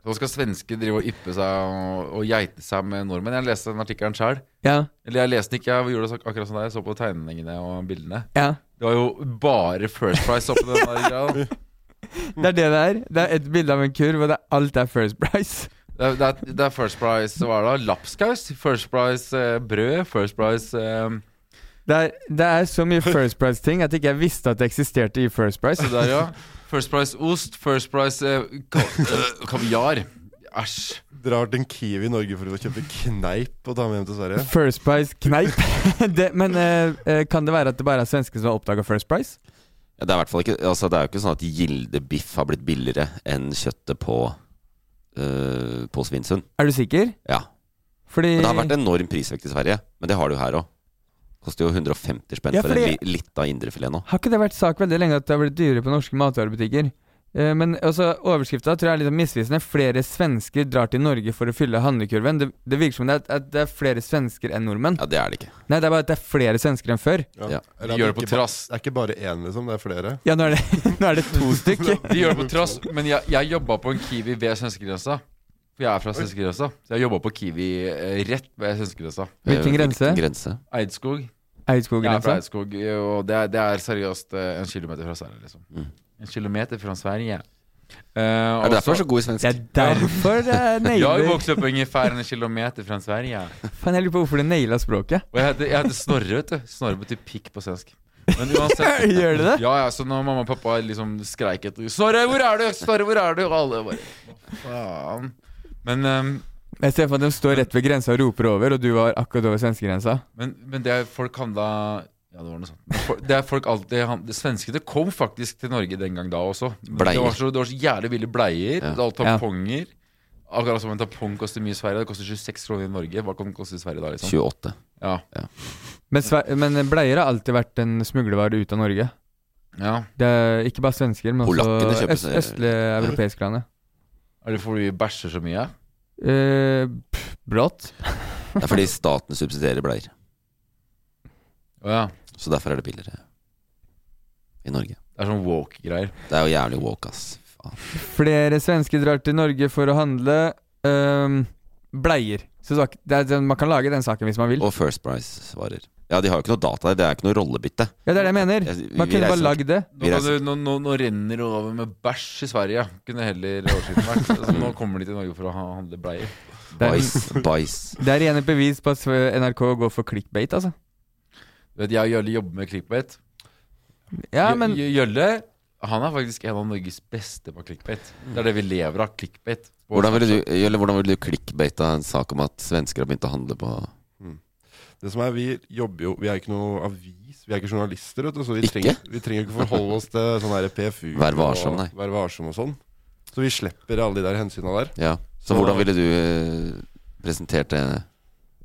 Speaker 4: Så skal svensker drive og yppe seg og, og geite seg med nordmenn. Jeg leste den artikkelen sjøl.
Speaker 2: Ja,
Speaker 4: Eller jeg leste den ikke, jeg gjorde det så- akkurat som deg. Jeg så på tegningene og bildene.
Speaker 2: ja.
Speaker 4: Det var jo bare First Price oppi den der greia. da.
Speaker 2: Det er det det er. Det er et bilde av en kurv, og det er alt er First Price.
Speaker 4: Det er, det er, det er First Price hva er det da? Lapskaus? First Price eh, brød? First Price eh,
Speaker 2: Det er, det er så mye First Price-ting at jeg ikke visste at det eksisterte i First Price.
Speaker 4: det der, ja. First Price ost. First Price eh, ka eh, kaviar. Æsj.
Speaker 3: Drar til en Kiwi i Norge for å kjøpe kneip og ta med hjem til Sverige.
Speaker 2: First Price kneip. det, men eh, eh, kan det være at det bare er svensker som har oppdaga First Price?
Speaker 1: Ja, Det er i hvert fall ikke Altså det er jo ikke sånn at Gilde biff har blitt billigere enn kjøttet på øh, På Svinesund.
Speaker 2: Er du sikker?
Speaker 1: Ja.
Speaker 2: Fordi
Speaker 1: Men det har vært enorm prisvekt i Sverige. Men det har det jo her òg. Koster jo 150 spenn
Speaker 2: Ja,
Speaker 1: for en
Speaker 2: fordi-
Speaker 1: li lita indrefilet nå.
Speaker 2: Har ikke det vært sak veldig lenge at det har blitt dyrere på norske matvarebutikker? Eh, Men også overskrifta tror jeg er litt misvisende. Flere svensker drar til Norge for å fylle handlekurven. Det, det virker som det er, at det er flere svensker enn nordmenn.
Speaker 1: Ja, det er det ikke.
Speaker 2: Nei, det er bare at det er flere svensker enn før.
Speaker 3: Ja.
Speaker 1: Ja.
Speaker 3: Eller at
Speaker 4: De gjør det
Speaker 3: ikke
Speaker 4: på
Speaker 3: ba-
Speaker 4: trass.
Speaker 3: Det er ikke bare én, liksom. Det er flere.
Speaker 2: Ja, nå er det, nå er det to stykk.
Speaker 4: De gjør det på trass, men jeg, jeg jobba på en Kiwi ved svenskegrensa. For jeg er fra svenskegrensa. Så jeg jobba på Kiwi eh, rett ved svenskegrensa.
Speaker 2: Hvilken
Speaker 1: Eh,
Speaker 2: grense?
Speaker 1: Hvilken grense?
Speaker 4: Eidskog. Jeg er fra
Speaker 2: Eidskog-grensa.
Speaker 4: Eidskog, eh, og det er, det er seriøst eh, en kilometer fra Sverige, liksom.
Speaker 1: Mm.
Speaker 4: En kilometer fra Sverige. Eh,
Speaker 1: Er det
Speaker 4: altså,
Speaker 1: derfor du er så god i svensk?
Speaker 2: Det er derfor det er
Speaker 4: Jeg
Speaker 2: nailer.
Speaker 4: vokste opp ungefär en kilometer fra Sverige.
Speaker 2: Faen, jeg lurer på hvorfor det naila språket.
Speaker 4: Og jeg heter, jeg heter Snorre, vet du. Snorre betyr pikk på svensk. Men uansett
Speaker 2: Gjør det det?
Speaker 4: Ja, ja, så når mamma og pappa liksom skreik etter 'Snorre, hvor er du?' Snorre, hvor er du? Og alle bare Hva faen? Men ehm,
Speaker 2: Jeg ser for meg at de står rett ved grensa og roper over, og du var akkurat over svenskegrensa.
Speaker 4: Men, men det er folk handla Ja, det var noe sånt. Men for- Det er folk alltid han- det Svenskene kom faktisk til Norge den gang da også. Men
Speaker 1: Bleier.
Speaker 4: Det var så, det var så jævlig ville bleier.
Speaker 1: Ja.
Speaker 4: Det var tamponger. Akkurat som en tampong koster mye i Sverige. Det koster 26 kroner i Norge. Hva kan det koste i Sverige da? liksom?
Speaker 1: 28.
Speaker 4: Ja.
Speaker 2: Men, sve- men bleier har alltid vært en smuglervare ut av Norge.
Speaker 4: ja.
Speaker 2: Det er ikke bare svensker, men
Speaker 1: Polakkene
Speaker 2: også
Speaker 1: kjøper
Speaker 2: øst,
Speaker 1: seg-
Speaker 2: østlige europeiske land. ja.
Speaker 4: Er det fordi vi bæsjer så mye?
Speaker 2: Eh, pff, brått.
Speaker 1: Det er fordi staten subsidierer bleier.
Speaker 4: Å ja.
Speaker 1: Så derfor er det piller eh, i Norge.
Speaker 4: Det er sånn woke-greier.
Speaker 1: Det er jo jævlig woke, ass. Faen.
Speaker 2: Flere svensker drar til Norge for å handle ehm, bleier. Så sak- det er, den- man kan lage den saken hvis man vil.
Speaker 1: Og First Price svarer. Ja, de har jo ikke noe data der. Det er ikke noe rollebytte.
Speaker 2: Ja, det er det jeg mener.
Speaker 1: Jeg- vi-
Speaker 2: Man
Speaker 1: vi
Speaker 2: kunne bare
Speaker 1: reiser-
Speaker 2: lagd det.
Speaker 4: Nå,
Speaker 1: Vi
Speaker 4: kan
Speaker 1: reiser-
Speaker 4: du, nå, nå, nå renner det over med bæsj i Sverige. Kunne heller overskriften vært. Altså, nå kommer de til Norge for å ha- handle bleier.
Speaker 2: Det er,
Speaker 1: Bæsj. Bæsj.
Speaker 2: det er igjen et bevis på at sve- NRK går for clickbait, altså.
Speaker 4: Du vet, Jeg og Jølle jobber med clickbait.
Speaker 2: Ja,
Speaker 4: Jø-
Speaker 2: men
Speaker 4: Jø- Jølle han er faktisk en av Norges beste på clickbait. Det er det vi lever av. clickbait Og-
Speaker 1: Hvordan ville du, Jølle, hvordan ville du clickbaita en sak om at svensker har begynt å handle på
Speaker 3: Det som er, Vi jobber jo Vi er ikke noe avis, vi er ikke journalister, vet du, så vi
Speaker 1: Ikke?
Speaker 3: trenger, vi trenger ikke forholde oss til sånn her PFU
Speaker 1: Vær varsom, nei.
Speaker 3: og, vær varsom og sånn. Så vi slipper alle de der hensyna der.
Speaker 1: Ja. Så hvordan ville du eh, presentert det?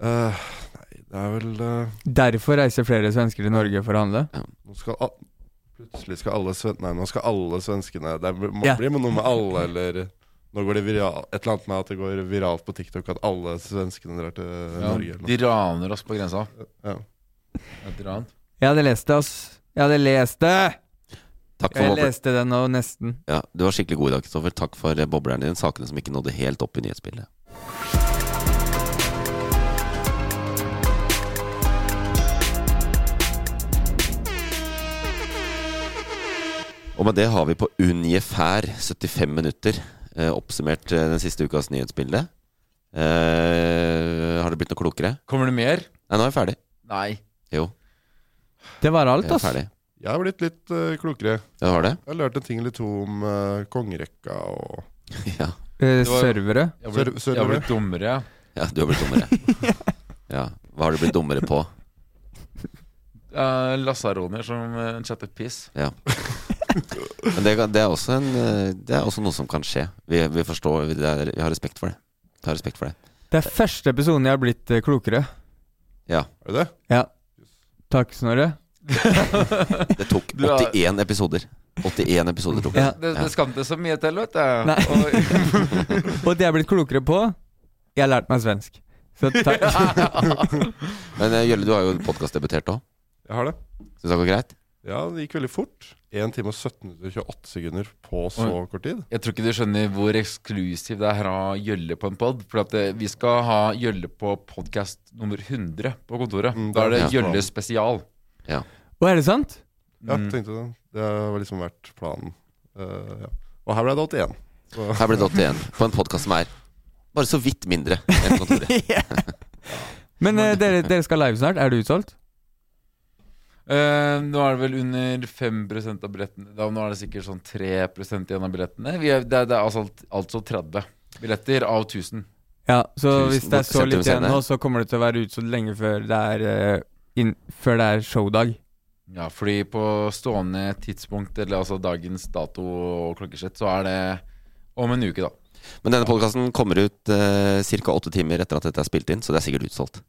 Speaker 3: Eh, nei, det er vel eh,
Speaker 2: derfor reiser flere svensker til Norge for å handle.
Speaker 3: Nå skal a Plutselig skal alle sven Nei, nå skal alle svenskene Det er- må
Speaker 2: Ja.
Speaker 3: bli noe med alle, eller Nå går det viralt Et eller annet med at det går viralt på TikTok at alle svenskene drar til Norge.
Speaker 4: ja,
Speaker 3: Eller
Speaker 4: De
Speaker 3: noe.
Speaker 4: raner oss på grensa.
Speaker 3: Ja.
Speaker 4: Et eller annet.
Speaker 2: Jeg hadde lest det, ass. Jeg hadde lest det!
Speaker 1: Takk for
Speaker 2: Jeg
Speaker 1: boble-
Speaker 2: leste det nå, nesten.
Speaker 1: ja, Du var skikkelig god i dag, Kristoffer. Takk for eh, bobleren din. Sakene som ikke nådde helt opp i nyhetsbildet. Og med det har vi på ungefær 75 minutter eh, oppsummert eh, den siste ukas nyhetsbilde. Eh, har det blitt noe klokere?
Speaker 4: Kommer det mer?
Speaker 1: Nei, nå er vi ferdig.
Speaker 4: Nei.
Speaker 1: Jo,
Speaker 2: Det var alt,
Speaker 1: vi er
Speaker 2: ass.
Speaker 1: ferdig.
Speaker 3: Jeg har blitt litt eh, klokere.
Speaker 1: Ja, var det?
Speaker 3: Jeg har lært en ting eller to om eh, kongerekka og
Speaker 1: Ja.
Speaker 2: Eh,
Speaker 4: Det var-
Speaker 2: servere.
Speaker 4: Jeg har blitt,
Speaker 3: Sør-
Speaker 4: jeg har blitt dummere.
Speaker 1: ja, du har blitt dummere. Ja, Hva har du blitt dummere på?
Speaker 4: Uh, Lasaroner som eh, chatter piss.
Speaker 1: Ja. Men det, kan- det, er også en, eh, det er også noe som kan skje. Vi, vi forstår, vi- det er, vi har respekt for det. Vi har respekt for det.
Speaker 2: Det er første episoden jeg har blitt eh, klokere.
Speaker 3: Er det det?
Speaker 2: Takk, Snorre.
Speaker 1: Det tok
Speaker 4: Du har-
Speaker 1: 81 episoder. 81 episoder tok det.
Speaker 2: Ja.
Speaker 4: Det,
Speaker 1: Ja.
Speaker 4: det skamte så mye til, vet du.
Speaker 2: Nei.
Speaker 4: Og,
Speaker 2: Og det jeg har blitt klokere på Jeg har lært meg svensk. Så takk.
Speaker 1: Men eh, Jølle, du har jo podkastdebutert òg.
Speaker 3: Jeg har det.
Speaker 1: Syns det går greit?
Speaker 3: Ja, det gikk veldig fort. 1 time og 17 minutter og 28 sekunder på så kort tid.
Speaker 4: jeg tror ikke du skjønner hvor eksklusiv det er å ha Gjølle på en pod. For at eh, vi skal ha Gjølle på podkast nummer 100 på kontoret.
Speaker 3: Mm,
Speaker 4: da er det
Speaker 1: ja.
Speaker 4: Gjølle spesial.
Speaker 2: Og er det sant?
Speaker 3: Ja,
Speaker 4: Mm.
Speaker 3: tenkte det. Det har liksom vært planen. Eh, ja. Og her ble det 81. Så
Speaker 1: Her ble det 81 på en podkast som er bare så vidt mindre enn kontoret.
Speaker 2: Men eh, dere, dere skal live snart. Er det utsolgt?
Speaker 4: Eh, nå er det vel under 5 av billettene. Da, nå er det sikkert sånn 3 igjen av billettene. Vi er, det, er- det er altså, alt- altså 30 billetter av 1000.
Speaker 2: Ja, så
Speaker 1: Tusen-
Speaker 2: hvis det er så
Speaker 1: Sentrum
Speaker 2: litt igjen
Speaker 1: Scene.
Speaker 2: nå, så kommer det til å være utsolgt lenge før det er, eh, inn, før det er showdag.
Speaker 4: Ja, fordi på stående tidspunkt, eller altså dagens dato og klokkeslett, så er det om en uke, da.
Speaker 1: Men denne podkasten kommer ut eh, ca. åtte timer etter at dette er spilt inn, så det er sikkert utsolgt.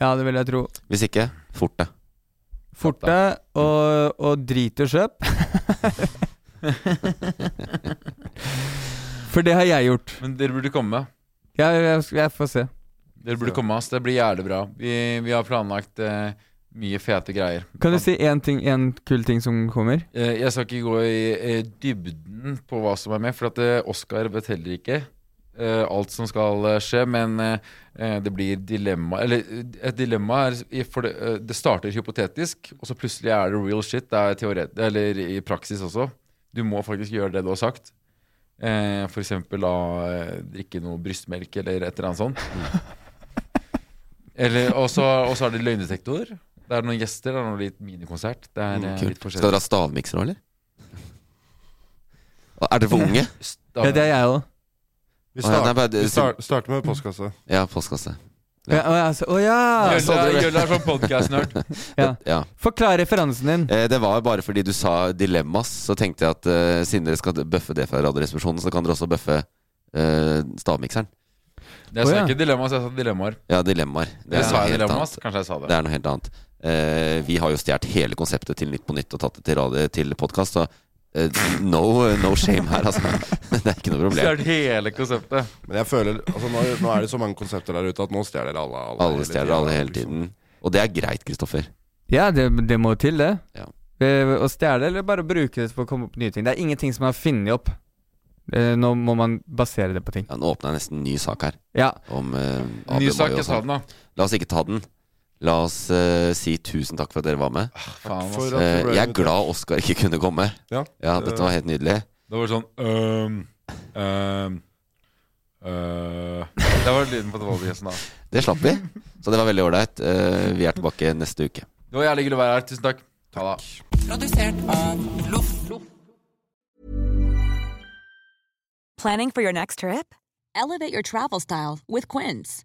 Speaker 2: Ja, det vil jeg tro.
Speaker 1: Hvis ikke, fort det.
Speaker 2: Forte og, og drit og kjøp. For det har jeg gjort.
Speaker 4: Men dere burde komme.
Speaker 2: Jeg, jeg, jeg får se.
Speaker 4: Dere burde komme, ass. Det blir jævlig bra. Vi, vi har planlagt eh, mye fete greier.
Speaker 2: Kan du si én ting, en kul ting som kommer?
Speaker 4: Eh, Jeg skal ikke gå i eh, dybden på hva som er med, for at eh, Oscar vet heller ikke eh, alt som skal eh, skje. Men eh, eh, det blir dilemma Eller eh, et dilemma er i- for det, eh, det starter hypotetisk, og så plutselig er det real shit. Det er teoret, eller i praksis også. Du må faktisk gjøre det du har sagt. Eh, for eksempel da eh, drikke noe brystmelk eller et eller annet sånt. Eller, og så og så er det løgndetektor. Det er noen gjester, det er noe litt minikonsert. Det er eh,
Speaker 1: Mm, Kult.
Speaker 4: litt
Speaker 1: Skal dere ha stavmikser nå, eller? Er dere for unge?
Speaker 4: Stav-
Speaker 2: Ja, det er jeg òg.
Speaker 3: Vi,
Speaker 1: Å, ja,
Speaker 3: start,
Speaker 1: nei, bare-
Speaker 3: vi start, starter med postkasse.
Speaker 1: Ja, postkasse.
Speaker 2: Å ja. altså, å ja.
Speaker 1: Yes. sånn det-
Speaker 4: Jølle er sånn podkast-nerd.
Speaker 2: ja!
Speaker 1: Ja.
Speaker 2: Forklar referansen din.
Speaker 1: Eh, Det var bare fordi du sa dilemmas, så tenkte jeg at eh, siden dere skal bøffe det fra Radioresepsjonen, så kan dere også bøffe eh, stavmikseren.
Speaker 4: Jeg sa
Speaker 2: Å, ja.
Speaker 4: ikke dilemmas, jeg sa dilemmaer.
Speaker 1: Ja, dilemmaer. Det
Speaker 4: Det
Speaker 1: er
Speaker 4: sa
Speaker 1: noe
Speaker 4: jeg
Speaker 1: helt
Speaker 4: dilemmas?
Speaker 1: annet.
Speaker 4: Kanskje jeg sa det.
Speaker 1: Det er noe helt annet. Eh, vi har jo stjålet hele konseptet til Nytt på Nytt og tatt det til, radio- til podkast, så eh, no, no shame her, altså. Det er ikke noe
Speaker 4: Det
Speaker 1: problem.
Speaker 4: er hele konseptet.
Speaker 3: Men jeg føler altså, nå, nå er det så mange konsepter der ute at nå stjeler alle. Alle, hele
Speaker 1: Alle stjeler
Speaker 3: tiden,
Speaker 1: alle hele
Speaker 3: liksom.
Speaker 1: tiden. Og det er greit, Kristoffer.
Speaker 2: Ja, det, det må til, det.
Speaker 1: Ja.
Speaker 2: Eh, Å stjele eller bare bruke det for å komme opp med nye ting. Det er ingenting som er funnet opp. Eh, Nå må man basere det på ting.
Speaker 1: Ja, nå åpna jeg nesten en ny sak her.
Speaker 2: Ja.
Speaker 1: Om, eh,
Speaker 4: Ny
Speaker 1: Abu
Speaker 4: sak,
Speaker 1: Mayo og
Speaker 4: jeg sa
Speaker 1: sånn.
Speaker 4: den, da.
Speaker 1: La oss ikke ta den. La oss eh, si tusen takk for at dere var med.
Speaker 4: Faen, ass.
Speaker 3: For at
Speaker 1: Eh,
Speaker 3: det ble
Speaker 1: jeg er
Speaker 3: invitert.
Speaker 1: glad Oskar ikke kunne komme.
Speaker 3: Ja.
Speaker 1: Ja, Dette var helt nydelig.
Speaker 4: Det var sånn øhm, øhm, øh. Det var lyden på Tobiasen da.
Speaker 1: Det slapp vi, så det var veldig ålreit. Eh, vi er tilbake neste uke.
Speaker 4: Det var jævlig hyggelig å være her. Tusen takk. Ha det.
Speaker 7: Planning for your next trip?
Speaker 8: Elevate your travel style with Quince.